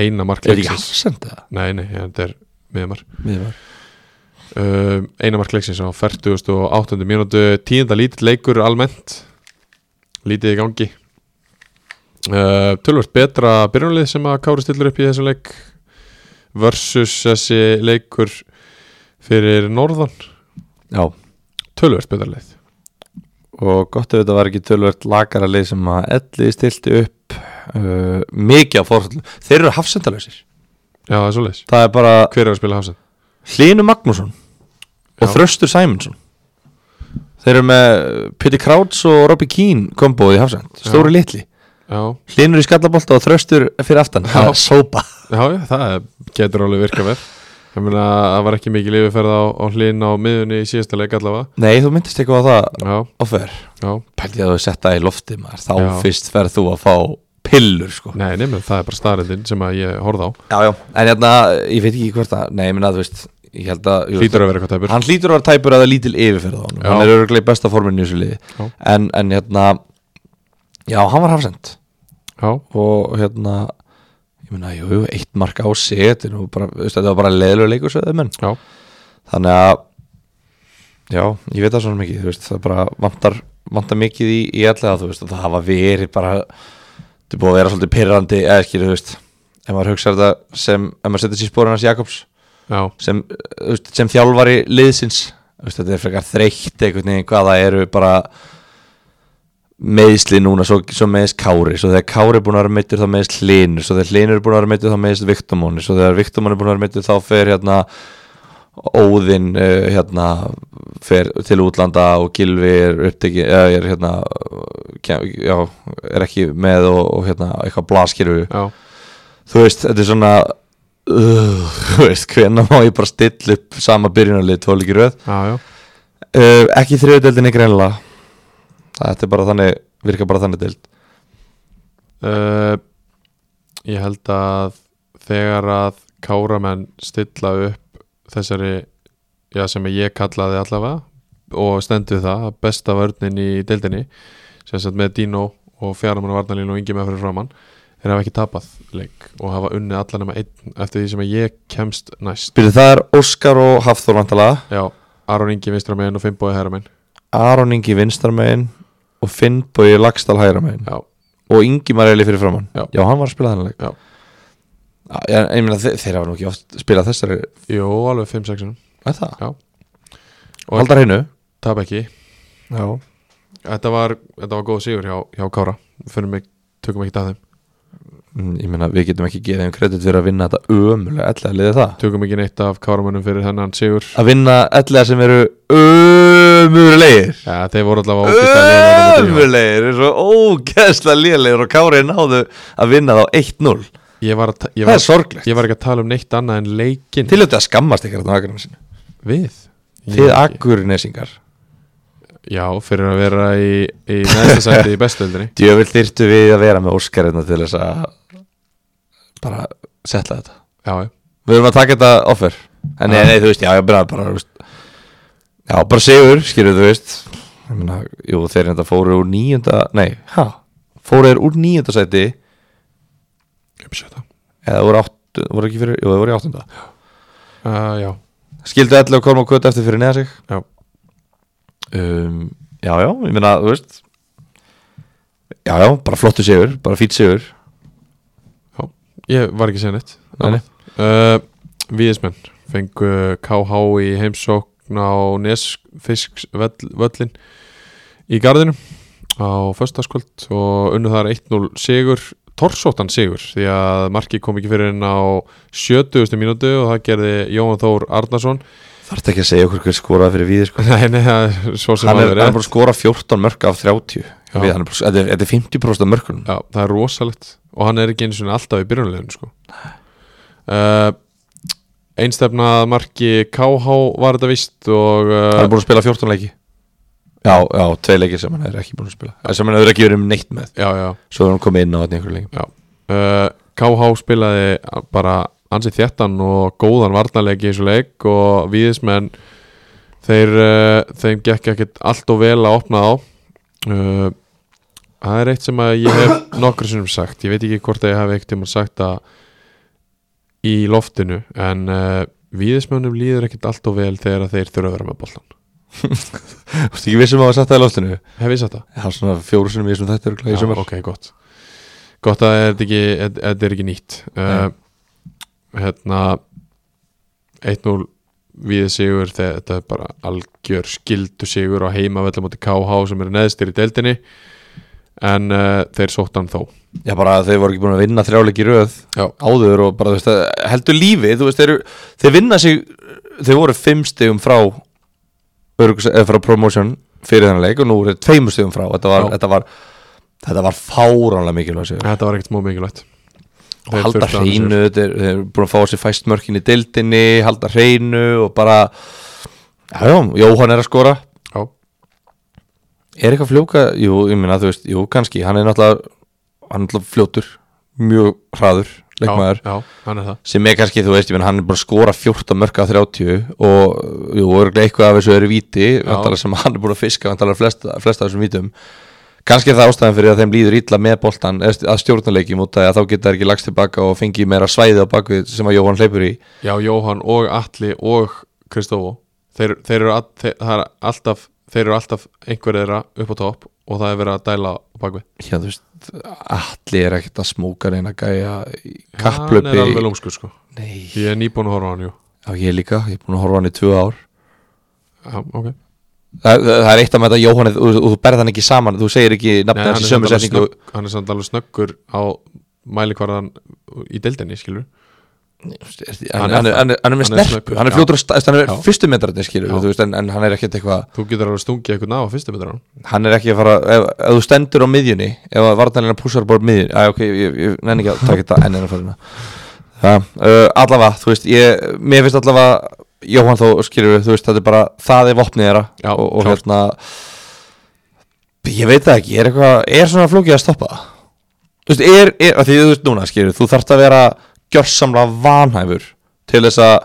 Speaker 2: eina mark
Speaker 3: Er ekki
Speaker 2: leiksins
Speaker 3: hafsend það?
Speaker 2: Nei, nei, ja, þetta er miðmar
Speaker 3: Miðvar.
Speaker 2: uh, Eina mark leiksins á 40 og 8. mínútu tíunda lítill leikur almennt lítið í gangi uh, Tölvöld betra byrjunlið sem að Kári stillur upp í þessum leik versus þessi leikur fyrir Norðan
Speaker 3: Já,
Speaker 2: tölvöld betra leið
Speaker 3: og gott ef þetta var ekki tölvöld lagara lið sem að elli stilti upp uh, mikið á fórhaldu þeir eru hafsendalausir,
Speaker 2: Já, það er svoleiðis.
Speaker 3: það er bara
Speaker 2: Hver er að spila hafsend?
Speaker 3: Hlynur Magnússon og
Speaker 2: Já.
Speaker 3: Þröstur Sæmundsson þeir eru með Pitti Krauts og Robby Keane komboð í hafsend, stóri litli
Speaker 2: Já,
Speaker 3: Hlinur í skallabolta og þröstur fyrir aftan
Speaker 2: Það
Speaker 3: Sópa
Speaker 2: já, já, það er- getur alveg virkað vel. Ég meina, það var ekki mikil yfirferð á, á hlinn á miðunni í síðasta leik allavega
Speaker 3: Nei, þú myndist eitthvað á það
Speaker 2: Já,
Speaker 3: á fer
Speaker 2: já,
Speaker 3: Pældi að þú sett það í lofti maður Þá
Speaker 2: Já.
Speaker 3: fyrst ferð þú að fá pillur sko
Speaker 2: nei, nefnum, það er bara staðrendin sem að ég horfði á
Speaker 3: Já, já, en hérna, ég veit ekki hvort að Nei, ég minna, þú veist, ég held að jú,
Speaker 2: Hlýtur að vera eitthvað tæpur
Speaker 3: Hann hlýtur að vera tæpur að það er lítil yfirferð á honum
Speaker 2: Já.
Speaker 3: Hann er örglega í besta forminu í þessu liði
Speaker 2: Já.
Speaker 3: en, en hérna, já, hann var hafsend
Speaker 2: Já,
Speaker 3: Og hérna, ég minna, jú, jú, eitt mark á sig Þetta er nú bara, þú veist, þetta var bara leðilega leikur Sveðið menn
Speaker 2: já,
Speaker 3: þannig að já, ég veit það svona mikið, þú veist það bara vantar, vantar mikið í, í allega þú veist, og það hafa verið bara það er búið að vera svolítið pyrrandi eða ekki, þú veist, ef maður hugsa þetta sem, ef maður setur sér spórin hans Jakobs
Speaker 2: já,
Speaker 3: sem, eh, þú veist, sem þjálfari liðsins, þú veist, þetta er frekar þreytt einhvern veginn hvað það eru bara meðsli núna svo, svo meðist Kári, svo þegar Kári er búin að vera meittur þá meðist Hlinur, svo þegar Hlinur er búin að vera meittur þá meðist Viktamóni, svo þegar Viktamóni er búin að vera meittur þá fer hérna Óðinn uh, hérna fer til útlanda og Gilvi er upptekið, eða er hérna kem, já, er ekki með og, og hérna eitthvað blaskiru
Speaker 2: já
Speaker 3: þú veist, þetta er svona uh, þú veist, hvenna má ég bara stilla upp sama byrjunarlið tólíki röð
Speaker 2: Já, já,
Speaker 3: uh, ekki þriðudeldinni greinlega þetta er bara þannig, virka bara þannig deild
Speaker 2: uh, Ég held að þegar að káramenn stilla upp þessari já, sem ég kallaði allavega og stendur það, besta vörnin í deildinni, sem sagt með Dino og fjármann varnalínu og yngi með fyrir framann þeir hafa ekki tapað leik og hafa unnið allan nema einn eftir því sem að ég kemst næst
Speaker 3: byrju það er Óskar og Hafþór vantalega
Speaker 2: Já, Aron Ingi vinstra megin og Finnbói hæra megin
Speaker 3: Aron Ingi vinstar megin og Finnbói Lagstall hægra megin
Speaker 2: Já,
Speaker 3: og Ingi Marelli fyrir framann
Speaker 2: Já.
Speaker 3: hann var að spila þannig
Speaker 2: Já.
Speaker 3: Já, ég meina þe þeir hafa nú ekki oft spilað þessari
Speaker 2: jú, alveg 5-6
Speaker 3: er það?
Speaker 2: Já.
Speaker 3: og Haldar hreinu
Speaker 2: Tap ekki
Speaker 3: Já.
Speaker 2: Þetta var, þetta var góð sigur hjá, hjá Kára Fyrir mig, tökum ekki að þeim
Speaker 3: Mm, ég meina við getum ekki gefið þeim kredit fyrir að vinna þetta ömulega ellega liðið það
Speaker 2: Tökum ekki neitt af Káramönnum fyrir hennan sigur
Speaker 3: að vinna ellega sem eru ömulegir
Speaker 2: Já, þeir voru allavega ógeðslega lélegir á móti hjá.
Speaker 3: ömulegir er svo ógeðslega lélegir og Kári náðu að vinna þá 1-0
Speaker 2: Ég var, að ta- ég,
Speaker 3: það
Speaker 2: var,
Speaker 3: er sorglegt
Speaker 2: ég var ekki að tala um neitt annað en leikin
Speaker 3: til þetta skammast ykkar þarna á Akurnesinu
Speaker 2: Við
Speaker 3: þið
Speaker 2: Ég-
Speaker 3: Akurnesingar
Speaker 2: Já, fyrir að vera í, í næsta sæti í bestöldinni
Speaker 3: djöfell þyrtu við að vera með Óskarina til þess að bara setla þetta
Speaker 2: Já, já,
Speaker 3: við erum að taka þetta offer en nei,
Speaker 2: Ah.
Speaker 3: nei, þú veist, já, ég bara, bara þú veist, já, bara sigur, skilur þú veist ég meina, jú, þeir reynda fóru úr nýjunda, nei, hæ fóru þeir úr nýjunda sæti
Speaker 2: uppsjöta
Speaker 3: eða voru átt, voru ekki fyrir, jú, þeir voru í áttunda
Speaker 2: uh, Já,
Speaker 3: skildu allir að koma og kvöta eftir fyrir neða sig
Speaker 2: já,
Speaker 3: um, já, já, ég meina, þú veist já, já, bara flottu sigur bara fýtt sigur
Speaker 2: já Ég var ekki að segja neitt
Speaker 3: Nei, nei.
Speaker 2: uh, Víðismenn fengu KH í heimsókn á Nesfisksvöllin í Garðinu á föstaskvöld og unnu þar 1-0 sigur Torsóttan sigur því að marki kom ekki fyrir henn á 70. mínútu og það gerði Jóhann Þór Arnason
Speaker 3: þarf ekki að segja okkur hver skoraði fyrir víði sko.
Speaker 2: Nei, nei, það er svo sem
Speaker 3: hann er,
Speaker 2: áður
Speaker 3: hann er bara að skora 14 mörg af 30
Speaker 2: Já.
Speaker 3: Við, hann er bara, þetta er- þetta er 50% af mörkunum
Speaker 2: Já, það er rosalegt og hann er ekki eins og alltaf í byrjunleginu sko. uh, Einstefnað marki KH var þetta vist og
Speaker 3: Hann
Speaker 2: uh,
Speaker 3: er búin að spila 14 leiki Já, já, tvei leiki sem hann er ekki búin að spila Eh, sem hann hefur ekki verið um neitt með
Speaker 2: já, já,
Speaker 3: Svo er hann komið inn á þetta í einhverju leiki
Speaker 2: já. Uh, KH spilaði bara ansið þjættan og góðan varnarleik í þessu leik og viðismenn þeir, uh, þeim gekk ekkert allt og vel að opna á uh, það er eitt sem að ég hef nokkur sinnum sagt ég veit ekki hvort að ég hef eitt um að sagt að í loftinu en uh, viðismennum líður ekkert allt og vel þegar að þeir þurfa að vera með boltan
Speaker 3: Þú veist ekki vissum að hafa satt það í loftinu
Speaker 2: hef ég sagt það?
Speaker 3: Það er svona fjóru sinum í þessum þetta eru
Speaker 2: Já,
Speaker 3: klæði
Speaker 2: ok, gott gott að þetta ekki, að- að þetta er ekki nýtt uh, hérna 1-0 við sigur, þe- þetta er bara algjör skildu sigur á heima vella móti KH sem eru neðstir í deildinni en uh, þeir sótt hann þó
Speaker 3: Já, bara að þeir voru ekki búin að vinna þrjáleiki í röð
Speaker 2: Já.
Speaker 3: áður og bara, þú veist, að heldur lífi þú veist, þeir, eru- þeir vinna sig þeir voru fimm stegum frá örugs, eða frá promotion fyrir þennan leik og nú voru þeir tveimur stegum frá þetta var,
Speaker 2: Já.
Speaker 3: þetta var, þetta var fáránlega mikilvæg sigur
Speaker 2: þetta var ekkert smó mikilvægt
Speaker 3: og halda
Speaker 2: þurftu að hafa
Speaker 3: hreinu, þeir þeir eru búin að fá sér fæstmörkin í deildinni halda hreinu og bara já, já, Jóhann er að skora
Speaker 2: Já,
Speaker 3: er eitthvað fljóka, jú, ég minna, þú veist jú, kannski, hann er náttúrulega hann er náttúrulega fljótur, mjög hraður leikmaður,
Speaker 2: já, já, hann er það
Speaker 3: sem er kannski, þú veist, ég minna, hann er búin að skora 14 mörka 30 og, jú, örglega eitthvað af þessu eru víti, vantarlega sem hann er búin að fiska vantarlega flest, flest af þessum vítum kannski er það ástæðan fyrir að þeim líður illa með boltan eða st- að stjórnuleikjum út af því að þá geta þær ekki lagst tilbaka og fengi meira svæði á bakvið sem að Jóhann hleypur í
Speaker 2: Já, Jóhann og Atli og Kristofó þeir, þeir eru, all, þeir, það er alltaf þeir eru alltaf einhverjir þeirra upp á topp og það er verið að dæla á bakvið
Speaker 3: já, Hérna, þú veist, allir er ekkert að smóka reyna gæja í
Speaker 2: Hann er alveg
Speaker 3: kapplöpi
Speaker 2: lúmskur sko
Speaker 3: nei,
Speaker 2: Ég er nýbúin að horfa á hann, jú
Speaker 3: já, ég líka, ég er búin að horfa á hann í tvö ár
Speaker 2: Já, ok
Speaker 3: það, það það er eitt að með þetta Jóhann og þú- og þú berð hann ekki saman, þú segir ekki
Speaker 2: Nei,
Speaker 3: nafnið
Speaker 2: hann, er
Speaker 3: hans í
Speaker 2: samt
Speaker 3: sömu
Speaker 2: alveg
Speaker 3: setningu
Speaker 2: snögg, hann er samt alveg snöggur á mælikvarðan í deildinni, skilur
Speaker 3: hann, hann, hann, hann er með
Speaker 2: Hann er
Speaker 3: snerpu,
Speaker 2: snöggur,
Speaker 3: hann er
Speaker 2: já.
Speaker 3: fljótur að staðist, hann er
Speaker 2: Já.
Speaker 3: fyrstu metrarnir skilur,
Speaker 2: Já.
Speaker 3: þú veist, en, en hann er ekkert eitthvað
Speaker 2: Þú getur alveg stungið eitthvað ná á fyrstu betra hann
Speaker 3: hann er ekki að fara, ef, ef þú stendur á miðjunni ef að vartanlega púsar bara upp miðjunni að ok, ég, ég nenni ekki að taka þetta enn enn að fara hérna. það, uh, allavega, þú veist ég, mér finnst allavega Jóhann þó skilur við, þú veist, þetta er bara það er vopnið þeirra
Speaker 2: Já,
Speaker 3: og, og
Speaker 2: klárt.
Speaker 3: hérna ég veit það ekki, er eitthvað er svona flókið að stoppa það þú veist, er, er, að því þú veist núna skilur þú þarft að vera gjörsamlega vanhæfur til þess að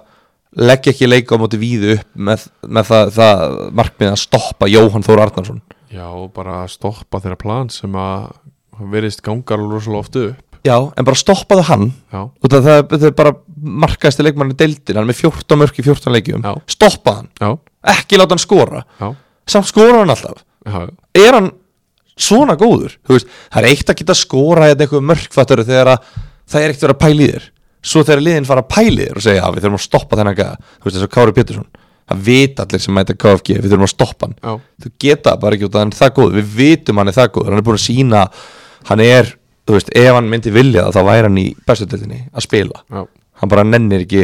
Speaker 3: leggja ekki leika á móti víðu upp með, með það, það markmið að stoppa Jóhann Þór Arnarsson
Speaker 2: Já, og bara að stoppa þeirra plan sem að verðist gangar rosalega oft upp
Speaker 3: Já, en bara stoppaðu hann
Speaker 2: Já,
Speaker 3: út af það, það er bara markaðist leikmann í deildin, hann er með 14 mörk í 14 leikjum
Speaker 2: Já.
Speaker 3: stoppaðu hann,
Speaker 2: já,
Speaker 3: ekki láta hann skora
Speaker 2: já,
Speaker 3: samt skora hann alltaf
Speaker 2: já,
Speaker 3: er hann svona góður Þú veist, það er eitt að geta skora eða eitthvað mörkfattur þegar að það er eitt að vera að pæla í þér svo þegar liðin fara að pæla í þér og segja að við þurfum að stoppa þennan gæða þú veist þess að Kári Pétursson það vit allir sem mæta KFG, við þurfum að stoppa hann
Speaker 2: já,
Speaker 3: þú geta það bara ekki út að hann er það góð við vitum hann er það góð, hann er búin að sína hann er, þú veist, ef hann myndi vilja það þá væri hann í bestudeldinni að spila
Speaker 2: já.
Speaker 3: hann bara nennir ekki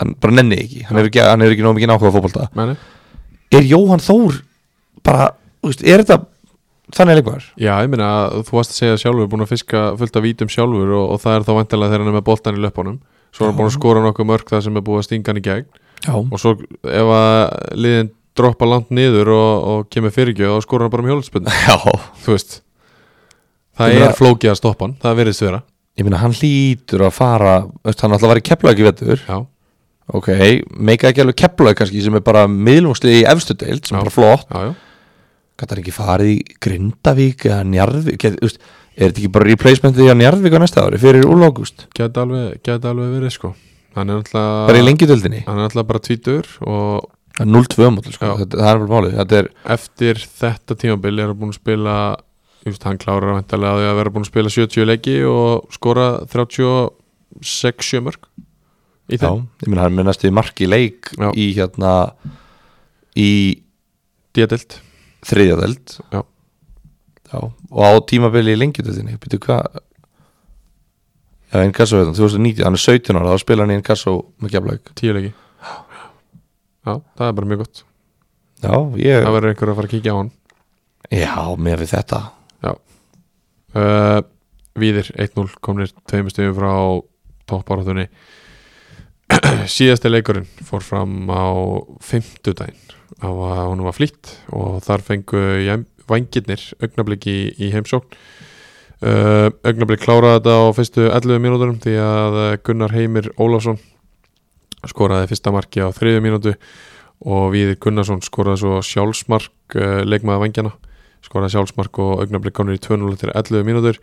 Speaker 3: hann bara nennir ekki, hann er ekki, hann er ekki nóg mikið nákvæða fótbolta
Speaker 2: Meni?
Speaker 3: er Jóhann Þór bara, þú veist, er þetta þannig leikmaður?
Speaker 2: Já, ég meina að þú varst að segja sjálfur búin að fiska fullt af vítum sjálfur og, og það er þá vantilega þegar hann er með boltan í löpunum svo er hann búin að skora nokkuð mörg það sem er búið að stinga hann í gegn
Speaker 3: Já,
Speaker 2: og svo ef að liðin droppa langt niður og, og kemur fyrirgjöð og skora hann bara með hjólspilna
Speaker 3: já
Speaker 2: þú veist það
Speaker 3: Ég meina-
Speaker 2: er flókið að stoppa hann, það verðist vera
Speaker 3: ég meina hann hlýtur að fara þú veist, hann alltaf var í kepplaug í vetur
Speaker 2: já,
Speaker 3: ok, meika ekki alveg kepplaug kannski sem er bara miðlungslið í efstu deild sem
Speaker 2: Já.
Speaker 3: er bara flott
Speaker 2: já, já,
Speaker 3: Gat hann ekki farið í Grindavík eða Njarðvík get, úst, Er þetta ekki bara replacementið í Njarðvík á næsta ári fyrir úr ágúst?
Speaker 2: geta alveg, geta alveg verið sko hann er
Speaker 3: Bara í
Speaker 2: náttúrulega
Speaker 3: lengjutöldinni
Speaker 2: hann er náttúrulega bara tvítur og
Speaker 3: 0-2 mótil sko.
Speaker 2: Já.
Speaker 3: þetta, Það er bara málið Þetta er
Speaker 2: eftir þetta tímabil er hann búin að spila just, hann klárar vantarlega að því að vera búin að spila 70 leiki og skora 36 mörg í
Speaker 3: já,
Speaker 2: þeim
Speaker 3: Ég meina hann minnast í marki leik
Speaker 2: Já.
Speaker 3: í hérna í
Speaker 2: díadelt
Speaker 3: þriðjadeld
Speaker 2: Já.
Speaker 3: já Og á tímabili í lengjutöldinni Býtu hvað Já, Inkasso hérna, 2019, hann er 17 ára þá spila hann í Inkasso með Keflavík
Speaker 2: 10 leiki já, það er bara mjög gott
Speaker 3: Já, ég
Speaker 2: það verður einhver að fara að kíkja á hann
Speaker 3: Já, með við þetta
Speaker 2: uh, Víðir 1-0 komnir tveimur stöðum frá topparátunni síðasti leikurinn fór fram á fimmtudaginn á að hún var flýtt og þar fengu jæm- vængirnir augnablik í, í heimsókn uh, augnablik kláraði þetta á fyrstu 11 mínúturum því að Gunnar Heimir Ólafsson skoraði fyrsta marki á þriðu mínútu og Víðir Gunnarsson skoraði svo sjálfsmark uh, leikmaði vangjana skoraði sjálfsmark og augnablik konur í 2-0 til 11 mínútur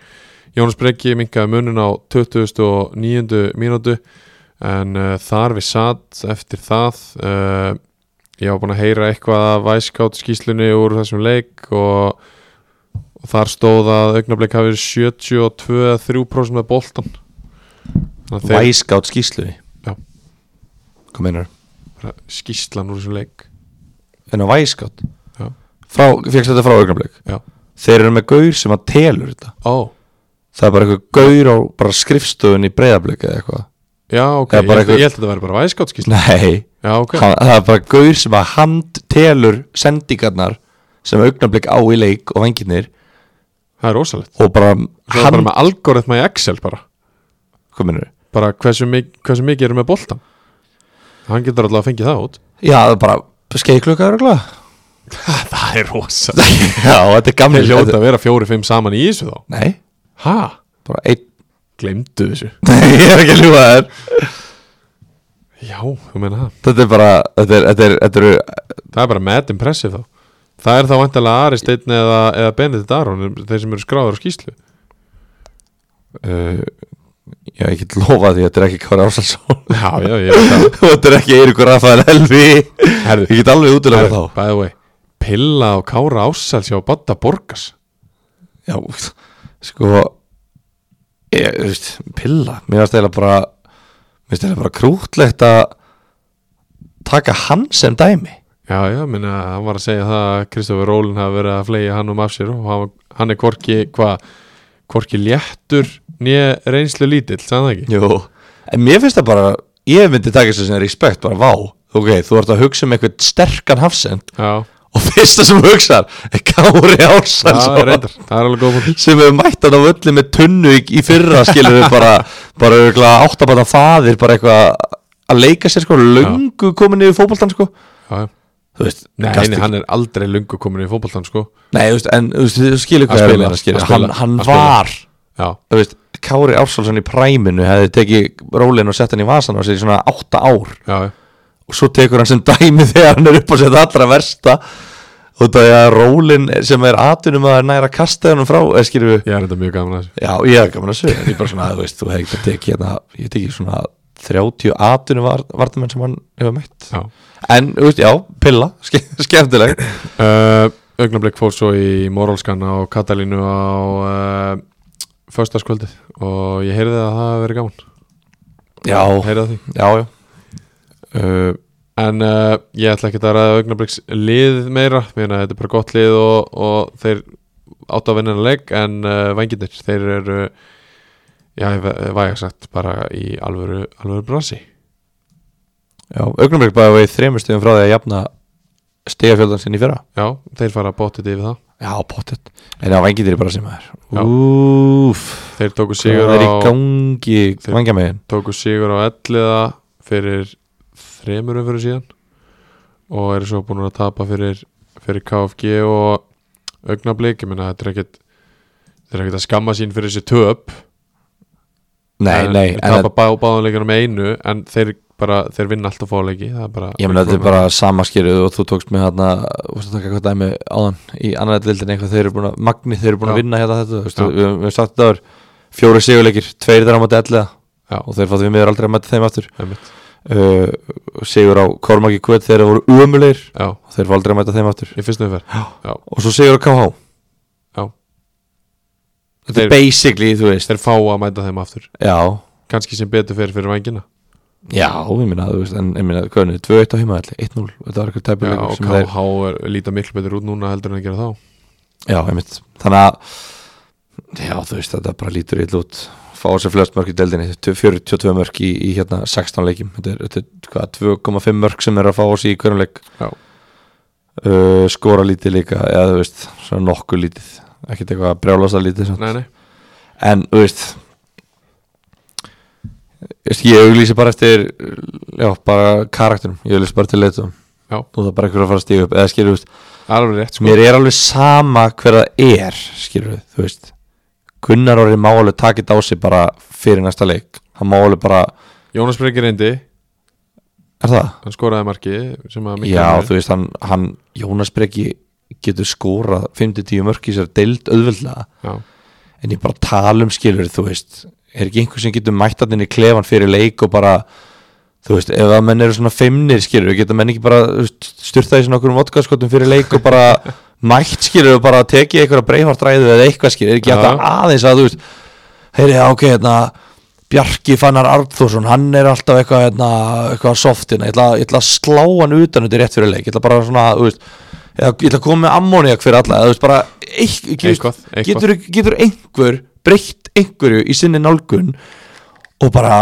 Speaker 2: Jónas Breki minkaði munin á 29. mínútu en uh, þar við satt eftir það uh, ég var búin að heyra eitthvað af væskátt skýslunni úr þessum leik og, og þar stóð að augnablik hafi 72-3% með boltan Þannig að þeir-
Speaker 3: Væskátt skýsluði
Speaker 2: Já.
Speaker 3: Hvað meinar?
Speaker 2: bara skýslan úr þessum leik
Speaker 3: En á væskátt
Speaker 2: Já.
Speaker 3: frá, Fékkst þetta frá augnablik
Speaker 2: Já.
Speaker 3: Þeir eru með gaur sem að telur þetta
Speaker 2: Ó,
Speaker 3: Það er bara eitthvað gaur á bara skrifstöðun í breyðablik eða eitthvað
Speaker 2: já ok,
Speaker 3: Það
Speaker 2: ég
Speaker 3: er
Speaker 2: held,
Speaker 3: bara eitthvað-
Speaker 2: ég held að þetta væri bara væskátt skýslan
Speaker 3: Nei,
Speaker 2: Já ok,
Speaker 3: hann, það er bara gaur sem að hand telur sendingarnar sem augnablik á í leik og venginir
Speaker 2: það er rosalegt
Speaker 3: og bara
Speaker 2: Það er bara
Speaker 3: hann,
Speaker 2: með algoritma í Excel bara
Speaker 3: hvað minnur
Speaker 2: bara hversu, mik hversu mikið eru með boltan hann getur alltaf að fengi það út
Speaker 3: já, það er bara skeiklukka örugglega.
Speaker 2: það er rosa
Speaker 3: já, þetta er gamli
Speaker 2: þeir hljóta að vera fjóri-fimm saman í þessu þá
Speaker 3: nei,
Speaker 2: ha,
Speaker 3: bara einn
Speaker 2: glemdu þessu
Speaker 3: nei, ég er ekki að ljúga þér
Speaker 2: já, þú meina það
Speaker 3: þetta er bara, þetta er, þetta er, þetta er
Speaker 2: það er bara mad impressive þá það er þá vantilega Ari Steinn eða, eða Benedikt Aron þeir sem eru skráður á skýslu
Speaker 3: uh, já, ég get lofa því þetta er ekki Kári Ásalsson
Speaker 2: já, já, já, já.
Speaker 3: og þetta er ekki Eiríkur Rafael Elvi
Speaker 2: Herðu.
Speaker 3: ég get alveg útilega
Speaker 2: Herru,
Speaker 3: þá
Speaker 2: by the way Pilla og Kára Ássals hjá Badda Borgas
Speaker 3: já, sko ég, þú veist, pilla mér varst eiginlega bara mér varst eiginlega bara krútlegt að taka hann sem dæmi
Speaker 2: Já, já, minna, hann var að segja það að Kristofur Rólin hafi verið að flega hann um af sér og hann, hann er hvorki, hvað, hvorki léttur nýja reynslu lítill, sagði það ekki?
Speaker 3: Jú. en mér finnst það bara ég myndi taka þessu sem respekt bara vá ok, þú ert að hugsa um eitthvað sterkan hafsend
Speaker 2: Já,
Speaker 3: og fyrsta sem þú hugsar er Kári
Speaker 2: það er
Speaker 3: Ársænsson
Speaker 2: reyndar, það er alveg góð fólk.
Speaker 3: sem hefur mætt hann á völlu með tunnu í, í fyrra skilur við bara bara örgulega áttabata faðir bara eitthvað að leika sér sko löngu komin yfir fótboltan sko
Speaker 2: Já, já.
Speaker 3: þú veist,
Speaker 2: Nei,
Speaker 3: gastu
Speaker 2: nei, hann er aldrei lungu komin í fótboltan, sko.
Speaker 3: Nei, þú veist, en þú veist, þú skilur hvað
Speaker 2: Að
Speaker 3: ég er
Speaker 2: spila,
Speaker 3: að meina, skilur
Speaker 2: að
Speaker 3: Hann,
Speaker 2: spila,
Speaker 3: hann
Speaker 2: að spila.
Speaker 3: var,
Speaker 2: Já,
Speaker 3: þú veist, Kári Ársálsson í præminu hefði tekið rólinn og sett hann í vasan og sér í svona átta ár
Speaker 2: já, já.
Speaker 3: og svo tekur hann sem dæmi þegar hann er upp á sér allra versta og það er að rólinn sem er atunum að næra kasta hann frá, eða skilur við
Speaker 2: Ég er þetta mjög gaman að þessu.
Speaker 3: Já, ég er gaman að segja, en ég bara svona, þú veist, þú hefði ekki tekið hérna, ég tekið svona 30 atunum vartamenn sem hann hefur mætt
Speaker 2: Já.
Speaker 3: En, þú veist, já, pilla, ske, skemmtileg
Speaker 2: Uh, augnablik fór svo í morálskan á Katalínu á uh, föstaskvöldið og ég heyrði að það hafi verið gaman.
Speaker 3: Já,
Speaker 2: Heyrði að því.
Speaker 3: já, já
Speaker 2: uh, En uh, ég ætla ekki að ræða augnabliks lið meira Mér að þetta er bara gott lið og, og þeir áttu að vinna hennar leik En uh, vangirnir, þeir eru Já, ég væ- væg að sagt bara í alvöru, alvöru brasi
Speaker 3: Já, augnumrygg bara við þremur stöðum frá því að jafna stegafjöldan sinni í fyrra
Speaker 2: Já, þeir fara bóttið yfir það
Speaker 3: Já, pottet En það vangið þeir bara sem það
Speaker 2: Já.
Speaker 3: er Úf
Speaker 2: Þeir tóku
Speaker 3: Það
Speaker 2: sigur
Speaker 3: er í
Speaker 2: á,
Speaker 3: gangi
Speaker 2: Þeir-
Speaker 3: vangja megin
Speaker 2: tóku sigur á elliða fyrir þremur umfyrir síðan og eru svo búin að tapa fyrir, fyrir KFG og augnablik, ég meina þetta er ekkit þetta er ekkit að skamma sín fyrir þessi töp
Speaker 3: Nei,
Speaker 2: en,
Speaker 3: nei
Speaker 2: en
Speaker 3: en,
Speaker 2: tapa bá, báðanleikinu með einu en þeir bara, þeir vinna alltaf fáleiki það er bara
Speaker 3: Ég meina þetta er bara samaskýrið og þú tókst með þarna þú veist að taka eitthvað dæmi áðan í annar dildin eitthvað þeir eru búin að Magni þeir eru búin að
Speaker 2: Já.
Speaker 3: vinna hérna þetta þú veist,
Speaker 2: Já.
Speaker 3: við við höfum sagt þetta var fjóri sigurleikir tveir þeirra á móti elliða
Speaker 2: Já.
Speaker 3: og þeir fáttu við miður aldrei að mæta þeim aftur
Speaker 2: Einmitt.
Speaker 3: uh, sigur á Kormaki Kvöt þeir voru umulir
Speaker 2: já,
Speaker 3: og þeir fá aldrei að mæta þeim aftur
Speaker 2: í fyrstu umferð já,
Speaker 3: og svo sigur á KH
Speaker 2: já.
Speaker 3: Þetta er basically, þú veist
Speaker 2: þeir fá að mæta þeim aftur
Speaker 3: Já,
Speaker 2: kannski sem betur fyrir fyrir vængina
Speaker 3: já, ég minna, þú veist En ég minna, hvernig, 2-1 á heimaðalli, 1-0 Þetta
Speaker 2: já,
Speaker 3: var eitthvað
Speaker 2: og
Speaker 3: tæpulegur sem þeir
Speaker 2: KH er, líta miklu betur út núna heldur en að gera þá
Speaker 3: Já, einmitt, þannig að Já, þú veist, þetta bara lítur illa út Fá sér flest mörg í deldinni 42 mörg í, í hérna 16 leikjum Þetta er, þetta er hvað, 2,5 mörg sem er að fá sér í hverjum leik
Speaker 2: já,
Speaker 3: uh, Skora lítið líka, eða þú veist Svona nokkuð lítið, ekkert eitthvað að brjálasta lítið samt.
Speaker 2: nei, nei,
Speaker 3: En, þú veist þú veist, Ég auglýsi bara eftir Já, bara karakterum Ég auglýsi bara til leitum
Speaker 2: já,
Speaker 3: og það er bara einhver að fara að stíga upp eða skilur, þú veist,
Speaker 2: alveg rétt sko
Speaker 3: mér er alveg sama hver það er, skilur við, þú veist Gunnar orðið má alveg taka þetta á sig bara fyrir næsta leik hann má alveg bara,
Speaker 2: Jónas Breki reyndi,
Speaker 3: er það?
Speaker 2: hann skoraði marki sem að miklu
Speaker 3: Já,
Speaker 2: munar.
Speaker 3: þú veist, hann, hann Jónas Breki getur skorað 5-10 mörk í sér deild auðveldlega
Speaker 2: já,
Speaker 3: en ég bara tala um skilur, þú veist er ekki einhver sem getur mætt hann inn í klefan fyrir leik og bara, þú veist ef að menn eru svona feimnir skilur, geta menn ekki bara þú veist, styrta í svona okkur vodkaskotum fyrir leik og bara mætt skilur og bara tekið einhverja breyfartræðu eða eitthvað skilur, er ekki hægt að aðeins að þú veist, heyri, já, ok, hérna Bjarki Fannar Arnþórsson, hann er alltaf eitthvað, hérna, eitthvað softina ég ætla, ég ætla að slá hann utan undir rétt fyrir leik ég ætla bara svona, þú veist eða, ég ætla að koma með ammóniak fyrir alla eða, þú veist, bara, eik,
Speaker 2: Eitthvað, eitthvað.
Speaker 3: Getur, getur, getur einhver breytt einhverju í sinni nálgun og bara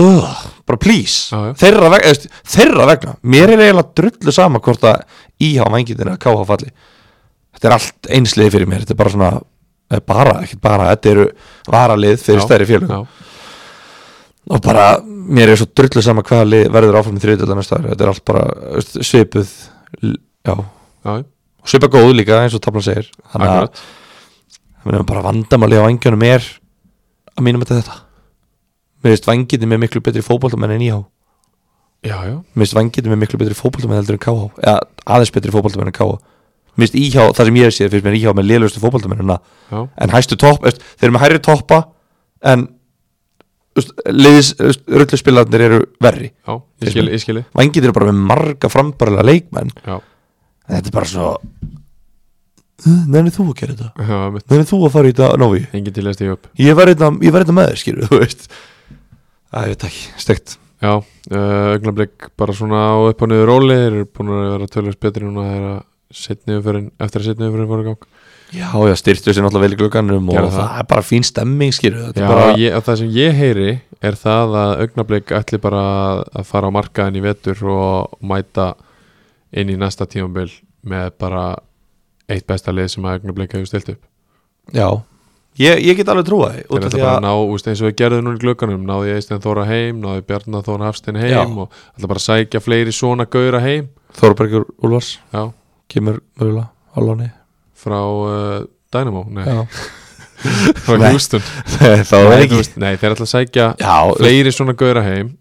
Speaker 3: uh, bara please
Speaker 2: Já, já.
Speaker 3: Þeirra, veg, eðst, þeirra vegna mér er eiginlega drullu sama hvort að íhá mængitina að káha falli þetta er allt einsliði fyrir mér þetta er bara svona eh, bara, ekkert bara, þetta eru varalið fyrir
Speaker 2: Já,
Speaker 3: stærri félög
Speaker 2: já.
Speaker 3: og bara, mér er svo drullu sama hvaða lið verður áfram í þriðutöldar næsta ári þetta er allt bara þú veist, svipuð l- já,
Speaker 2: já,
Speaker 3: og svipað góð líka eins og tablan segir þannig að
Speaker 2: akkurat
Speaker 3: það er bara vandamáli á vangjónum er að mínum þetta þetta mér veist vangjiti með miklu betri fótboltamenn en íhá mér
Speaker 2: Já, já,
Speaker 3: veist vangjiti með miklu betri fótboltamenn heldur en káhá eða aðeins betri fótboltamenn en káhá mér veist íhá, það sem ég hef séð finnst mér íhá með liðlustu fótboltamennina
Speaker 2: já,
Speaker 3: en hæstu topp, veist, þeir eru með hærri toppa en veist, liðis, rulluspilarnir eru verri
Speaker 2: já, ég skil, ég skil
Speaker 3: vangið eru bara með marga frambarilega leikmenn
Speaker 2: Já,
Speaker 3: en þetta er bara svo nefnir þú að gera þetta
Speaker 2: já, mitt
Speaker 3: nefnir þú að fara í þetta Nóvi
Speaker 2: Engin til að stíða upp
Speaker 3: ég var þetta, ég var þetta með þér skilur þú veist að ég veit ekki, stegt
Speaker 2: Já, uh, augnablik bara svona á upp og niður róli Þeir eru búin að vera tölvist betri núna þegar að setni umfyrin, eftir að setni umfyrin fóru í gang
Speaker 3: já, já, styrtu sér náttúrulega vel í glugganum og
Speaker 2: Gerðu
Speaker 3: það.
Speaker 2: það.
Speaker 3: er bara fín stemming skilur þetta
Speaker 2: Já,
Speaker 3: er bara,
Speaker 2: ég, og það sem ég heyri er það að augnablik ætli bara að fara á markaðin í vetur og mæta inn í næsta tímabil með bara eitt besta lið sem að augnablik hefur stilt upp
Speaker 3: já ég, ég get alveg trúa því
Speaker 2: Þeir
Speaker 3: út af
Speaker 2: ætla
Speaker 3: því
Speaker 2: bara hérna. að
Speaker 3: að
Speaker 2: ná, úst, eins og við gerðum núna í glögganum náði Eistein Þóra heim, náði Bjarnar Þóra Hafstein heim
Speaker 3: Já.
Speaker 2: og ætla bara að sækja fleiri svona gauðra heim
Speaker 3: Þorbergur Úlfars
Speaker 2: Já,
Speaker 3: kemur mögulega á láni
Speaker 2: frá uh, Dynamo, nei,
Speaker 3: já,
Speaker 2: frá
Speaker 3: Nei.
Speaker 2: Houston
Speaker 3: þá er
Speaker 2: Nei, þú
Speaker 3: ekki
Speaker 2: veist, nei, þeir ætla að sækja
Speaker 3: já,
Speaker 2: fleiri svona gauðra heim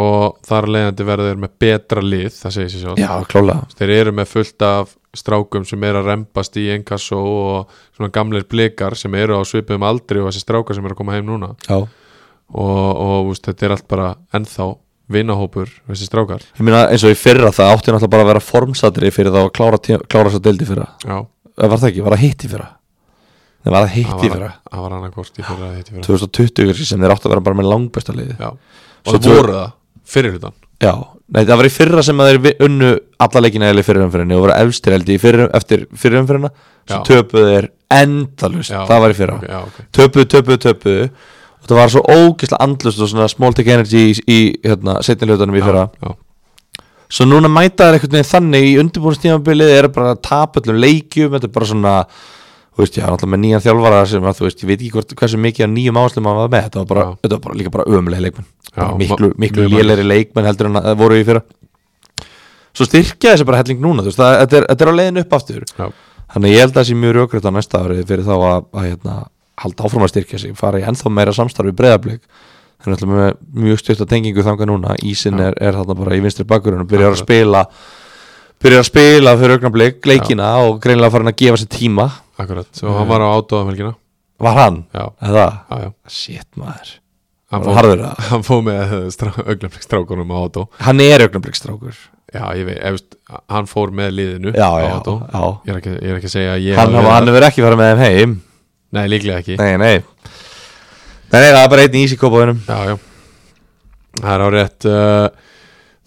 Speaker 2: og þar af leiðandi verður þeir með betra lið, það segir sér sjálf
Speaker 3: já, klálega
Speaker 2: þeir eru með fullt af strákum sem eru að rempast í enkassó og svona gamlir blikar sem eru á svipum aldri og þessi strákar sem eru að koma heim núna
Speaker 3: já.
Speaker 2: og, og úst, þetta er allt bara ennþá vinahópur þessi strákar
Speaker 3: ég meina eins og í fyrra það átti náttúrulega bara að vera formsatri fyrir þá að klára, tí- klára svo deildi fyrra
Speaker 2: Já,
Speaker 3: Eh, var það ekki, var það hitt í fyrra það var það hitt í
Speaker 2: það
Speaker 3: fyrra
Speaker 2: var, það var annarkort í fyrra eða hitt í fyrra
Speaker 3: 2020 kannski, sem þeir átti að vera bara með langbesta liði
Speaker 2: Já, og
Speaker 3: Svo
Speaker 2: það
Speaker 3: tvö-
Speaker 2: voru það fyrir hlutan
Speaker 3: Já, nei, það var í fyrra sem að þeir vi- unnu alla leikina eða í fyrirumfyrinni og voru efstir held ég í fyrir, eftir fyrirumfyrinna svo
Speaker 2: Já.
Speaker 3: töpuðu þeir endalust
Speaker 2: Já.
Speaker 3: það var í fyrra,
Speaker 2: Ok, Já, ok
Speaker 3: töpuðu, töpuðu, töpuðu og það var svo ógeðslega andlust og svona small take energy í, í hérna, setni hlutunum í fyrra
Speaker 2: Já,
Speaker 3: svo núna mæta þeir einhvern veginn þannig í undirbúinstímabilið er bara að tapa öllum leikjum þetta er bara svona þú veist, já, náttúrulega með nýjan þjálfara sem að þú veist, ég veit ekki hvort, hversu mikið af nýjum áherslum hann var með, þetta var bara,
Speaker 2: Já.
Speaker 3: þetta var bara líka bara ömulega leikmenn,
Speaker 2: Já,
Speaker 3: Bara miklu,
Speaker 2: ma-
Speaker 3: miklu
Speaker 2: mjög margir.
Speaker 3: lélegri leikmenn heldur en að það voru í fyrra svo styrkja þessi bara helling núna, þú veist, það, þetta, er, þetta er á leiðin upp aftur,
Speaker 2: já,
Speaker 3: þannig að ég held að það sé mjög rökrætt á næsta ári fyrir þá að, að hérna, halda áfram að styrkja sig, fara í ennþá meira samstarfi breyðablík þannig að náttúrulega með mjög styrta tengingu þangað núna, Ísin
Speaker 2: Já.
Speaker 3: er, er þarna bara í vinstri bakkurinn og byrjar að spila byrjar að spila fyrir augnablik leikina og greinilega farin að gefa sér tíma
Speaker 2: akkurat Og hann var á um átóðamelgina
Speaker 3: var hann,
Speaker 2: Já,
Speaker 3: eða
Speaker 2: já, já
Speaker 3: shit maður,
Speaker 2: Hann
Speaker 3: Var
Speaker 2: fór-
Speaker 3: harður það?
Speaker 2: Hann fóð með augnablikstrákunum á átó
Speaker 3: hann er augnablikstrákur
Speaker 2: Já, ég veit, efst, hann fór með liðinu
Speaker 3: já,
Speaker 2: á
Speaker 3: já,
Speaker 2: Ádó.
Speaker 3: já.
Speaker 2: Ég, er ekki, ég er ekki að segja að ég hafi
Speaker 3: hann, hann,
Speaker 2: verið
Speaker 3: hann
Speaker 2: það.
Speaker 3: verður ekki farið með þeim heim
Speaker 2: Nei, líklega ekki
Speaker 3: nei, nei, nei, nei það er bara einn ís í kópaðunum
Speaker 2: Já, já Það er á rétt uh,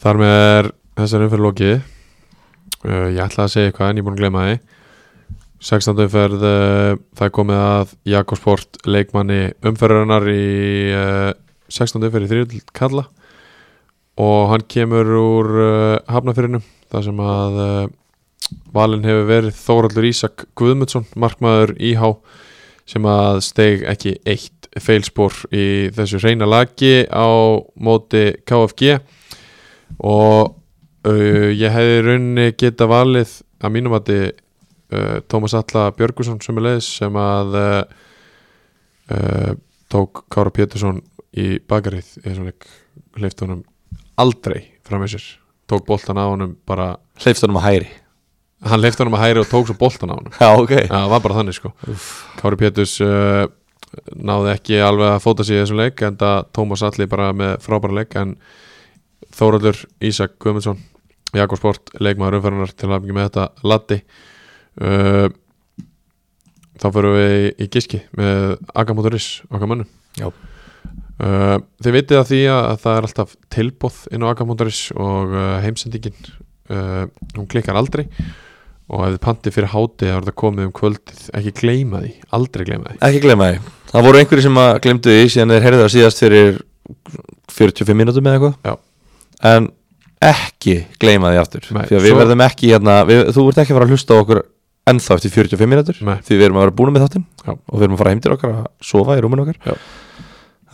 Speaker 2: Þar með er þessar umferð lokið uh, Ég ætla að segja eitthvað en ég er búin að gleyma því 16. umferð uh, Það er komið að Jakobsport leikmanni umferðarinnar í uh, 16. umferð í þriðil kalla og hann kemur úr uh, hafnafyrinu þar sem að uh, valin hefur verið Þóraldur Ísak Guðmundsson markmaður íhá sem að steg ekki eitt feilspor í þessu reyna lagi á móti KFG og uh, ég hefði í rauninni geta valið að mínum að þið uh, Tómas Alla Björgusson sem sem að uh, uh, tók Kára Pétursson í bakarið eins og leik hleyfti honum aldrei fram með sér tók boltan á honum bara
Speaker 3: hleyfst honum að hæri
Speaker 2: hann hleyfti honum að hæri og tók svo boltan á honum
Speaker 3: já, ok,
Speaker 2: Já, það var bara þannig sko Kári Péturs uh, náði ekki alveg að fóta sig í þessum leik en það Tómas Alli bara með frábæra leik en Þóraldur Ísak Guðmundsson Jakob Sport, leikmaður umferðanar til að með þetta Latti uh, Þá fyrir við í, í giski með Agamotoris okkar mönnum
Speaker 3: Já.
Speaker 2: Uh, þið vitið að því að að það er alltaf tilbóð inn á Agamotoris og uh, heimsendingin uh, hún klikkar aldrei og ef þið pantið fyrir háti þá er þetta komið um kvöldið ekki gleyma því, aldrei gleyma því
Speaker 3: ekki gleyma því það voru einhverju sem að glemdu því síðan þeir heyrðu það síðast fyrir 45 mínútum eða eitthvað
Speaker 2: já,
Speaker 3: en ekki gleyma því aftur
Speaker 2: Nei,
Speaker 3: því að við
Speaker 2: svo-
Speaker 3: verðum ekki hérna við, þú ert ekki að fara að hlusta á okkur ennþá eftir 45 mínútur
Speaker 2: Nei.
Speaker 3: því við erum að vera búin með þáttin
Speaker 2: Já.
Speaker 3: og við erum að fara heim til okkar að sofa í rúminu okkar
Speaker 2: Já.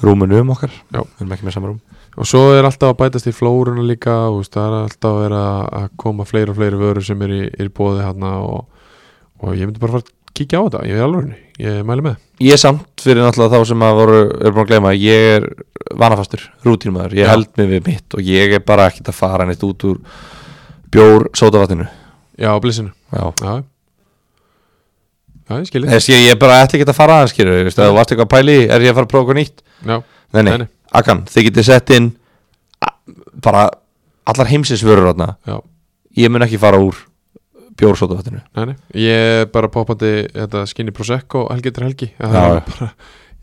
Speaker 3: rúminu um okkar
Speaker 2: Já.
Speaker 3: Við erum ekki með sama rúm
Speaker 2: og svo er alltaf að bætast í flóruna líka þú veist, það er alltaf að vera að koma fleiri og fleiri vörur sem er í, er í bóði hérna og, og ég myndi bara fara að kíkja á þetta ég er alveg, ég mæli með
Speaker 3: Ég samt fyrir náttúrulega þá sem að voru er búin að gleyma, ég er vanafastur rútínmaður, ég
Speaker 2: Já.
Speaker 3: held mig við mitt og ég er bara ekkert að fara neitt út úr bjór sótavatninu
Speaker 2: já, á blissinu,
Speaker 3: Já,
Speaker 2: já já, ég skilji
Speaker 3: þess ég, ég bara ætla ekki að fara aðeins skilur, veist, ef þú varst eitthvað að pæli, í, er ég að fara að prófa eitthvað nýtt
Speaker 2: já,
Speaker 3: Nei, nei,
Speaker 2: Nei, nei.
Speaker 3: Akan, þið getið sett inn a- bara allar heimsins vörur átna,
Speaker 2: já
Speaker 3: ég mun ekki fara úr bjór sótavatninu
Speaker 2: Nei, nei, ég er bara poppandi þetta skinni Prosecco helgi til helgi Það
Speaker 3: Já,
Speaker 2: er
Speaker 3: já.
Speaker 2: bara,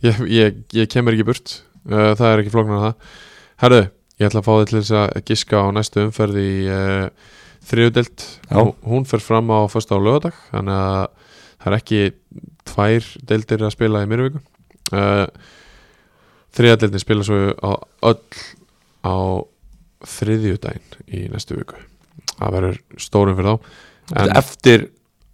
Speaker 2: ég, ég, ég kemur ekki burt uh, það er ekki flóknar en það Herðu, ég ætla að fá þið til þess að giska á næstu umferð í uh, þriðudelt
Speaker 3: Já.
Speaker 2: hún fer fram á fyrsta á lögadag þannig að það er ekki tvær deildir að spila í myrvíku uh, þriðadeildin spila svo á öll á þriðjudaginn í næstu viku það verður stórum fyrir þá en
Speaker 3: Eftir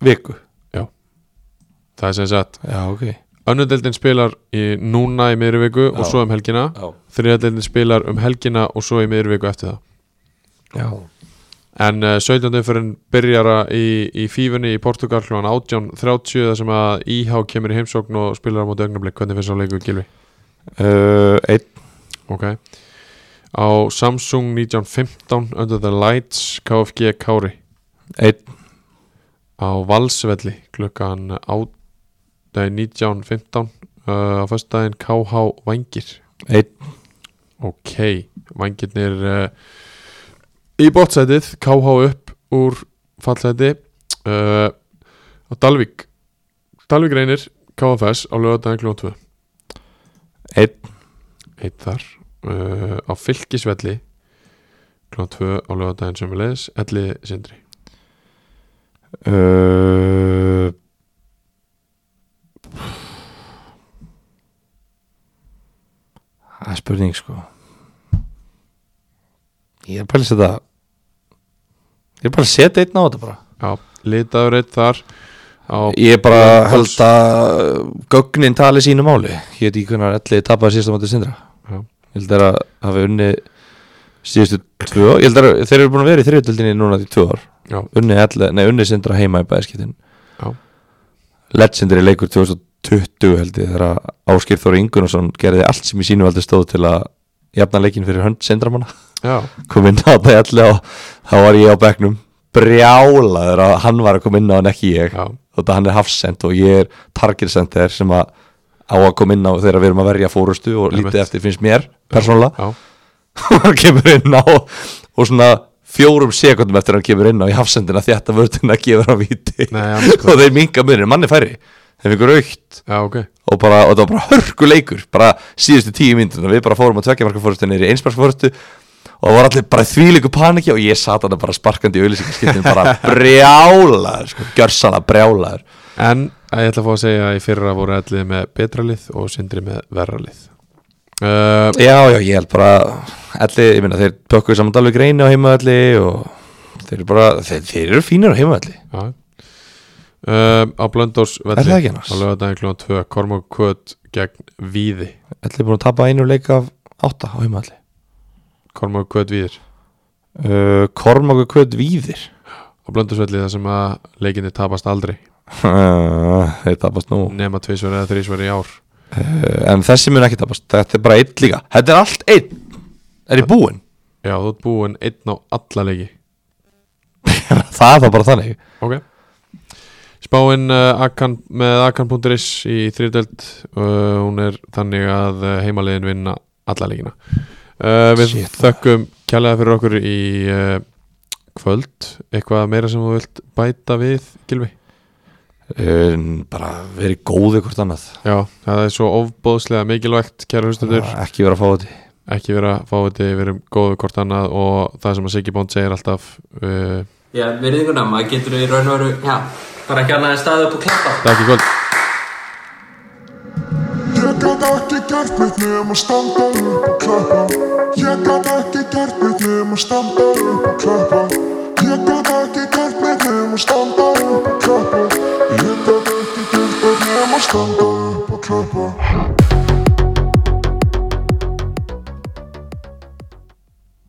Speaker 3: viku
Speaker 2: það er sem sagt
Speaker 3: Já, ok
Speaker 2: önnudeldin spilar í núna í miðri viku og
Speaker 3: Já.
Speaker 2: svo um helgina
Speaker 3: Já,
Speaker 2: þriðadeldin spilar um helgina og svo í miðri viku eftir það
Speaker 3: já.
Speaker 2: en uh, 17. umferðin byrjar að í, í fífunni í Portugal kl. 18.30 þar sem að IH kemur í heimsókn og spilar á móti augnablik hvernig finnst það leiku Gilvi?
Speaker 3: Uh, Einn
Speaker 2: Ok á Samsung 1915 Under the Lights KFG Kári
Speaker 3: Einn
Speaker 2: á Valsvelli klukkan á- nei, 19.15 uh, á föstudaginn KH Vængir
Speaker 3: Einn
Speaker 2: Ok, vangirnir uh, í bótsætið, KH upp úr fallsæti uh, og Dalvík Dalvík reynir KFS á lögadaginn klón 2
Speaker 3: Einn
Speaker 2: eitt þar uh, á fylkisvelli klón 2 á lögadaginn sömulegis Elli Sindri
Speaker 3: Uh, Það er spurning sko Ég er bara að setja Ég er bara að setja einn á þetta bara
Speaker 2: Já, litaður eitt þar á,
Speaker 3: Ég er bara að held að gögnin tali sínu máli Ég veit ekki hvernig allir tapaði síðasta mátu sindra
Speaker 2: Já.
Speaker 3: Ég held að þeir hafi unni síðustu tvö ár. Ég held að þeir eru búin að vera í þriðutöldinni núna í tvö ár
Speaker 2: já,
Speaker 3: unni, elli, nei, unni sindra heima í bæðskiptin
Speaker 2: Já.
Speaker 3: legendary leikur 2020 held ég þegar að Áskir Þóri Ingunarsson gerði allt sem í sínu valdi stóð til að jafna leikin fyrir hönd sindramanna
Speaker 2: já,
Speaker 3: kom inn á þetta elli og þá var ég á bekknum brjálaður að hann var að koma inn á en ekki ég
Speaker 2: já,
Speaker 3: og þetta hann er hafsend og ég er target center sem að á að koma inn á þegar við erum að verja fórustu og
Speaker 2: Einmitt.
Speaker 3: lítið eftir finnst mér persónulega
Speaker 2: já,
Speaker 3: hann kemur inn á og svona fjórum sekundum eftir að hann kemur inn á í hafsendina þetta vörðina gefur hann víti
Speaker 2: Nei, andskot.
Speaker 3: og þeir minga munir, manni færri þeir fengur aukt
Speaker 2: já, ok
Speaker 3: og, bara, og það var bara hörku leikur bara síðustu tíu mynduna, við bara fórum að tvekja marka fórustu niður í einsmarka fórustu og það var allir bara þvílíku paniki og ég sat hann bara sparkandi í auðlýsingarskiptin bara brjálaður, sko, gjörsala brjálaður
Speaker 2: En að ég ætla að fá að segja að í fyrra voru allir með betra lið og sindri með verra lið uh,
Speaker 3: Já, já, ég held bara allir, ég minna, þeir pökkuðu saman alveg greinu á heimaðalli og þeir eru bara, þeir, þeir eru fínir á heimaðalli
Speaker 2: Eh, já. uh, Á Blöndós
Speaker 3: Er það ekki annars?
Speaker 2: Á lögadaginn kl. 2 Kormok Kvöt gegn Víði
Speaker 3: Ætli búin að tapa einu leik af átta á heimaðalli
Speaker 2: Kormok Kvöt Víðir
Speaker 3: uh, Kormakur kvöld víðir
Speaker 2: Á Blöndósvelli þar sem að leikinni tapast aldrei
Speaker 3: Uh, Þeir tapast nú uh,
Speaker 2: nema tvisvar eða þrísvar í ár
Speaker 3: En þessi mun ekki tapast, þetta er bara einn líka Þetta er allt einn Er ég búinn?
Speaker 2: Já, þú ert búinn einn á alla leiki
Speaker 3: það er það bara þannig
Speaker 2: Ok Spáin uh, Akan, með akan.is í þriðdöld uh, hún er þannig að uh, heimaliðin vinna alla leikina uh, Við
Speaker 3: Shit, maður.
Speaker 2: þökkum kjærlega fyrir okkur í uh, kvöld eitthvað meira sem þú vilt bæta við Gilvi?
Speaker 3: uh, Bara verið góð ykkur annað
Speaker 2: Já, það er svo ofbóðslega mikilvægt kæra hlustendur,
Speaker 3: Ekki vera að fá þetta
Speaker 2: ekki vera fáviti við erum góðu hvort annað og það sem að Siggi Bónd segir alltaf uh,
Speaker 5: Já, virðinguna, maður getur í raun og veru, já, bara ekki annað en staðið upp og klappa.
Speaker 2: Takk í kvöld
Speaker 1: Ég gat ekki gert mitt nema standa upp og klappa Ég gat ekki gert mitt nema standa upp og klappa Ég gat ekki gert mitt nema standa upp og klappa Ég gat ekki gert mitt nema standa upp og klappa